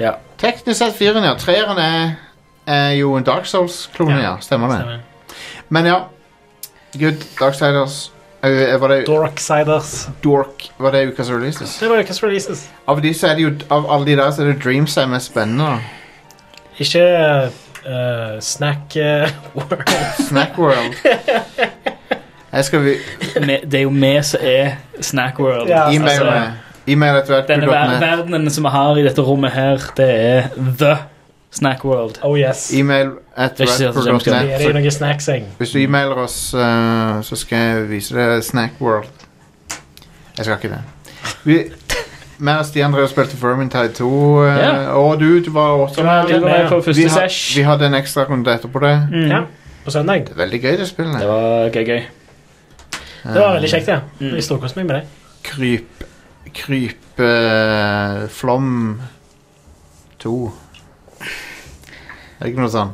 Speaker 3: Ja.
Speaker 1: Teknisk sett firen, ja. Treeren er, er jo en Dark Souls-klone,
Speaker 2: Ja,
Speaker 1: ja. Stemmer det.
Speaker 2: Stemmer.
Speaker 1: Men ja. Good. Darksiders. Eh, var det
Speaker 2: Dorksiders.
Speaker 1: Dork var det ukas releases?
Speaker 2: Det var ukas releases.
Speaker 1: Av, de så er det jo, av alle de der så er det Dreams som er mest spennende. da.
Speaker 2: Ikke eh, Snack eh, World.
Speaker 1: Snackworld. Jeg skal vi
Speaker 3: Me- Det er jo vi som er Snack World.
Speaker 2: Ja,
Speaker 1: e-mail
Speaker 2: altså,
Speaker 1: med- e-mail etter hvert.
Speaker 3: Denne ver
Speaker 1: Google.net.
Speaker 3: verdenen som vi har i dette rommet her, det er The Snack World.
Speaker 2: Oh yes.
Speaker 1: E-mail etter
Speaker 3: Det er ikke
Speaker 1: hvert.
Speaker 3: sikkert at de skal-
Speaker 2: Det er jo
Speaker 1: Google.net.
Speaker 2: noe snacksing.
Speaker 1: Hvis du e-mailer oss, eh, så skal jeg vise deg Snackworld. Jeg skal ikke det. Vi, meg og Stian drev og spilte Vermintide 2, eh,
Speaker 3: Ja.
Speaker 1: og du, du var også
Speaker 3: Som er litt med på
Speaker 1: Vi,
Speaker 3: første
Speaker 1: ha, vi
Speaker 3: sesh.
Speaker 1: hadde en ekstra runde etterpå det.
Speaker 3: Mm.
Speaker 2: Ja, på søndag.
Speaker 1: Det er veldig gøy, det
Speaker 3: Det
Speaker 1: spillet.
Speaker 3: var gøy, gøy.
Speaker 2: Det var veldig kjekt, ja.
Speaker 3: Mm.
Speaker 2: Jeg storkoste meg med det.
Speaker 1: Kryp Kryp eh, Flom 2 Er det ikke noe sånn?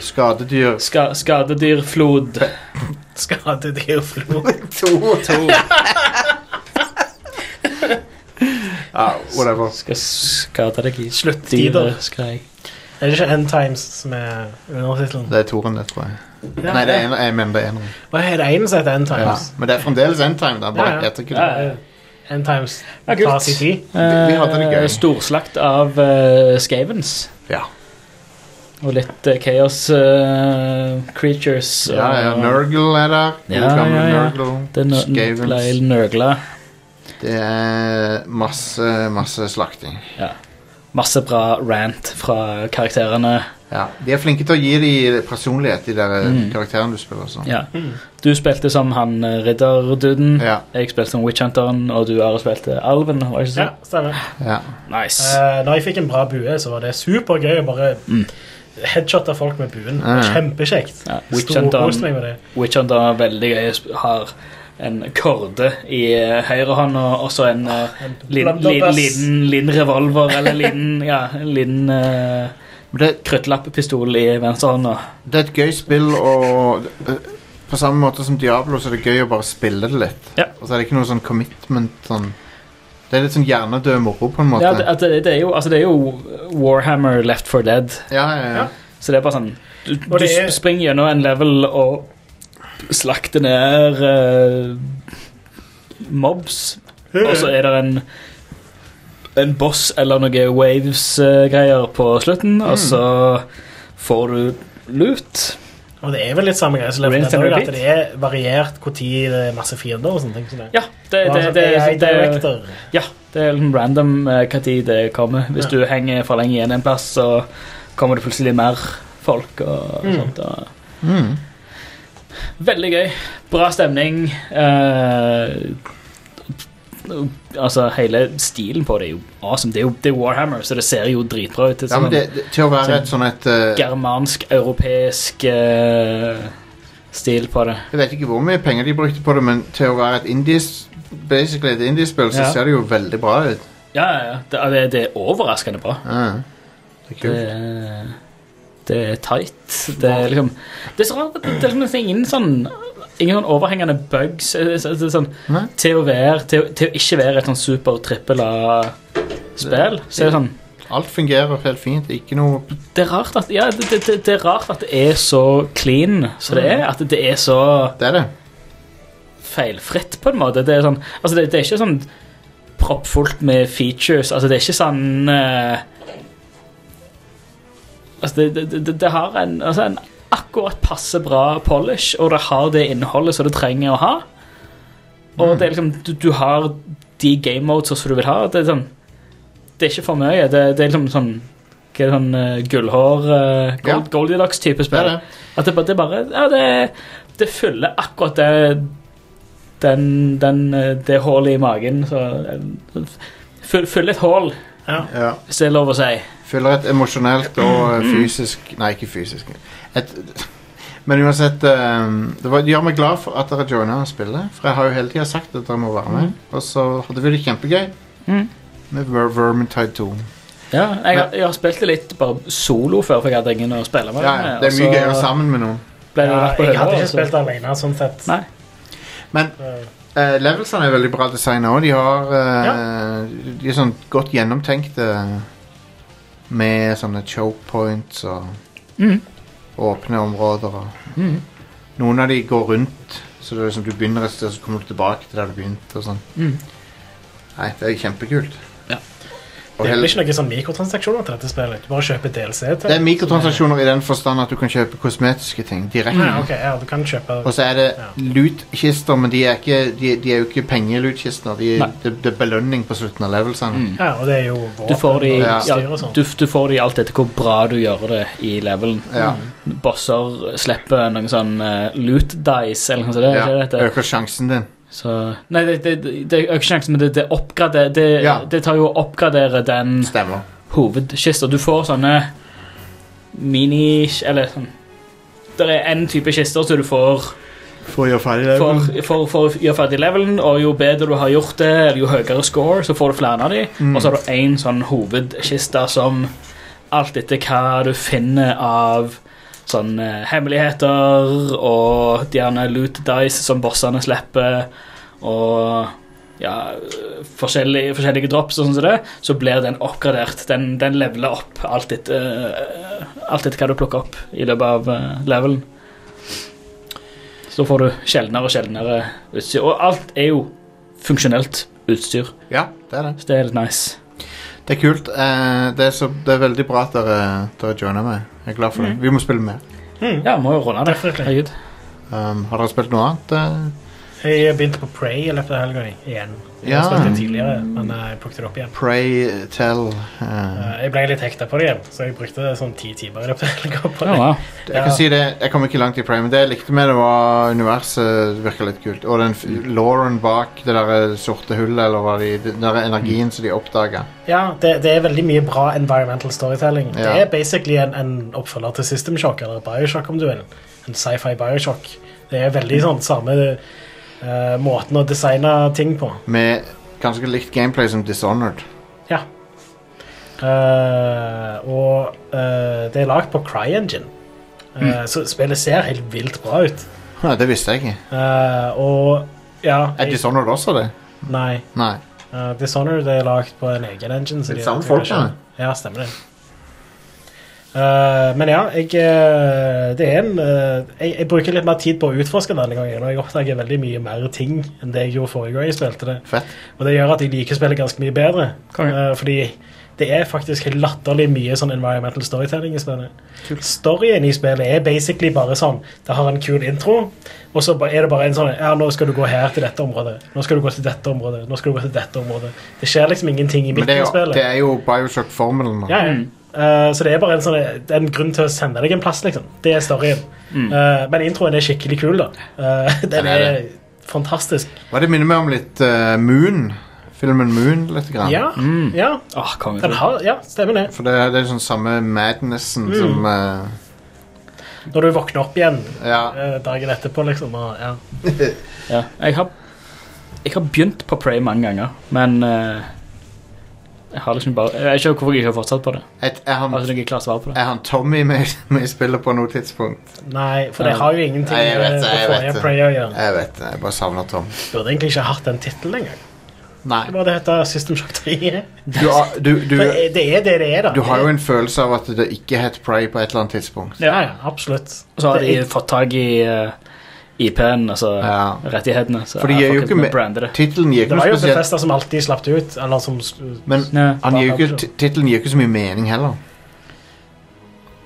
Speaker 1: Skadedyr
Speaker 3: Ska skadedyrflod.
Speaker 2: Skadedyr flo.
Speaker 1: 2 Ja, whatever
Speaker 3: Skal skade deg i
Speaker 2: Sluttider.
Speaker 3: dyret, skal jeg.
Speaker 2: Er det ikke End Times som er undertittelen?
Speaker 1: Det er toren det, tror jeg Nei, det er en, jeg mener det er en
Speaker 2: Hva er det ene som heter End
Speaker 1: ja.
Speaker 2: Times?
Speaker 1: Men det er fremdeles en time, det er bare
Speaker 2: Ja, ja.
Speaker 1: heter ikke
Speaker 3: Ja,
Speaker 1: det
Speaker 3: ja.
Speaker 2: End Times
Speaker 3: Ja, kult.
Speaker 2: tar sin tid.
Speaker 1: Vi- vi hadde det gøy.
Speaker 3: Eh, Storslakt av eh, Skavens.
Speaker 1: Ja,
Speaker 3: Og litt eh, Chaos eh, Creatures.
Speaker 1: ja, ja
Speaker 3: og-
Speaker 1: Nurgle er der
Speaker 3: Ja,
Speaker 1: God gamle
Speaker 3: ja, ja. Det er
Speaker 1: Nurgle
Speaker 3: nø- ble
Speaker 1: Skavens
Speaker 3: nøgla.
Speaker 1: Det er masse, masse slakting
Speaker 3: Masse bra rant fra karakterene.
Speaker 1: Ja, De er flinke til å gi dem personlighet, de der mm. karakterene du spiller. Så.
Speaker 3: Ja. Du spilte som han eh, ridderduden.
Speaker 1: Hmm. Ja,
Speaker 3: Jeg spilte som Witch Hunteren, og du Are spilte Alven. Var det ikke
Speaker 2: Ja,
Speaker 3: sånn?
Speaker 2: stemmer.
Speaker 1: ja. Eh,
Speaker 3: Nice.
Speaker 2: Uh, når jeg fikk en bra bue, så var det supergøy å bare headshotte folk med buen.
Speaker 1: Mm. Ja, ja.
Speaker 2: Kjempekjekt.
Speaker 3: Ja, Witch
Speaker 2: Storkoste meg
Speaker 3: Hunteren
Speaker 2: med det.
Speaker 3: Witch Hunter er veldig gøy. sp- Har en korde i eh, høyre hånd og også en eh, liten- liten
Speaker 2: blunderbuss.
Speaker 3: liten- liten revolver eller liten Ja, en liten eh,
Speaker 1: Men det,
Speaker 3: krøttlappepistol i venstre hånd. og-
Speaker 1: det er et gøy spill, og eh, på samme måte som Diablo så er det gøy å bare spille det litt.
Speaker 3: Ja.
Speaker 1: Og så er det ikke noe sånn commitment sånn Det er litt sånn hjernedød moro, på en måte.
Speaker 3: Ja, det, at det, det, er jo, altså, det er jo Warhammer Left for Dead.
Speaker 1: ja, ja, ja.
Speaker 3: Så det er bare sånn Du,
Speaker 2: Og
Speaker 3: du
Speaker 2: det er-
Speaker 3: sp- springer gjennom en level og slakter ned eh, mobs, og så er det en en boss eller noe waves-greier på slutten, og
Speaker 2: Hmm.
Speaker 3: så får du loot.
Speaker 2: Og det er vel litt samme greie som
Speaker 3: Rinse
Speaker 2: Left
Speaker 3: and
Speaker 2: Dead, også,
Speaker 3: repeat.
Speaker 2: at det er variert hvor tid det er masse fiender og sånne ting. som det.
Speaker 3: Ja, det, det,
Speaker 2: Altså,
Speaker 3: det,
Speaker 2: AI
Speaker 3: det, det,
Speaker 2: director.
Speaker 3: ja, det er litt random når det kommer. Hvis
Speaker 2: Ja.
Speaker 3: du henger for lenge igjen en plass, så kommer det plutselig mer folk. og, og
Speaker 2: Mm.
Speaker 3: sånt. Og,
Speaker 1: Mm.
Speaker 3: Veldig gøy. Bra stemning. eh, altså, hele stilen på det er jo awesome. Det er jo det er Warhammer, så det ser jo dritbra ut. Det er
Speaker 1: ja men
Speaker 3: sånn
Speaker 1: det, det, til å være
Speaker 3: sånn
Speaker 1: et sånn et eh,
Speaker 3: Germansk-europeisk eh, stil på det.
Speaker 1: Jeg vet ikke hvor mye penger de brukte på det, men til å være et indies Basically et indiespill, så
Speaker 3: Ja.
Speaker 1: ser det jo veldig bra ut.
Speaker 3: Ja, ja, ja. Det, altså, det, det er overraskende bra.
Speaker 1: Ja, det er
Speaker 3: Det
Speaker 1: kult.
Speaker 3: er, det er tight. Det er liksom Det er så rart at det, det er liksom ingen sånn Ingen sånn overhengende bugs. eh, så- så- Sånn,
Speaker 1: Nei.
Speaker 3: til å være Til, til å ikke være et sånn super trippel A-spill. Så er det sånn
Speaker 1: Alt fungerer helt fint. Ikke noe
Speaker 3: Det er rart at Ja, det, det, det er rart at det er så clean som det er. At det er så
Speaker 1: Det er det.
Speaker 3: feilfritt, på en måte. Det er, sånn, altså det, det er ikke sånn proppfullt med features. Altså, det er ikke sånn eh, Altså, det, det, det, det har en, altså en akkurat passe bra polish, og det har det innholdet som det trenger å ha. Og
Speaker 1: Mm.
Speaker 3: det er liksom Du, du har de game modes som du vil ha. Det er sånn Det er ikke for mye. Det, det er liksom sånn hva er det, sånn eh, gullhår eh,
Speaker 1: Ja.
Speaker 3: gold, Goldilocks-type
Speaker 1: Det er
Speaker 3: spill.
Speaker 1: det.
Speaker 3: At det, bare- det bare Ja, det, det fyller akkurat det den, den, eh, Det hullet i magen. Så eh, fyll- Fyller et hull,
Speaker 1: Ja.
Speaker 3: hvis det er lov å si.
Speaker 1: Fyller et emosjonelt og eh, fysisk Nei, ikke fysisk. Et, men uansett eh, Det var, det gjør meg glad for at dere joina spillet. For jeg har jo hele tida sagt at dere må være med. Og så hadde vi det kjempegøy
Speaker 3: Mhm.
Speaker 1: med Ver Vermintide 2.
Speaker 3: Ja, jeg, har- jeg har spilt det litt bare solo før, for jeg hadde ingen å spille med.
Speaker 1: Ja, ja, det Altså- er mye gøyere sammen med noen.
Speaker 3: Ble det
Speaker 2: Ja,
Speaker 3: lagt på altså.
Speaker 2: jeg
Speaker 3: hylla,
Speaker 2: hadde ikke
Speaker 3: og så-
Speaker 2: spilt det alene, sånn sett.
Speaker 3: Nei.
Speaker 1: Men
Speaker 2: Eh,
Speaker 1: eh, levelsene er veldig bra designa òg. De har eh, De er sånn godt gjennomtenkte med sånne choke points og
Speaker 2: Mm.
Speaker 3: Mhm.
Speaker 1: åpne områder og
Speaker 3: Mhm.
Speaker 1: Noen av de går rundt, så det er liksom du begynner et sted, så kommer du tilbake til der du begynte. og sånn.
Speaker 3: Mm.
Speaker 1: Nei, det er kjempekult.
Speaker 3: Ja.
Speaker 1: Og
Speaker 2: Det er
Speaker 1: hele,
Speaker 2: vel ikke noen sånn mikrotransaksjoner til dette spillet? Du bare kjøper DLC til
Speaker 1: det er mikrotransaksjoner i den forstand at du kan kjøpe kosmetiske
Speaker 2: Mm.
Speaker 1: ting direkte.
Speaker 2: Ja, ok, ja, du kan kjøpe
Speaker 1: Og så er det
Speaker 2: Ja.
Speaker 1: loot-kister, men de er, ikke, de, de er jo ikke pengeloot-kister. De,
Speaker 3: Nei.
Speaker 1: det, det er belønning på slutten av levelsene.
Speaker 3: Mm.
Speaker 2: Ja, og det er jo våpen
Speaker 3: Du får det i-
Speaker 2: og
Speaker 1: Ja.
Speaker 2: utstyr og sånn.
Speaker 3: Du, du får det i alt etter hvor bra du gjør det i levelen.
Speaker 1: Ja,
Speaker 3: Bosser slipper noen sånn eh, loot dice eller noe sånt. Det, er
Speaker 1: ja.
Speaker 3: ikke det det heter?
Speaker 1: Øker sjansen din.
Speaker 3: Så, nei, det, det, det er jo ikke sjansen, men det, det, oppgrader, det,
Speaker 1: Ja.
Speaker 3: det tar jo å oppgradere den
Speaker 1: Stemmer.
Speaker 3: hovedkista. Du får sånne mini... Eller sånn... Det er en type kister som du får
Speaker 1: For å gjøre ferdig
Speaker 3: for, for, for å gjøre ferdig levelen, og jo bedre du har gjort det, eller jo høyere score, så får du flere av de.
Speaker 1: Mm.
Speaker 3: Og så har du en sånn hovedkiste som alt etter hva du finner av sånn eh, hemmeligheter og gjerne loot dice som bossene slipper, og ja, forskjellige, forskjellige drops og sånn som det, så blir den oppgradert. Den, den leveler opp alt etter, eh, alt etter hva du plukker opp i løpet av eh, levelen. Så da får du sjeldnere og sjeldnere utstyr. Og alt er jo funksjonelt utstyr,
Speaker 1: Mm. Ja, det er det.
Speaker 3: så det er litt nice.
Speaker 1: Det er kult. Eh, det, er så, det er veldig bra at dere, dere joiner meg. Jeg er glad for det.
Speaker 3: Mm.
Speaker 1: Vi må spille mer.
Speaker 3: Ja, må jo runde det. Herregud.
Speaker 1: Um, har dere spilt noe annet? eh?
Speaker 2: Jeg begynte på Prey i løpet av helga jeg, igjen. Jeg
Speaker 1: Ja.
Speaker 2: har spilt det tidligere, men eh, jeg plukket det opp igjen.
Speaker 1: Pray Tell. eh,
Speaker 2: Eh, Jeg ble litt hekta på det igjen, så jeg brukte sånn ti timer i løpet av helga på det.
Speaker 3: Ja, wow.
Speaker 1: Jeg kan si det, jeg kom ikke langt i Prey, men det jeg likte med det, var universet virka litt kult. Og den f- Lauren bak det der eh, sorte hullet, eller hva de Den der energien som de oppdaga.
Speaker 2: Ja, det, det er veldig mye bra environmental storytelling. Det
Speaker 1: Ja.
Speaker 2: er basically en, en oppfølger til System Shock, eller Bioshock om du vil. En sci-fi Bioshock. Det er veldig sånn samme eh, måten å designe ting på.
Speaker 1: Med ganske likt gameplay som Dishonored.
Speaker 2: Ja. Eh, og eh, det er lagd på CryEngine, Eh,
Speaker 1: Mm.
Speaker 2: så spillet ser helt vilt bra ut.
Speaker 1: Ja, det visste jeg ikke.
Speaker 2: Eh, og ja
Speaker 1: Er Dishonored også det?
Speaker 2: jeg- Nei.
Speaker 1: Nei.
Speaker 2: Uh, Dishonored er lagd på en egen engine. så
Speaker 1: Det er
Speaker 2: de-
Speaker 1: samme
Speaker 2: de-
Speaker 1: folk, da.
Speaker 2: Ja, stemmer det. Eh, men ja, jeg eh, Det er en eh, jeg, jeg bruker litt mer tid på å utforske denne gangen, og jeg oppdager veldig mye mer ting enn det jeg gjorde forrige gang jeg spilte det.
Speaker 1: Fett.
Speaker 2: Og det gjør at jeg liker spillet ganske mye bedre.
Speaker 3: Konge.
Speaker 2: Eh, fordi det er faktisk helt latterlig mye sånn environmental storytelling i spillet. Storyen i spillet er basically bare sånn Det har en kul intro, og så ba- er det bare en sånn Ja, nå skal du gå her til dette området. Nå skal du gå til dette området. Nå skal du gå til dette området. Det skjer liksom ingenting i
Speaker 1: Men
Speaker 2: midten
Speaker 1: det er
Speaker 2: av
Speaker 1: jo,
Speaker 2: spillet.
Speaker 1: det er Mm. jo Bioshock-formelen. da.
Speaker 2: Ja, ja. Eh, så det er bare en, sånn, det er en grunn til å sende deg en plass, liksom. Det er storyen. Eh, men introen er skikkelig kul, da. Eh, den
Speaker 1: Den er
Speaker 2: er
Speaker 1: Mm. det.
Speaker 2: fantastisk.
Speaker 1: Hva det minner meg om litt eh, Moon. Filmen Moon, litt. Grann.
Speaker 2: Ja,
Speaker 1: Mm.
Speaker 2: ja.
Speaker 3: Åh, Ah, konge.
Speaker 2: Den har, ja, stemmer det.
Speaker 1: For det, det er sånn samme madnessen som eh,
Speaker 2: Når du våkner opp igjen
Speaker 1: Ja.
Speaker 2: eh, dagen etterpå, liksom. Og, ja.
Speaker 3: Ja. Jeg, har, jeg har begynt på Prey mange ganger, men eh, Jeg har liksom bare, jeg skjønner hvorfor jeg ikke har fortsatt på det.
Speaker 1: Et, er, han,
Speaker 3: Altså, noe klart svar på det.
Speaker 1: er han Tommy med, med i spillet på noe tidspunkt?
Speaker 2: Nei, for det har jo ingenting
Speaker 1: Nei, jeg vet
Speaker 2: med
Speaker 1: det, jeg
Speaker 2: det
Speaker 1: vet
Speaker 2: forrige
Speaker 1: det.
Speaker 2: Prey å gjøre.
Speaker 1: Jeg vet det. Jeg bare savner Tom.
Speaker 2: Burde egentlig ikke hatt den tittelen engang.
Speaker 1: Nei.
Speaker 2: Det burde hete System Shock 3.
Speaker 1: Du, har- du, du,
Speaker 2: For det er det det er, da.
Speaker 1: du har jo en følelse av at det ikke het Prey på et eller annet tidspunkt.
Speaker 2: Ja, ja, absolutt.
Speaker 3: Og så har de
Speaker 2: Det er-
Speaker 3: fått tak i eh, IP-en, altså
Speaker 1: Ja.
Speaker 3: rettighetene. Så
Speaker 1: For de gir jo ikke med-
Speaker 3: brander det.
Speaker 1: Tittelen gir
Speaker 2: Det
Speaker 1: ikke
Speaker 2: var
Speaker 1: noe
Speaker 2: jo
Speaker 1: spesielt.
Speaker 2: Bethesda som alltid slapp det ut. Eller som
Speaker 1: Men
Speaker 3: Nei.
Speaker 1: han gir jo ikke, ti- tittelen gir jo ikke så mye mening heller.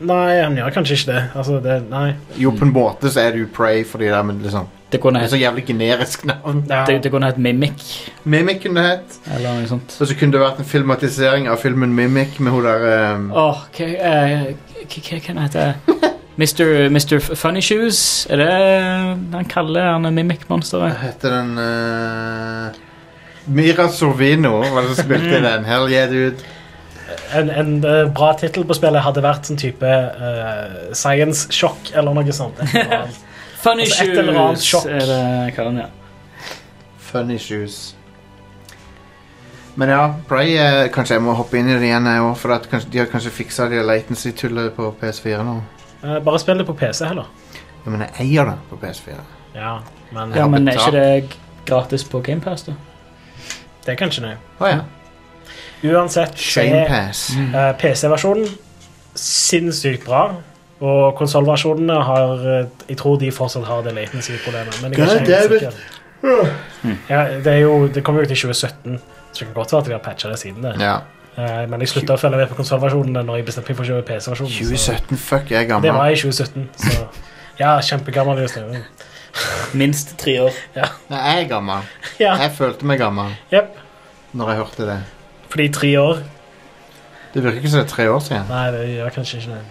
Speaker 2: Nei, han gjør kanskje ikke det. Altså, det Nei.
Speaker 1: Jo,
Speaker 2: Mm.
Speaker 1: på en måte så er det jo Prey fordi det er men liksom
Speaker 3: Det kunne
Speaker 1: Det er
Speaker 3: hett
Speaker 1: så jævlig generisk navn.
Speaker 2: Ja.
Speaker 3: det, det kunne hett Mimic
Speaker 1: Mimic kunne det hett.
Speaker 3: eller noe sånt.
Speaker 1: Og så kunne det vært en filmatisering av filmen Mimic med hun der ehm,
Speaker 3: Åh, hva eh, hva- hva- hva heter det? Mr. Mr. F- Funny Shoes? Er det han kaller han
Speaker 1: Hva
Speaker 3: Mimic-monsteret?
Speaker 1: heter den eh, Mira Sorvino var det som spilte i den. Hell yeah, dude.
Speaker 2: En, en eh, bra tittel på spillet hadde vært sånn type eh, Science Shock eller noe sånt. Et eller annet.
Speaker 3: Funny
Speaker 2: Altså, et eller annet
Speaker 3: Shoes
Speaker 2: sjokk.
Speaker 3: er det karen, ja.
Speaker 1: Funny shoes. Men ja, Prey eh, Kanskje jeg må hoppe inn i det igjen, jeg òg. For at kanskje, de har kanskje fiksa det latency-tullet på PS4 nå.
Speaker 2: Eh, bare spill det på PC heller.
Speaker 1: Ja, men jeg eier det på PS4.
Speaker 2: Ja, men
Speaker 3: ja. Men er
Speaker 1: betalt.
Speaker 3: ikke det gratis på GamePass, da?
Speaker 2: det kan ikke noe.
Speaker 1: Å ja.
Speaker 2: Uansett, Mm. se
Speaker 1: Shane Pass.
Speaker 2: eh, PC-versjonen sinnssykt bra. Og konsollversjonene har eh, Jeg tror de fortsatt har det latency-problemet. Men jeg er
Speaker 1: God
Speaker 2: ikke helt
Speaker 1: damn
Speaker 2: sikker. Ja, det, er jo, det kom jo til 2017, så det kan godt være at de har patcha det siden det.
Speaker 1: Ja.
Speaker 2: Eh, men jeg slutta å følge med på konsollversjonene når jeg bestemte meg for å kjøpe PC-versjonen. så-
Speaker 1: 2017, fuck, jeg er
Speaker 2: Det var
Speaker 1: gammel.
Speaker 2: i 2017, så Ja, kjempegammel. i snøen.
Speaker 3: Minst tre år.
Speaker 1: Nei, jeg er gammel.
Speaker 2: Ja,
Speaker 1: Jeg følte meg gammel
Speaker 2: jep.
Speaker 1: når jeg hørte det.
Speaker 2: Fordi tre år
Speaker 1: Det virker ikke som det er tre år siden.
Speaker 2: Nei, det gjør kanskje ikke det.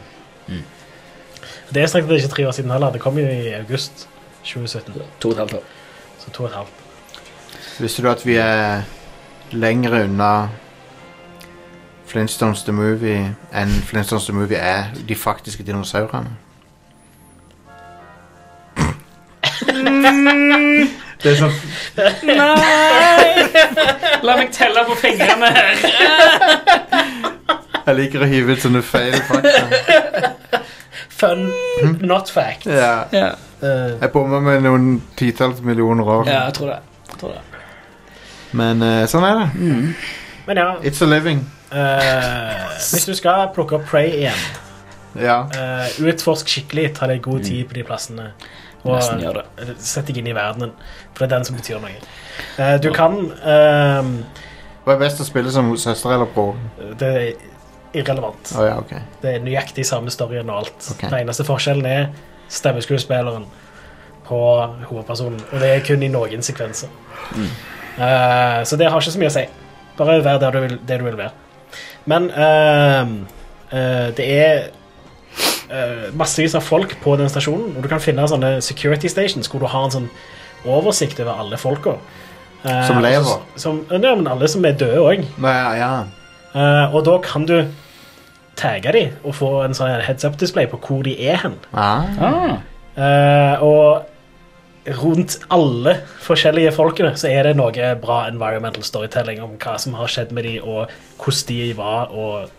Speaker 2: Det er strengt tatt ikke tre år siden heller. Det kom jo i august 2017.
Speaker 3: To og et halvt år.
Speaker 2: Så to og et halvt.
Speaker 1: Visste du at vi er lengre unna Flintstones The Movie enn Flintstones The Movie er de faktiske dinosaurene? Det er sånn
Speaker 3: La meg telle på fingrene her.
Speaker 1: Jeg liker å hive ut sånne feil fakta.
Speaker 2: Fun, not fact.
Speaker 1: Ja.
Speaker 3: Ja,
Speaker 2: Eh,
Speaker 1: Jeg bommer med noen titalls millioner år.
Speaker 3: ja jeg tror det. Jeg tror det.
Speaker 1: Men eh, sånn er det.
Speaker 3: Mm.
Speaker 2: men ja,
Speaker 1: It's a living.
Speaker 2: eh, hvis du skal plukke opp Prey igjen,
Speaker 1: Ja.
Speaker 2: eh, utforsk skikkelig. Ta deg god tid på de plassene.
Speaker 3: Nesten gjør det.
Speaker 2: eh, sett deg inn i verdenen, for det er den som betyr noe. Eh, du kan eh,
Speaker 1: Hva er best å spille som søster eller bror?
Speaker 2: Det er irrelevant.
Speaker 1: Å ja, ok.
Speaker 2: Det er nøyaktig samme storyen og alt.
Speaker 1: Ok.
Speaker 2: Den eneste forskjellen er stemmeskuespilleren på hovedpersonen. Og det er kun i noen sekvenser.
Speaker 1: Mm.
Speaker 2: Eh, så det har ikke så mye å si. Bare vær der du vil, det du vil være. Men eh, eh, det er uh, massevis av folk på den stasjonen, og du kan finne sånne security stations hvor du har en sånn oversikt over alle folka. Eh,
Speaker 1: Som lever.
Speaker 2: Som, ja, men alle som er døde òg.
Speaker 1: Nei, ja.
Speaker 2: Eh, og da kan du tagge dem og få en sånn her heads-up-display på hvor de er hen.
Speaker 1: Ah.
Speaker 3: Ah,
Speaker 2: Eh, og rundt alle forskjellige folkene så er det noe bra environmental storytelling om hva som har skjedd med dem, og hvordan de var, og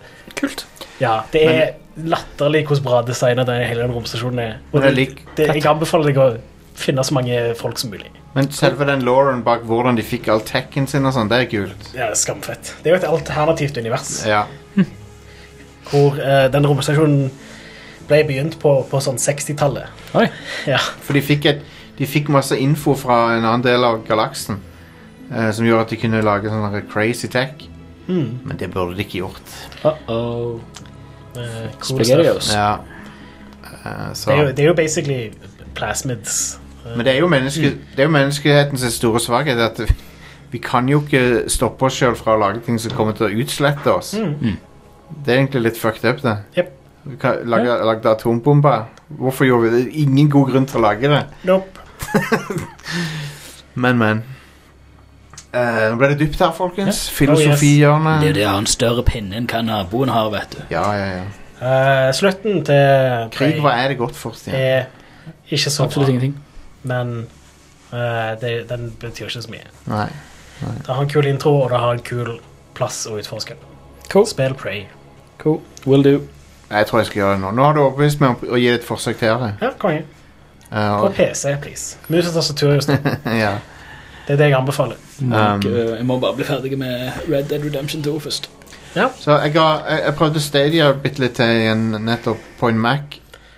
Speaker 3: kult.
Speaker 2: Ja, det er latterlig hvordan bra designet den hele den romstasjonen er. Og
Speaker 1: Men jeg
Speaker 2: det,
Speaker 1: lik-
Speaker 2: det, jeg anbefaler deg å finne så mange folk som mulig.
Speaker 1: Men selve den lauren bak hvordan de fikk all tekken sin og sånn, det er kult.
Speaker 2: Ja, Skamfett. Det er jo et alternativt univers.
Speaker 1: Ja.
Speaker 2: hvor eh, den romstasjonen ble begynt på, på sånn 60-tallet.
Speaker 3: Oi.
Speaker 2: Ja.
Speaker 1: For de fikk, et, de fikk masse info fra en annen del av galaksen eh, som gjorde at de kunne lage sånn her crazy tech.
Speaker 2: Mm.
Speaker 1: Men det burde de ikke gjort.
Speaker 3: Uh -oh.
Speaker 2: eh, cool stuff.
Speaker 3: Spaghettios.
Speaker 1: Ja. Eh, så.
Speaker 2: Det er, jo, det er jo basically plasmids. eh,
Speaker 1: Men det er jo, menneske, det er jo menneskehetens store svakhet at vi, vi kan jo ikke stoppe oss sjøl fra å lage ting som kommer til å utslette oss. Det er egentlig litt fucked up, det.
Speaker 2: Mm. Jep.
Speaker 1: Vi kan- Lagde, lagde atombomber. Hvorfor gjorde vi det? Ingen god grunn til å lage det.
Speaker 2: Nope.
Speaker 1: Men, men. Eh, Nå ble det dypt her, folkens. Filosofihjørnet.
Speaker 3: Det er jo det han større pinnen kan naboen har, vet du.
Speaker 1: Ja, ja, ja.
Speaker 2: Eh, slutten til
Speaker 1: Krig,
Speaker 2: Prey
Speaker 1: hva er det godt for? Stian?
Speaker 2: er ikke så
Speaker 3: Absolutt
Speaker 2: bra,
Speaker 3: ingenting.
Speaker 2: men eh, det, den betyr ikke så mye.
Speaker 1: Nei.
Speaker 2: Det har en kul intro, og det har en kul plass å utforske.
Speaker 3: Cool.
Speaker 2: Spill Prey.
Speaker 3: cool. Will do.
Speaker 1: Jeg tror jeg skal gjøre det nå. Nå har du overbevist meg om å gi det et forsøk til. Her.
Speaker 2: Ja, konge.
Speaker 1: Eh,
Speaker 2: På
Speaker 1: og-
Speaker 2: PC, please. Mus og tastatur, just det.
Speaker 1: ja.
Speaker 2: Det er det jeg anbefaler.
Speaker 1: Um,
Speaker 3: Eh, Jeg må bare bli ferdig med Red Dead Redemption 2 først.
Speaker 1: så jeg, ga, jeg, jeg prøvde Stadia bitte litt til igjen nettopp på en Mac,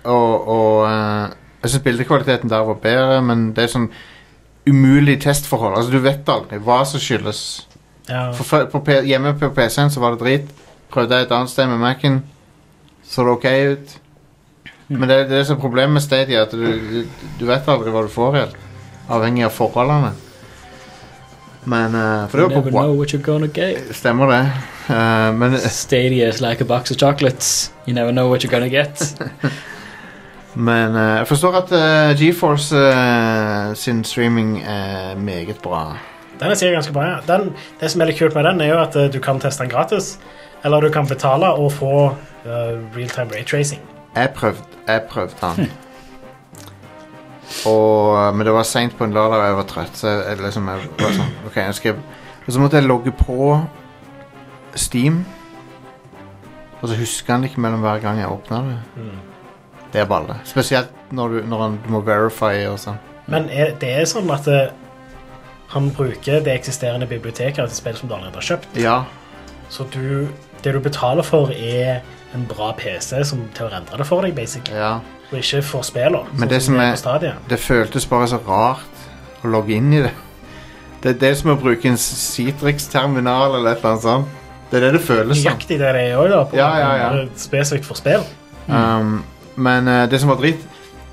Speaker 1: og, og eh, jeg syns bildekvaliteten der var bedre, men det er sånn umulig testforhold. Altså, du vet aldri hva som skyldes
Speaker 2: Ja.
Speaker 1: For før- på P hjemme på PC-en så var det drit. Prøvde jeg et annet sted med Mac-en, så det ok ut. Men det, det er så problemet med Stadia, at du, du, du vet aldri hva du får helt. Avhengig av forholdene. Men eh, For det var
Speaker 3: Never
Speaker 1: på Wa-
Speaker 3: know what you're gonna get.
Speaker 1: Stemmer det. Eh, men,
Speaker 3: Stadia is like a box of chocolates. You never know what you're gonna get.
Speaker 1: men eh, jeg forstår at eh, GeForce eh, sin streaming er meget bra.
Speaker 2: Den er sikkert ganske bra, ja. Den, det som er litt kult med den, er jo at eh, du kan teste den gratis. Eller du kan betale og få eh, real-time raytracing.
Speaker 1: Jeg prøvde, jeg prøvde han. Og, eh, men det var seint på en lørdag, og jeg var trøtt. Så jeg, liksom, jeg var sånn, ok, jeg skal... Og så måtte jeg logge på Steam. Og så husker han det ikke mellom hver gang jeg åpna det. Det er balle. Spesielt når du, når han, du må verify og sånn.
Speaker 2: Men er, det er sånn at eh, han bruker det eksisterende biblioteket til spill som du allerede har kjøpt.
Speaker 1: Ja.
Speaker 2: Så du, det du betaler for, er en bra PC som til å rendre det for deg, basic.
Speaker 1: ja.
Speaker 2: Og ikke for spillene.
Speaker 1: Men det som er-
Speaker 2: på Stadia.
Speaker 1: Det føltes bare så rart å logge inn i det. Det, det er som å bruke en Citrix-terminal eller et eller annet sånt. Det er det det føles som.
Speaker 2: Nøyaktig det det er òg, da. På,
Speaker 1: Ja, ja, ja.
Speaker 2: Spesifikt for spill. Mm.
Speaker 1: Um, men eh, det som var dritt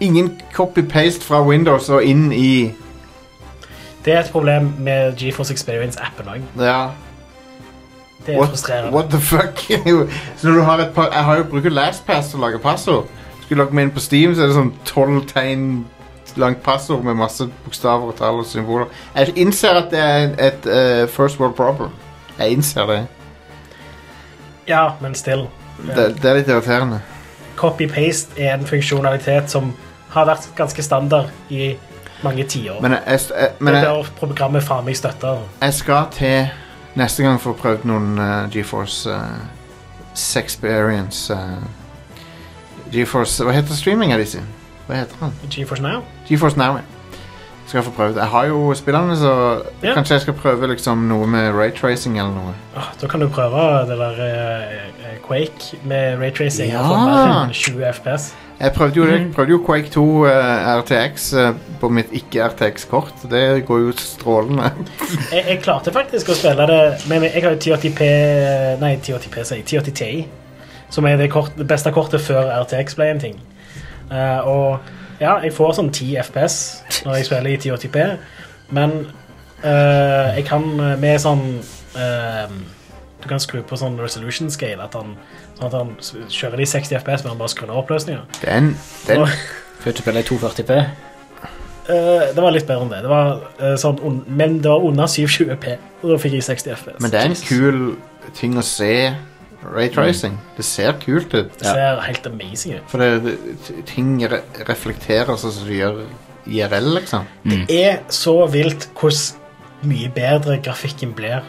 Speaker 1: Ingen copy-paste fra Windows og inn i
Speaker 2: Det er et problem med GeForce Experience-appen òg.
Speaker 1: ja,
Speaker 2: Det er
Speaker 1: what,
Speaker 2: frustrerende.
Speaker 1: what the fuck? så når du har et par Jeg har jo bruker LastPass til å lage passord. Skulle logge meg inn på Steam, så er det sånn tolv tegn langt passord med masse bokstaver og tall og symboler. Jeg innser at det er en- et eh, first world problem. Jeg innser det.
Speaker 2: Ja, men still.
Speaker 1: Det, det er litt irriterende.
Speaker 2: Copy-paste er en funksjonalitet som har vært ganske standard i mange tiår.
Speaker 1: Men jeg, jeg, jeg, men
Speaker 2: Det
Speaker 1: jeg,
Speaker 2: bør programmet faen meg støtte.
Speaker 1: Jeg skal til neste gang få prøvd noen eh, GeForce uh, Sexperience eh, GeForce Hva heter streaminga di sin? Hva heter han?
Speaker 2: GeForce Now.
Speaker 1: GeForce Now. ja. Skal jeg få prøvd. Jeg har jo spillerne, så
Speaker 2: Ja.
Speaker 1: kanskje jeg skal prøve liksom noe med raytracing eller noe.
Speaker 2: Åh, Ah, Da kan du prøve det der eh, eh, Quake med raytracing.
Speaker 1: Ja.
Speaker 2: og få mer enn 20 FPS.
Speaker 1: Jeg prøvde jo, det- prøvde jo Quake 2 eh, RTX eh, på mitt ikke-RTX-kort. Det går jo strålende.
Speaker 2: Jeg, jeg klarte faktisk å spille det Men jeg har jo 1080P Nei, 1080P, sier jeg. 1080 Ti. Som er det, kort, det beste kortet før RTX ble en ting. Eh, og ja, jeg får sånn 10 FPS når jeg spiller i 1080P, men eh, jeg kan eh, med sånn eh, Du kan skru på sånn resolution scale, at han, sånn at han s- kjører de 60 FPS, men han bare skrur ned oppløsninga.
Speaker 1: Det er en, det er en
Speaker 3: Før du spiller i 240p.
Speaker 2: Eh, det var litt bedre enn det. det var, eh, sånn, un- men det var under 720P, og da fikk jeg 60 FPS.
Speaker 1: Men det er en kul ting å se. Raytracing. Det ser kult ut.
Speaker 2: Det ser helt amazing ut.
Speaker 1: For det, det, ting re reflekterer sånn som du gjør IRL, liksom.
Speaker 2: Det er så vilt hvordan mye bedre grafikken blir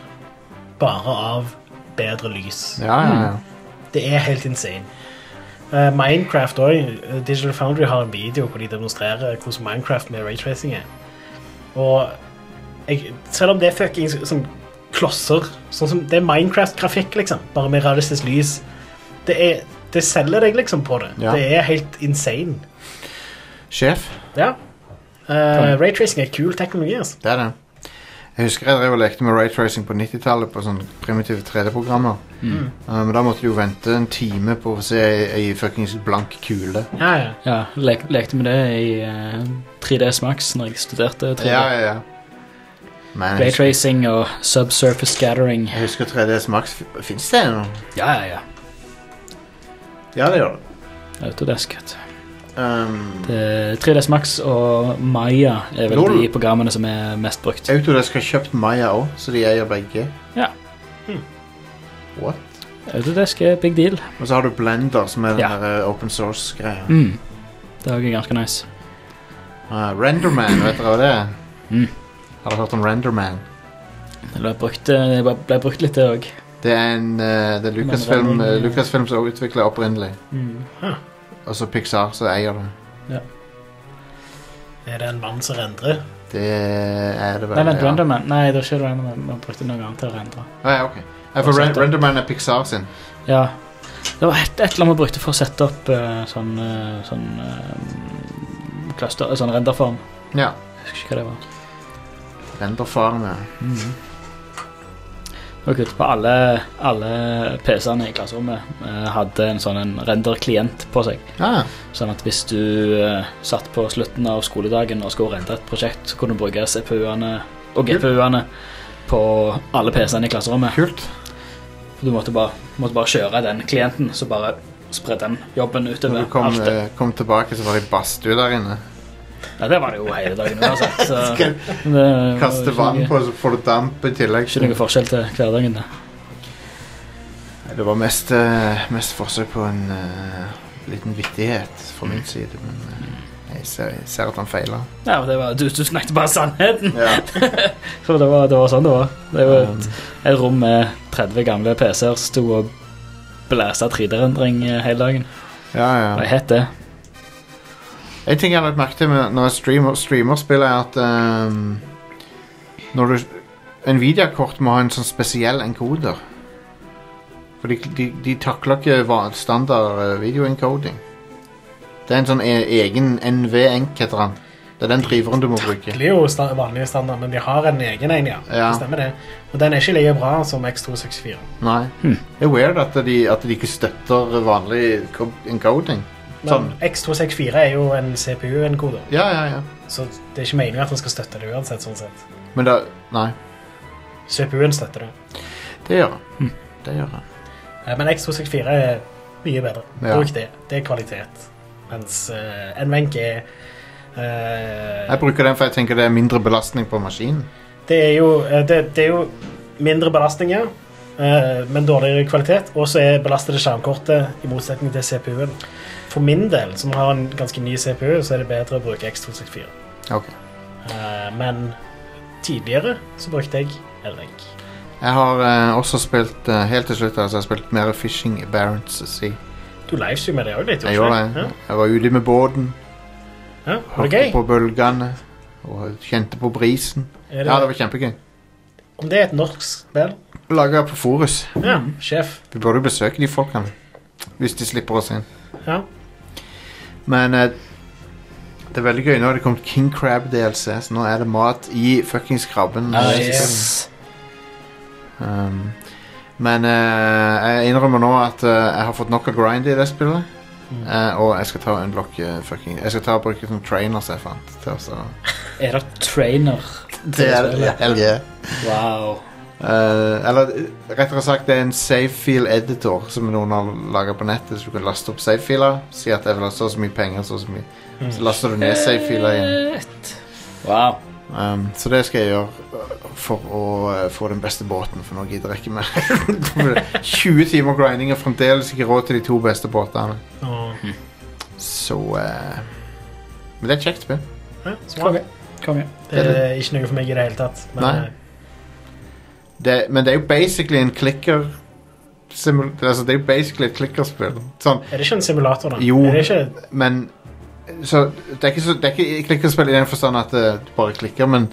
Speaker 2: bare av bedre lys.
Speaker 1: Ja, ja, ja.
Speaker 3: Mm.
Speaker 2: Det er helt insane. Eh, Minecraft òg. Digital Foundry har en video hvor de demonstrerer eh, hvordan Minecraft med raytracing er. Og jeg, selv om det er fuckings sånn klosser sånn som, Det er Minecraft-grafikk, liksom, bare med realistisk lys. Det, er, det selger deg liksom på det.
Speaker 1: Ja.
Speaker 2: Det er helt insane.
Speaker 1: Sjef,
Speaker 2: Ja. Uh, Raytracing er kul teknologi. Altså.
Speaker 1: det er det. Jeg husker jeg drev og lekte med raytracing på 90-tallet på sånne primitive 3D-programmer.
Speaker 3: Mm.
Speaker 1: Uh, men da måtte du jo vente en time på å se ei, ei fuckings blank kule.
Speaker 2: Ja, ja.
Speaker 3: Ja, lek, lekte med det i eh, 3DS Max når jeg studerte. 3D.
Speaker 1: Ja, ja, ja. Men jeg husker,
Speaker 3: Raytracing og subsurface scattering.
Speaker 1: jeg husker 3DS Max. Fins det ennå?
Speaker 3: Ja, ja, ja.
Speaker 1: Ja, det gjør det.
Speaker 3: Autodesk. vet du.
Speaker 1: Um,
Speaker 3: Det- 3DS Max og Maya er vel
Speaker 1: Lol.
Speaker 3: de programmene som er mest brukt.
Speaker 1: Autodesk har kjøpt Maya òg, så de eier begge.
Speaker 3: Ja.
Speaker 1: What?
Speaker 3: Autodesk er big deal.
Speaker 1: Og så har du Blender, som er den
Speaker 3: Ja.
Speaker 1: der uh, open source-greia.
Speaker 3: Mm. Det er også ganske nice.
Speaker 1: Ah, Renderman, vet dere hva det er?
Speaker 3: Mm.
Speaker 1: Har dere hørt om Renderman?
Speaker 3: Det ble eh, brukt, det ble- ble brukt litt, det òg.
Speaker 1: Det er en eh, det er Lucasfilm,
Speaker 3: Men det er noen-
Speaker 1: eh, Lucasfilm som utvikla opprinnelig.
Speaker 3: Mm.
Speaker 1: Og så Pixar som eier det.
Speaker 2: Er det en mann som rendrer?
Speaker 1: Det er det vel.
Speaker 3: Nei, vent,
Speaker 1: ja.
Speaker 3: Renderman. Nei, det var ikke Renderman. Vi brukte noe annet til å rendre.
Speaker 1: Ah, ja, ok. Nei, for
Speaker 3: Og
Speaker 1: Ren
Speaker 3: setter.
Speaker 1: Renderman er Pixar sin.
Speaker 3: Ja. Det var et, et eller annet vi brukte for å sette opp eh, sånn, eh, sånn eh, cluster, eh, sånn renderform.
Speaker 1: Ja.
Speaker 3: Jeg husker ikke hva det var.
Speaker 1: Renderfarm, ja.
Speaker 3: Det var kult. På alle, alle PC-ene i klasserommet eh, hadde en sånn en render-klient på seg.
Speaker 1: Ah,
Speaker 3: Sånn at hvis du eh, satt på slutten av skoledagen og skulle rende et prosjekt, så kunne du bruke CPU-ene og GPU-ene på alle PC-ene i klasserommet.
Speaker 1: kult.
Speaker 3: For Du måtte bare, måtte bare kjøre den klienten, så bare spre den jobben
Speaker 1: Når
Speaker 3: utover.
Speaker 1: du kom,
Speaker 3: alt det.
Speaker 1: eh, kom tilbake, så var det badstue der inne.
Speaker 3: Nei, det var det jo hele dagen uansett. Så
Speaker 1: Skal
Speaker 3: det var
Speaker 1: Kaste
Speaker 3: ikke
Speaker 1: vann
Speaker 3: noe-
Speaker 1: på, så får du damp i tillegg.
Speaker 3: Ikke noe forskjell til hverdagen. det.
Speaker 1: Nei, Det var mest, eh, mest forsøk på en eh, liten vittighet fra min side, men eh, jeg, ser, jeg ser at han feiler.
Speaker 3: Ja, men det var, du, du snakket bare sannheten!
Speaker 1: Ja. Um.
Speaker 3: For det var, det var sånn det var. Det var et, et rom med 30 gamle PC-er sto og blæsta 3D-rendring eh, hele dagen.
Speaker 1: ja,
Speaker 3: Og
Speaker 1: ja.
Speaker 3: jeg het det.
Speaker 1: En ting jeg har lagt merke til med- når jeg streamer, streamer spill, er at ehm, når du Nvidia-kort må ha en sånn spesiell encoder. For de, de, de takler ikke va- standard eh, videoencoding. Det er en sånn e egen NV-enk, heter han. Det er den driveren du må bruke.
Speaker 2: Det er jo sta vanlige standard, men de har en egen en, ja.
Speaker 1: Ja.
Speaker 2: Det stemmer det. Og den er ikke like bra som X264.
Speaker 1: Nei. Det er weird at de, at de ikke støtter vanlig co- encoding.
Speaker 2: Men
Speaker 1: Sånn.
Speaker 2: X264 er jo en CPU-enkoder,
Speaker 1: Ja, ja, ja.
Speaker 2: så det er ikke meningen at den skal støtte det uansett. sånn sett.
Speaker 1: Men da Nei.
Speaker 2: CPU-en støtter det.
Speaker 1: Det gjør han. Det gjør han.
Speaker 2: Eh, Men X264 er mye bedre.
Speaker 1: Ja.
Speaker 2: Bruk det. Det er kvalitet. Mens uh, NVENC er eh,
Speaker 1: Jeg bruker den for jeg tenker det er mindre belastning på maskinen.
Speaker 2: det, er jo, eh, det, det er jo mindre belastninger, eh, men dårligere kvalitet. Og så er- belaster det skjermkortet, i motsetning til CPU-en. For min del, som har en ganske ny CPU, så er det bedre å bruke X264.
Speaker 1: Ok.
Speaker 2: Eh, men tidligere så brukte jeg NVENC.
Speaker 1: Jeg har eh, også spilt eh, Helt til slutt altså, jeg har spilt mer Fishing i Barents Sea.
Speaker 2: Du livestreamer det òg litt?
Speaker 1: Jeg
Speaker 2: ikke
Speaker 1: gjorde det. Jeg var ute med båten,
Speaker 2: Ja? Ja? Var det
Speaker 1: hørte
Speaker 2: gøy?
Speaker 1: på bølgene og kjente på brisen.
Speaker 2: Er
Speaker 1: Ja, det
Speaker 2: det,
Speaker 1: var kjempegøy.
Speaker 2: om det er et norsk spill?
Speaker 1: Laga på Forus.
Speaker 2: Ja, sjef.
Speaker 1: Vi burde jo besøke de folkene hvis de slipper oss inn.
Speaker 2: Ja.
Speaker 1: Men eh, det er veldig gøy. Nå har det kommet King Crab DLC, så nå er det mat i fuckings krabben.
Speaker 3: Nice.
Speaker 1: Um, men eh, jeg innrømmer nå at eh, jeg har fått nok av grind i det spillet. Eh, og jeg skal ta og unlocke fucking Jeg skal ta og bruke sånne trainers jeg fant. Til, å- så.
Speaker 3: Er det trainer?
Speaker 1: Det er,
Speaker 3: spillet.
Speaker 1: hell yeah.
Speaker 3: Wow.
Speaker 1: Eh, eller rettere sagt, det er en savefeel editor som noen har laga på nettet. Så du kan laste opp savefiler. Si at jeg vil ha så og så mye penger, så og så mye. Så laster du ned savefiler igjen.
Speaker 3: Fett. Eh, Wow.
Speaker 1: Um, så det skal jeg gjøre øh, for å eh, få den beste båten, for nå gidder jeg ikke mer. 20 timer grinding og fremdeles ikke råd til de to beste båtene.
Speaker 2: Og,
Speaker 1: Så eh, Men det er et kjekt spill.
Speaker 2: ja så bra.
Speaker 3: Konge. Konge.
Speaker 2: Det er ikke noe for meg i det hele tatt. Men
Speaker 1: Nei.
Speaker 2: eh,
Speaker 1: Det, men det er jo basically en klikker simul- altså, Det er jo basically et klikkerspill. Sånn,
Speaker 2: er det ikke en simulator, da?
Speaker 1: Jo.
Speaker 2: Er det ikke,
Speaker 1: men så det, er ikke så det er ikke klikkerspill i den forstand at eh, du bare klikker, men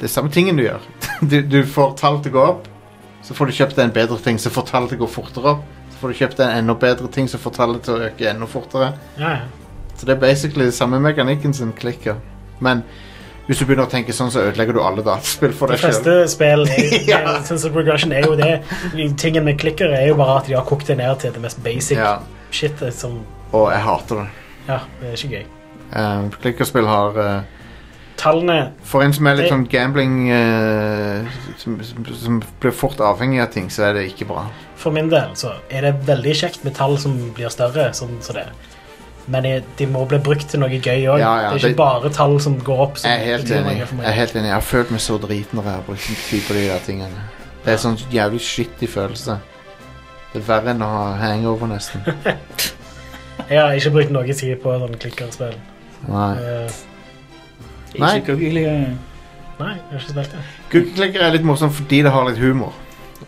Speaker 1: det er samme tingen du gjør. Du, du får tall til å gå opp, så får du kjøpt deg en bedre ting, så får tallet til å gå fortere opp. Så får du kjøpt deg en enda bedre ting, så får tallet til å øke enda fortere.
Speaker 2: ja, ja.
Speaker 1: Så det er basically det samme mekanikken som klikker. Men hvis du begynner å tenke sånn, så ødelegger du alle dataspill for
Speaker 2: De
Speaker 1: deg sjøl.
Speaker 2: fleste spill er-
Speaker 1: Ja.
Speaker 2: er- Sense of Progression er jo det. De Tingen med klikker er jo bare at de har kokt det ned til det mest basic
Speaker 1: Ja,
Speaker 2: shitet som
Speaker 1: og jeg hater det.
Speaker 2: Ja, det er ikke gøy.
Speaker 1: Um, klikkerspill har eh,
Speaker 2: Tallene
Speaker 1: For en som er litt
Speaker 2: Det-
Speaker 1: sånn gambling eh, som, som, som blir fort avhengig av ting, så er det ikke bra.
Speaker 2: For min del så er det veldig kjekt med tall som blir større, sånn som det. Men jeg- de må bli brukt til noe gøy òg.
Speaker 1: Ja, ja,
Speaker 2: det er ikke
Speaker 1: det-
Speaker 2: bare tall som går opp. Som
Speaker 1: Jeg er helt
Speaker 2: betyr
Speaker 1: enig.
Speaker 2: noe for meg.
Speaker 1: Jeg er helt enig Jeg har følt meg så driten når jeg har brukt tid på de der tingene. Det er sånn jævlig skittig følelse. Det er verre enn å ha hangover, nesten.
Speaker 2: Jeg har ikke brukt noe tid på sånn klikkerspill.
Speaker 1: Nei.
Speaker 2: Eh,
Speaker 1: Nei.
Speaker 3: Ikke hyggelig.
Speaker 2: nei, jeg har ikke spilt det.
Speaker 1: Gukkeklikker er litt morsomt fordi det har litt humor.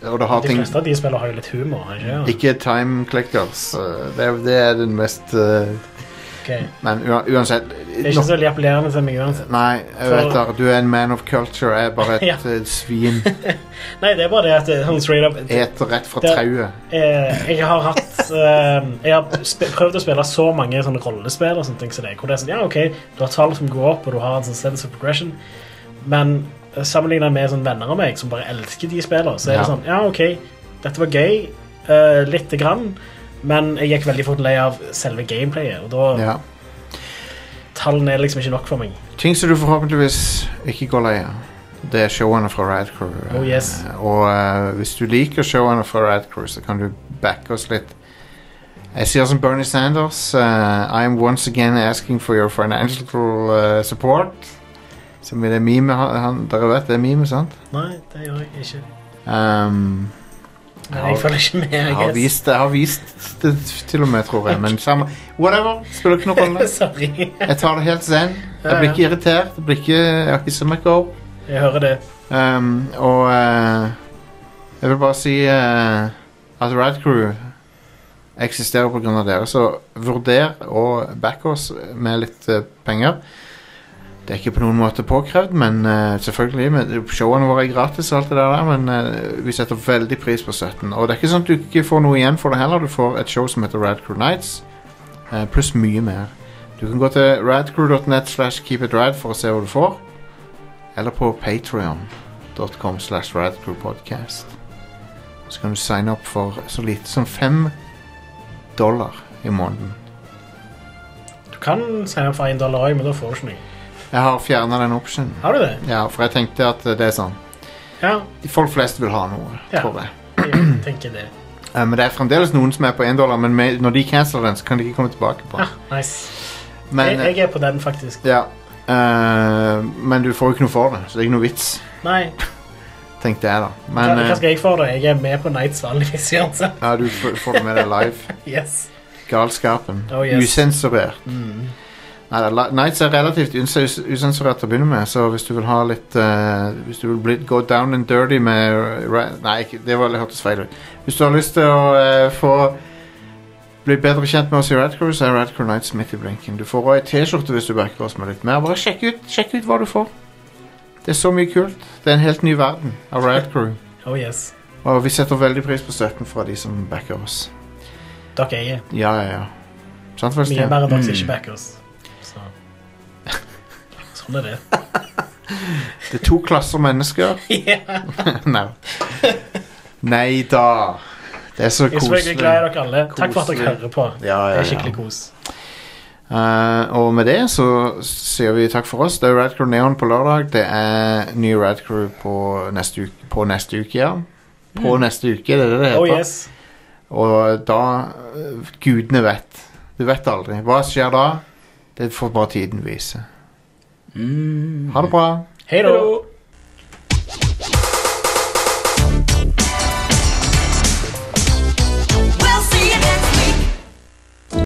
Speaker 1: Og det har
Speaker 2: De
Speaker 1: ting
Speaker 2: fleste av de spillene har jo litt humor. har de Ikke?
Speaker 1: Ikke time clickers. eh, Det er, det er den mest eh,
Speaker 2: Ok.
Speaker 1: Men ua- uansett
Speaker 2: Det er ikke så veldig appellerende til meg uansett.
Speaker 1: Nei, jeg vet
Speaker 2: For-
Speaker 1: det, du er en man of culture. Jeg er bare et
Speaker 2: Ja.
Speaker 1: eh, svin.
Speaker 2: Nei, det er bare det at eh, sånn straight up eh,
Speaker 1: Eter rett fra
Speaker 2: Det-
Speaker 1: trauet.
Speaker 2: Jeg har hatt eh, Jeg har sp prøvd å spille så mange sånne rollespill og sånne ting som det, hvor det er sånn Ja, OK, du har tall som går opp, og du har en sånn sense of progression, men eh, sammenlignet med sånne venner av meg som bare elsker de spillene, så
Speaker 1: Ja.
Speaker 2: er det sånn Ja, OK, dette var gøy, eh, lite grann, men jeg gikk veldig fort lei av selve gameplayet, og da
Speaker 1: Ja.
Speaker 2: Tallene er liksom ikke nok for meg.
Speaker 1: Ting som du forhåpentligvis ikke går lei av. Det er showene fra Rad Crew. eh,
Speaker 2: Oh, yes.
Speaker 1: Og eh, hvis du liker showene fra Rad Crew, så kan du backe oss litt. Jeg sier som Bernie Sanders eh, I am once again asking for your financial eh, support. Som i det meme han, han, Dere vet det er meme, sant?
Speaker 2: Nei, det gjør jeg ikke.
Speaker 1: Um,
Speaker 2: Men jeg følger ikke med.
Speaker 1: jeg har
Speaker 2: Jeg guess.
Speaker 1: vist, jeg har vist det til og med, tror jeg. Men samme Whatever. Spiller ikke noen rolle.
Speaker 2: Sorry.
Speaker 1: Jeg tar det helt zen. Jeg blir ikke irritert. Jeg blir ikke, jeg hisser meg ikke opp.
Speaker 2: Jeg hører det.
Speaker 1: Um, og eh, jeg vil bare si eh, at Rad Crew eksisterer på grunn av dere, så vurder å backe oss med litt eh, penger. Det er ikke på noen måte påkrevd, men eh, selvfølgelig. Men showene våre er gratis, og alt det der, men eh, vi setter veldig pris på støtten. Og det er ikke sånn at du ikke får noe igjen for det heller. Du får et show som heter Rad Crew Nights, eh, pluss mye mer. Du kan gå til radcrew.net slash keepitrad for å se hva du får. Eller på patreon.com slash radcrewpodcast. Så kan du signe opp for så lite som fem dollar i måneden.
Speaker 2: Du kan signe opp for én dollar òg, men da får du ikke noe.
Speaker 1: Jeg har fjerna den optionen.
Speaker 2: Har du det?
Speaker 1: Ja, for jeg tenkte at det er sånn
Speaker 2: Ja,
Speaker 1: De folk flest vil ha noe,
Speaker 2: Ja.
Speaker 1: tror jeg.
Speaker 2: jeg tenker det.
Speaker 1: Eh, Men det er fremdeles noen som er på én dollar, men med, når de canceler den, så kan de ikke komme tilbake på
Speaker 2: Ah,
Speaker 1: den.
Speaker 2: nice.
Speaker 1: Men,
Speaker 2: jeg, jeg er på den, faktisk.
Speaker 1: eh, ja, eh, men du får jo ikke noe for det, så det er ikke noe vits,
Speaker 2: Nei,
Speaker 1: tenkte jeg, da.
Speaker 2: hva,
Speaker 1: Men
Speaker 2: hva
Speaker 1: eh,
Speaker 2: skal jeg få, da? Jeg er med på Nights vanligvis uansett.
Speaker 1: ja, du får får det med deg live.
Speaker 2: Yes.
Speaker 1: Galskapen.
Speaker 2: Oh, yes.
Speaker 1: Usensurert. Neida, la- Nights er relativt uns us usensurert til å begynne med, så hvis du vil ha litt eh, Hvis du vil bli, gå down and dirty med ra Nei, ikke- det var, det hørtes feil ut. Hvis du har lyst til å eh, få bli bedre kjent med oss i Radcrew, så er Radcrew Nights midt i blinken. Du får òg ei T-skjorte hvis du backer oss med litt mer. Bare sjekk ut, sjekk ut hva du får. Det er så mye kult. Det er en helt ny verden av Radcrew.
Speaker 2: Oh yes.
Speaker 1: Og vi setter veldig pris på støtten fra de som backer oss.
Speaker 2: Dere eier
Speaker 1: Ja, ja, ja. Sant,
Speaker 2: mye
Speaker 1: Christian?
Speaker 2: mer enn dere som ikke backer oss. Så. Sånn er det.
Speaker 1: Det er to klasser mennesker. Nei. Nei da. Det er så
Speaker 2: Jeg er selvfølgelig
Speaker 1: koselig.
Speaker 2: glad i dere alle. Takk for at dere
Speaker 1: Koselig.
Speaker 2: hører på.
Speaker 1: Ja,
Speaker 2: Det
Speaker 1: ja,
Speaker 2: er skikkelig
Speaker 1: ja.
Speaker 2: kos.
Speaker 1: Eh, og med det så sier vi takk for oss. Det er Radcrew Neon på lørdag. Det er ny Radcrew på neste uke, på neste uke ja. På neste uke, det er det det
Speaker 2: Mm. Oh
Speaker 1: heter.
Speaker 2: yes.
Speaker 1: Og da eh, Gudene vet. Du vet aldri. Hva skjer
Speaker 3: Mm.
Speaker 1: da? Det får bare tiden vise. Ha det bra.
Speaker 2: Hei da.
Speaker 3: Hallo.